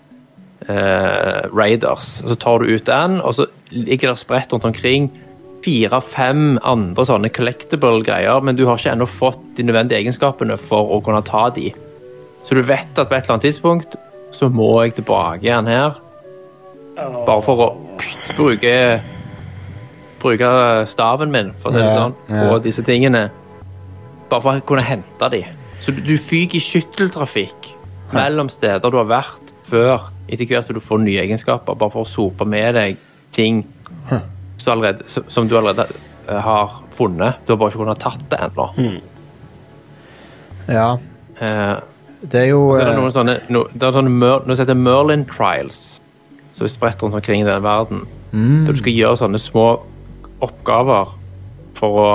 S3: eh, raiders, og så tar du ut den, og så ligger det spredt rundt omkring fire-fem andre sånne collectible greier, men du har ikke ennå fått de nødvendige egenskapene for å kunne ta de. Så du vet at på et eller annet tidspunkt så må jeg tilbake igjen her. Bare for å bruke bruke staven min, for å si det
S1: Ja,
S3: sånn, på
S1: ja.
S3: disse tingene. Bare for å kunne hente de. Så du, du fyker i skytteltrafikk mellom steder du har vært før, etter hvert som du får nye egenskaper, bare for å sope med deg ting som, allerede, som- som du allerede eh, har funnet. Du har bare ikke kunnet tatt det ennå.
S1: Mm. Ja.
S3: Eh,
S1: Det er jo
S3: så er det
S1: eh,
S3: noen sånne, no, det er sånne Mer, noe som heter Merlin Trials, som er spredt rundt omkring i den verden. Der du skal gjøre sånne små oppgaver for å,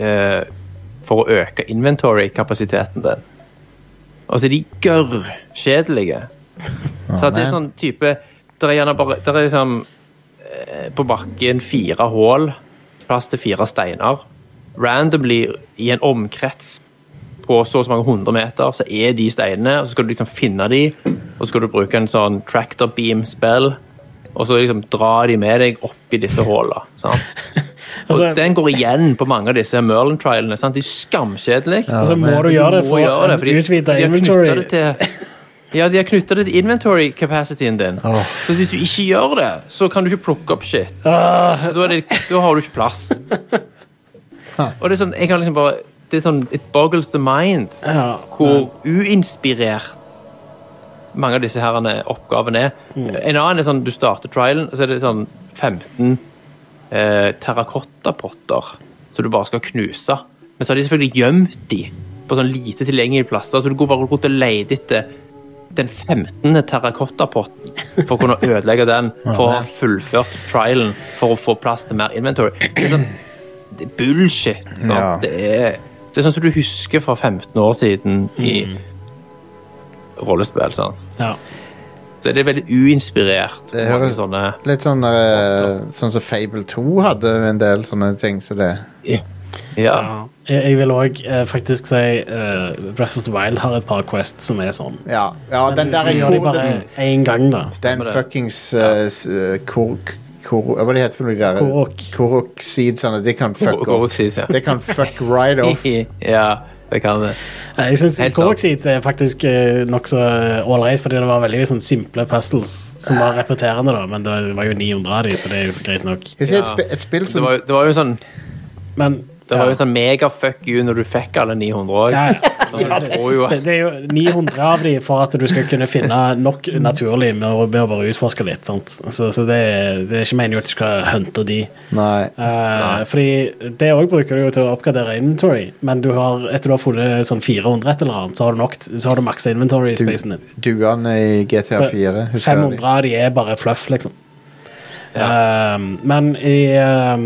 S3: eh, for å øke inventory-kapasiteten din. Og så er de gørrkjedelige. Så det er sånn type Der er gjerne bare Der er liksom eh, på bakken fire hull, plass til fire steiner. Randomly i en omkrets på så og så mange hundre meter, så er de steinene, og så skal du liksom finne de, og så skal du bruke en sånn tractor beam-spill, og så liksom dra de med deg opp i disse hålene, sant? Og
S2: Altså-
S3: den går igjen på mange av disse Merlin-trialene, sant? De er skamkjedelig.
S1: Ja,
S2: Altså, må
S1: men-
S2: du gjøre det
S3: må
S2: for
S3: gjøre
S2: å
S3: det, fordi
S2: utvide
S3: de har knyttet
S2: inventory?
S3: det til, ja, de har knyttet det til inventory capacityen din.
S1: Åh.
S3: Så hvis du ikke gjør det, så kan du ikke plukke opp shit.
S2: Ah,
S3: Da, er det, da har du ikke plass. Og det er sånn, jeg kan liksom bare, det er sånn, it boggles the mind
S2: ja.
S3: hvor uinspirert mange av disse herrene oppgavene er.
S2: Mm.
S3: En annen er sånn, du starter trialen, så er det sånn 15 eh, terrakottapotter som du bare skal knuse. Men så har de selvfølgelig gjemt de på sånn lite tilgjengelige plasser, så du går bare rundt og leter etter den 15. terrakottapotten for å kunne ødelegge den, for å ha fullført trialen, for å få plass til mer inventory. Det er sånn det er bullshit. Sant?
S1: Ja.
S3: Det, er, det er sånn som du husker fra 15 år siden
S1: Mm.
S3: i rollespill. Sant?
S2: ja.
S3: Så det er veldig uinspirert.
S1: Det
S3: mange
S1: høres-
S3: sånne,
S1: litt sånn eh, Sånn som Fable 2 hadde en del sånne ting som det.
S3: ja.
S2: Ja. Jeg, jeg vil òg eh, faktisk si eh, Breath of the Wild har et par Quest som er sånn.
S1: Ja, ja den
S2: Men
S1: der
S2: du
S1: er
S2: gjør de bare
S1: koden.
S2: én gang, da.
S1: Den fuckings eh, s- eh, kor... kor hva det heter for noe der?
S2: Korok.
S1: Korok-seedsene. De kan fuck
S3: Korok-
S1: off.
S3: korok-seeds, ja.
S1: De kan fuck right off.
S3: ja, det kan det.
S2: Nei, Eh, Jeg syns
S3: Helt sant.
S2: Korokseeds er faktisk eh, nokså ålreit, fordi det var veldig sånn simple puzzles som var repeterende, da, men det var jo 900 av de, så det er jo greit nok.
S1: Skal jeg si
S3: Ja.
S1: et, sp et spill
S3: Det
S1: som
S3: var, jo- det var jo sånn,
S2: Men
S3: det var
S2: ja.
S3: jo sånn mega fuck you når du fikk alle 900 òg.
S2: Ja, ja.
S3: Ja,
S2: Det, det er jo 900 av de for at du skal kunne finne nok naturlig med å, med å bare utforske litt. Sant? Så, så det, er- det er ikke meningen at du skal hunte de.
S1: Nei.
S2: Eh, fordi det òg bruker du jo til å oppgradere inventory, men du har, etter du har funnet sånn 400 et eller annet, så har du, nok, så har du maksa inventory-spacen din.
S1: Duene i GTA
S2: Så
S1: 4. Husker du
S2: 500
S1: de?
S2: av de er bare fluff, liksom.
S3: Ja.
S2: Um, men i um,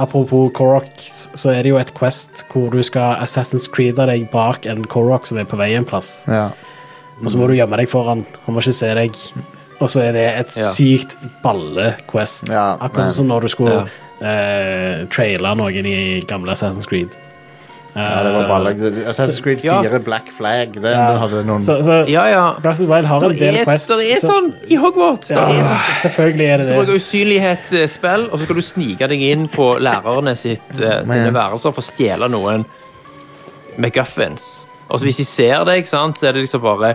S2: Apropos Koroks, så er det jo et quest hvor du skal Assassin's Creed deg bak en Korok som er på vei en plass.
S1: Ja.
S2: Og så må du gjemme deg foran. Han må ikke se deg. Og så er det et
S3: Ja.
S2: sykt balle-quest.
S1: Ja,
S2: Akkurat
S1: men-
S2: som når du skulle
S3: Ja.
S2: eh, traile noen i gamle Assassin's Creed.
S1: ja, det var baller. Assassin's Creed 4,
S3: Eh, Ja.
S1: Black Flag. Den, den hadde noen
S2: Så, så
S3: ja.
S2: Breath of the Wild har
S3: Der
S2: en del
S3: er,
S2: quests.
S3: der er
S2: så-
S3: sånn i Hogwarts. Der er
S2: ja,
S3: sånn.
S2: selvfølgelig er det
S3: Du bruker
S2: det.
S3: usynlighetsspill, og så skal du snike deg inn på lærerne sitt, eh, sine
S1: Men-
S3: værelser for å stjele noen McGuffins. Og så hvis de ser deg, ikke sant, så er det liksom bare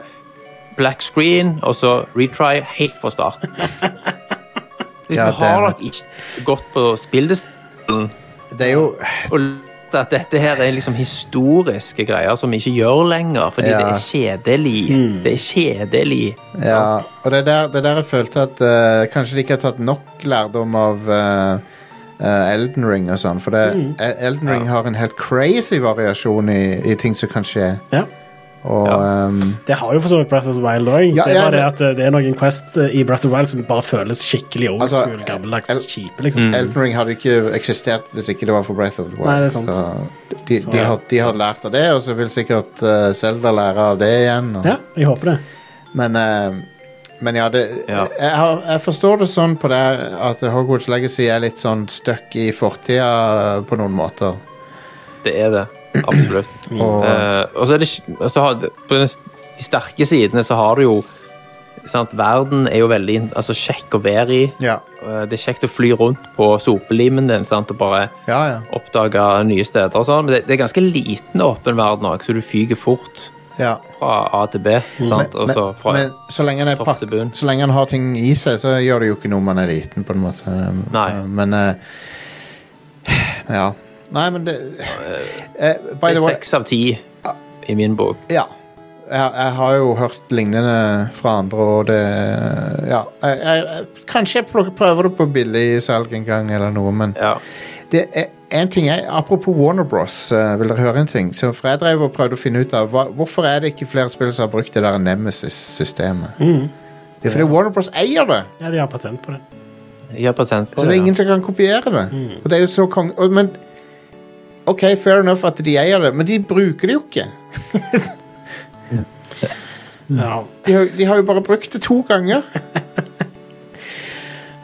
S3: black screen, og så retry helt fra start. Liksom,
S1: Ja,
S3: har
S1: det-
S3: dere ikke gått på spilldesign
S1: Det er jo
S3: og lært at dette her er liksom historiske greier som vi ikke gjør lenger, fordi
S1: Ja.
S3: det er kjedelig.
S2: Hmm.
S3: Det er kjedelig.
S1: Ja. Og det er der, det er der jeg følte at eh, kanskje de ikke har tatt nok lærdom av eh, eh, Elden Ring og sånn. For det,
S2: Mm.
S1: El- Elden Ring har en helt crazy variasjon i, i ting som kan skje.
S2: Ja.
S1: Og
S3: Ja.
S1: ehm,
S2: Det har jo for så vidt Breath of the Wild òg.
S1: Ja,
S2: det
S1: ja,
S2: er bare det
S1: men-
S2: at eh, det er noen quest eh, i Breath of the Wild som bare føles skikkelig old
S1: Altså,
S2: school, gammeldags,
S1: el-
S2: kjipe, liksom.
S3: Mm.
S1: Elden Ring hadde ikke eksistert hvis ikke det var for Breath of the Wild.
S2: Nei, det er sant.
S1: Så de,
S2: Så-
S1: de, har, de har lært eh, av det, og så vil sikkert Selda lære av det igjen. Og,
S2: Ja, jeg håper det.
S1: Men, eh, men ja, det,
S3: Ja.
S1: Jeg, har, jeg forstår det sånn på det at Hogwarts Legacy er litt sånn stuck i fortida eh, på noen måter.
S3: Det er det. Absolutt.
S1: Og,
S3: Eh, og så er det ikke- og så har, det- På den, s- de sterke sidene så har du jo sant, Verden er jo veldig in- altså, kjekk å være i.
S1: ja.
S3: Eh, det er kjekt å fly rundt på sopelimen din sant, og bare
S1: ja, ja.
S3: oppdage nye steder. og sånn. Men det, det er ganske liten åpen verden òg, så du fyker fort
S1: ja.
S3: fra A til B. sant, og så fra...
S1: Mm. men så lenge, den er
S3: topp
S1: pak-
S3: til bunn.
S1: så lenge han har ting i seg, så gjør det jo ikke noe om man er liten, på en måte.
S3: Nei.
S1: Eh, Men eh, Ja. Nei, men det eh, By
S3: det
S1: the
S3: er
S1: way
S3: seks av ti i min bok.
S1: Ja. Jeg, jeg har jo hørt lignende fra andre, og det Ja. Jeg, jeg, jeg, kanskje jeg plukker- prøver det på billigsalg en gang, eller noe, men
S3: Ja.
S1: det er en ting jeg, Apropos Warner Bros. eh, vil dere høre en ting? Så for jeg drev og prøvde å finne ut av hva, Hvorfor er det ikke flere spill som har brukt det der Nemesis-systemet? Det er fordi Warner Bros. eier det!
S2: Ja, de har patent på det.
S3: Jeg har patent på
S1: Så det er
S3: ja.
S1: ingen som kan kopiere det. Og det er jo så kong... og- Men OK, fair enough at de eier det, men de bruker det jo ikke.
S3: Mm.
S2: Ja.
S1: De har, de har jo bare brukt det to ganger.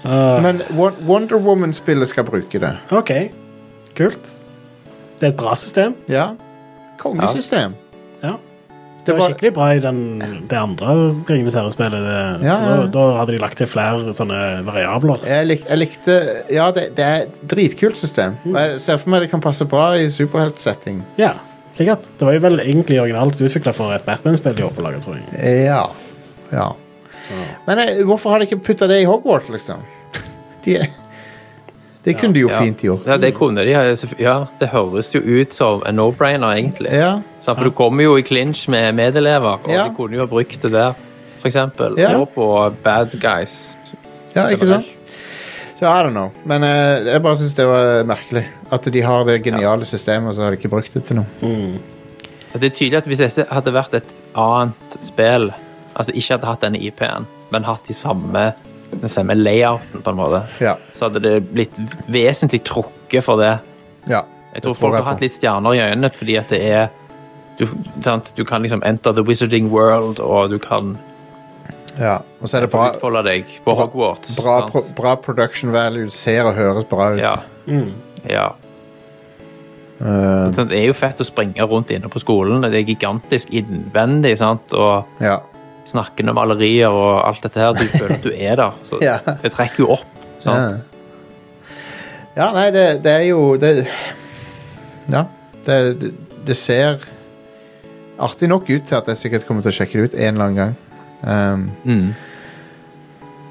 S2: Øh,
S1: Men Won- Wonder Woman-spillet skal bruke det.
S2: OK. Kult. Det er et bra system.
S1: Ja. Kongesystem.
S2: Ja.
S1: Det
S2: Det var
S1: var-
S2: skikkelig bra i den, det andre Ringenes herre-spillet. det-
S1: Ja, ja, ja.
S2: Da, da hadde de lagt til flere sånne variabler.
S1: Jeg, lik, jeg likte Ja, det, det er et dritkult system.
S3: Mm.
S1: Og jeg ser for meg det kan passe bra i superheltsetting.
S2: Ja, sikkert. Det var jo vel egentlig originalt utvikla for et Batman-spill de var på laget, tror jeg.
S1: Ja. ja. Men eh, hvorfor har de ikke putta det i Hogwarts, liksom? De, det kunne de jo
S3: Ja.
S1: fint gjort.
S3: Ja, det kunne de. ja, selvfø- Ja, det høres jo ut som en no-brainer, egentlig.
S1: Ja.
S3: Sant, for du kommer jo i clinch med medelever, og
S1: Ja.
S3: de kunne jo ha brukt det der, for eksempel.
S1: Ja.
S3: Og på Bad Guys.
S1: Ja, ikke sant? Så I don't know. Men eh, jeg bare syns det var merkelig. At de har det geniale systemet, og så har de ikke brukt det til noe.
S3: Det er tydelig at hvis dette hadde vært et annet spill, altså ikke hadde hatt denne IP-en, men hatt de samme, den samme layouten, på en måte,
S1: Ja.
S3: så hadde det blitt vesentlig trukket for det.
S1: ja.
S3: Jeg tror, folk har hatt litt stjerner i øynene fordi at det er du, sant? du kan liksom enter the wizarding world, og du kan
S1: Ja. Og så er det
S3: få
S1: bra
S3: utfolde deg på
S1: bra-
S3: Hogwarts.
S1: Bra,
S3: sant?
S1: pro, bra production value. Ser og høres bra ut.
S3: Ja. Mm. ja.
S1: Eh,
S3: Sånn, det er jo fett å springe rundt inne på skolen. Det er gigantisk innvendig. sant? Og
S1: ja.
S3: snakkende malerier og alt dette her. Du føler at du er der. Så
S1: Ja.
S3: det trekker jo opp. sant?
S1: ja, nei, det, det er jo det, Ja. Det, det, det ser artig nok ut til at jeg sikkert kommer til å sjekke det ut en eller annen gang. Ehm,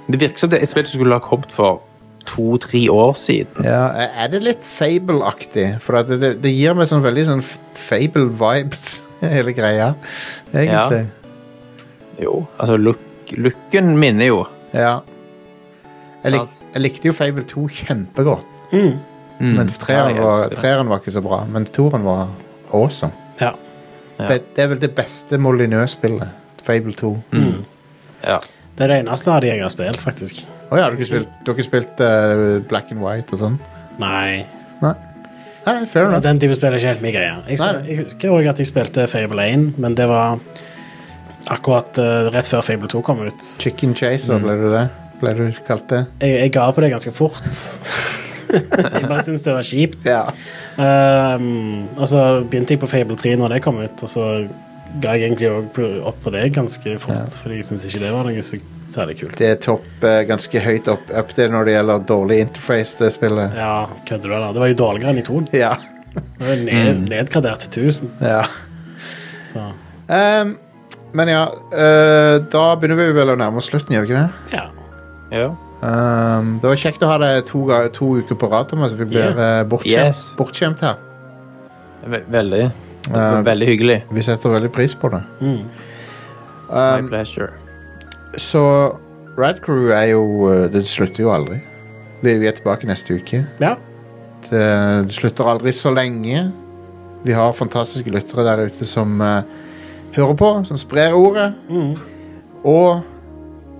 S3: Det virker som det er et spill som skulle ha kommet for to-tre år siden.
S1: ja, er det litt fable-aktig? For at det, det, det gir meg sånn veldig sånn f- fable-vibes, hele greia. Egentlig.
S3: Jo, altså look, looken minner jo.
S1: Ja. Jeg, lik,
S3: Sant. Mm.
S1: jeg likte jo Fable 2 kjempegodt. Men
S3: Ja,
S1: treeren
S3: jeg
S1: var,
S3: elsker det.
S1: treeren var ikke så bra. Men toeren var awesome.
S2: Ja.
S3: Ja.
S1: Det, det er vel det beste Molyneux-spillet. Fable 2. Å
S3: Mm. Ja.
S2: Det er det eneste av de jeg har spilt, faktisk.
S1: ja, har du ikke spilt, du har ikke spilt eh, Black and White og sånn?
S2: Nei.
S1: Nei. Nei, fair enough.
S2: Den type spill er ikke helt min greie. Jeg, spil,
S1: Nei, nei.
S2: jeg husker også at jeg spilte Fable 1, men det var akkurat eh, rett før Fable 2 kom ut.
S1: Chicken
S3: Mm.
S1: Chaser, ble det det? Ble du kalt det?
S2: Jeg, jeg ga på det ganske fort. jeg bare syntes det var kjipt.
S1: Ja.
S2: Ehm, og så begynte jeg på Fable 3 når det kom ut, og så ga jeg egentlig òg opp på det ganske fort, fordi jeg syntes ikke det var noe så særlig kult.
S1: Det er topp, eh, ganske høyt opp, up there når det gjelder dårlig interface, det spillet.
S2: Ja, kødder du, eller? Det var jo dårligere enn i 2.
S1: Ja.
S2: Det var
S1: Mm.
S2: ned, nedgradert til 1000,
S1: ja.
S2: så
S1: Ehm, men ja, eh, da begynner vi vel å nærme oss slutten, gjør vi ikke det?
S2: ja.
S3: ja.
S1: Ehm, det var kjekt å ha deg to, ga- to uker på rad, Thomas. Vi blir eh, bortskjemt,
S3: Yes.
S1: bortskjemt her.
S3: Ve- Veldig.
S1: Eh,
S3: Veldig hyggelig.
S1: Vi setter veldig pris på det.
S2: Mm.
S1: um, Ehm,
S3: My pleasure.
S1: Så Rad Crew er jo eh, Det slutter jo aldri. Vi, vi er tilbake neste uke.
S2: Ja.
S1: Det, det slutter aldri så lenge. Vi har fantastiske lyttere der ute som eh, hører på, som sprer ordet.
S2: Mm.
S1: Og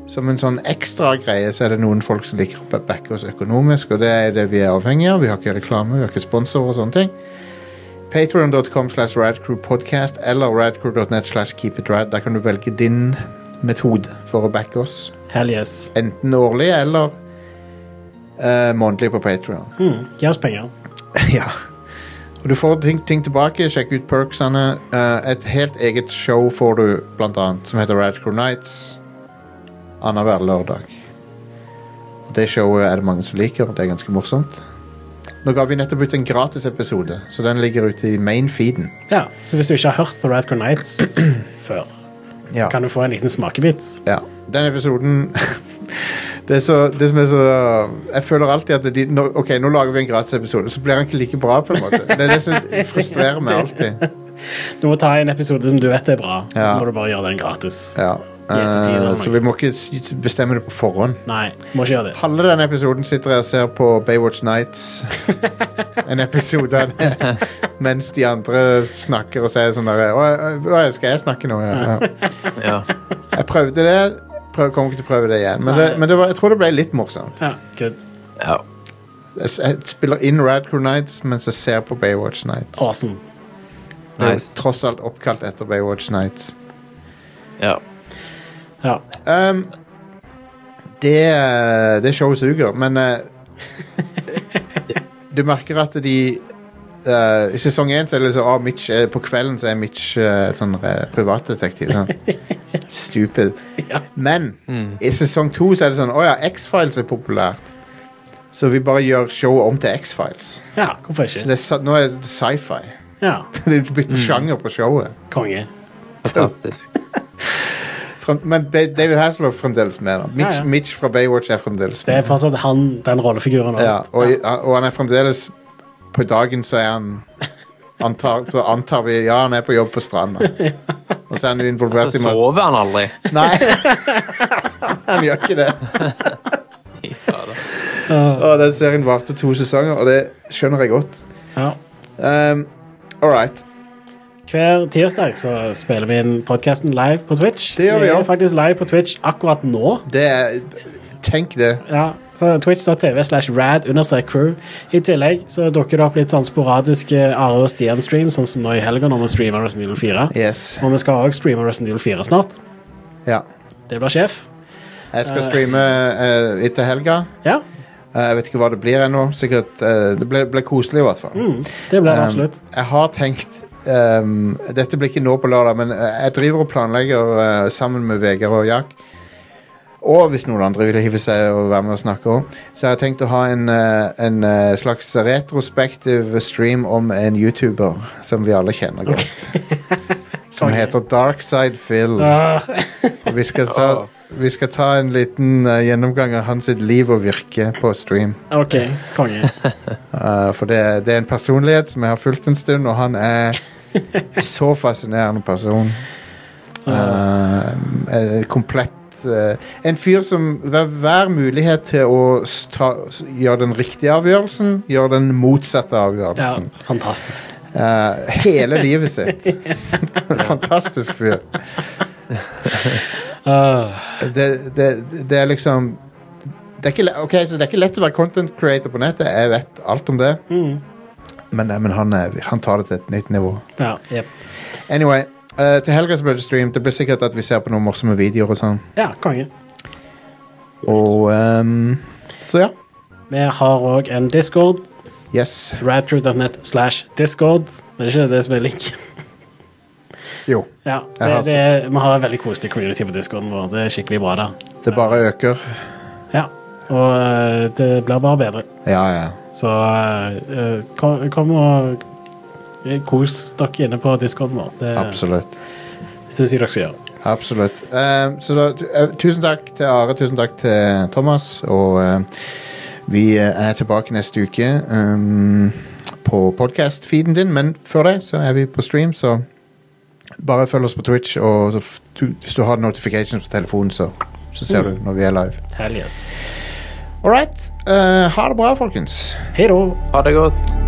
S1: som en sånn ekstra greie så er det noen folk som liker å ba- backe oss økonomisk, og det er det vi er avhengig av. Vi har ikke reklame, vi har ikke sponsorer og sånne ting. Patreon.com slash radcrewpodcast eller radcrew.net slash keepitrad. Der kan du velge din metode for å backe oss.
S2: Hell yes.
S1: Enten årlig eller eh, månedlig på Patreon.
S2: Mm. Gi oss penger.
S1: ja. Og du får ting, ting tilbake. Sjekk ut perksene. Eh, et helt eget show får du, blant annet, som heter Radical Nights. Annenhver lørdag. Og det showet er det mange som liker, og det er ganske morsomt. Nå ga vi nettopp ut en gratisepisode, så den ligger ute i main-feeden.
S2: Ja, Så hvis du ikke har hørt på Radcore Nights før,
S1: Ja.
S2: kan du få en liten smakebit.
S1: Ja, den episoden det, er så, det som er så Jeg føler alltid at de, nå, Ok, nå lager vi en gratis episode Så blir han ikke like bra på en måte Det er det som frustrerer meg alltid
S2: Du må ta en episode som du vet er bra,
S1: Ja.
S2: så må du bare gjøre den gratis.
S1: ja.
S2: I ettertid,
S1: eh,
S2: da,
S1: Så vi må ikke s- bestemme det på forhånd
S2: Nei, må ikke gjøre det.
S1: Halve denne episoden sitter jeg og ser på Baywatch Nights En episode av det Mens de andre snakker og sier sånn der «Å, å, Skal jeg snakke nå? Ja, ja.
S3: Ja.
S1: Jeg prøvde det Prøv, kommer ikke til å prøve det igjen Men, det,
S2: Nei.
S1: men det var, jeg tror det ble litt morsomt
S2: Ja, good.
S3: ja.
S1: Jeg s- jeg spiller inn Radcrew Nights mens jeg ser på Baywatch Nights.
S2: Awesome.
S1: Det er jo
S3: Nice.
S1: tross alt oppkalt etter Baywatch Nights.
S3: Ja.
S2: Ja.
S1: Um, det, eh, det showet suger, men eh, Du merker at de eh, I sesong én så er det liksom ah, Mitch, eh, På kvelden så er Mitch eh, sånn eh, privatdetektiv. Sånn. Stupid.
S2: Ja.
S1: Men i sesong to så er det sånn Å ja, X-Files er populært. Så vi bare gjør showet om til X-Files.
S2: ja, hvorfor
S1: Så
S2: ikke?
S1: det er sa- Nå er det sci-fi.
S2: Ja,
S1: De bytter
S2: Mm.
S1: sjanger på showet.
S2: konge.
S3: Fantastisk.
S1: Frem, men Ba- David Hasselhoff er fremdeles med. da Mitch,
S2: Ja, ja.
S1: Mitch fra Baywatch er fremdeles
S2: Det
S1: med.
S2: er fortsatt han, den rollefiguren. og
S1: Ja,
S2: alt.
S1: og, og han er fremdeles På dagen så er han antar, Så antar vi Ja, han er på jobb på stranda. Og så er han jo involvert
S2: Altså,
S3: Så
S1: i mat.
S3: sover han aldri.
S1: Nei! han gjør ikke det.
S2: Ja.
S1: Og Den serien varte to sesonger, og det skjønner jeg godt.
S2: Ja.
S1: Um, All right.
S2: Hver tirsdag så spiller vi inn podkasten live på Twitch.
S1: Det gjør vi, ja.
S2: er faktisk live på Twitch akkurat nå.
S1: Det er Tenk det.
S2: Ja, så Twitch.tv slash rad understrek crew. I tillegg så dukker det opp litt sånn sporadiske Are og Stian-stream, sånn som nå i helga når vi streamer Resident Evil 4.
S1: Yes.
S2: Og vi skal også streame Resident Evil 4 snart.
S1: Ja.
S2: Det blir sjef.
S1: Jeg skal streame eh, etter helga.
S2: Ja,
S1: Eh, Jeg vet ikke hva det blir ennå. Sikkert, eh, det ble, ble koselig, i hvert fall.
S2: mm, det blir det
S1: Um,
S2: absolutt.
S1: jeg har tenkt um, Dette blir ikke nå på lørdag, men eh, jeg driver og planlegger eh, sammen med Vegard og Jack. Og hvis noen andre vil hive seg og være med og snakke òg. Så jeg har tenkt å ha en, eh, en eh, slags retrospektiv stream om en YouTuber som vi alle kjenner godt. Som
S2: Ok.
S1: heter Darkside Phil.
S2: Ah,
S1: Og Vi skal ta, vi skal ta en liten eh, gjennomgang av hans sitt liv og virke på stream.
S2: OK, konge.
S1: Uh, for det, det er en personlighet som jeg har fulgt en stund, og han er så fascinerende person. Uh, en komplett uh, En fyr som hver, hver mulighet til å s- ta, s- gjøre den riktige avgjørelsen, gjør den motsatte
S2: Ja,
S1: avgjørelsen.
S2: fantastisk.
S1: Uh, hele livet sitt. Fantastisk fyr.
S2: Ah,
S1: Det, det, det er liksom det er, ikke, le- ok, så det er ikke lett å være content creator på nettet. Jeg vet alt om det.
S2: mm,
S1: Men, eh, men han, er- han tar det til et nytt nivå.
S2: ja, jep.
S1: Anyway, eh, til helga så blir det streamt. Det blir sikkert at vi ser på noen morsomme videoer og sånn.
S2: ja, konge.
S1: Og ehm, Så ja.
S2: Vi har òg en discord.
S1: Yes.
S2: Radcrew.net slash discord. Det er ikke det som er linken.
S1: Jo.
S2: Ja, det,
S1: Jeg har
S2: det er, vi har en veldig koselig community på discorden vår. Det er skikkelig bra der.
S1: Det bare øker.
S2: Ja, og eh, det blir bare bedre.
S1: Ja, ja.
S2: Så eh, kom, kom og kos dere inne på discorden vår. Det
S1: Absolutt.
S2: syns jeg dere skal gjøre.
S1: Absolutt. Ehm, så da, tu- eh, tusen takk til Are, tusen takk til Thomas, og eh, vi eh, er tilbake neste uke ehm, på podcast-feeden din, men før det så er vi på stream, så bare følg oss på Twitch, og så f du, hvis du har notifications på telefonen, så, så ser du når vi er live.
S2: Hell yes.
S1: All right. Eh, ha det bra, folkens.
S2: Hei da.
S3: Ha det godt.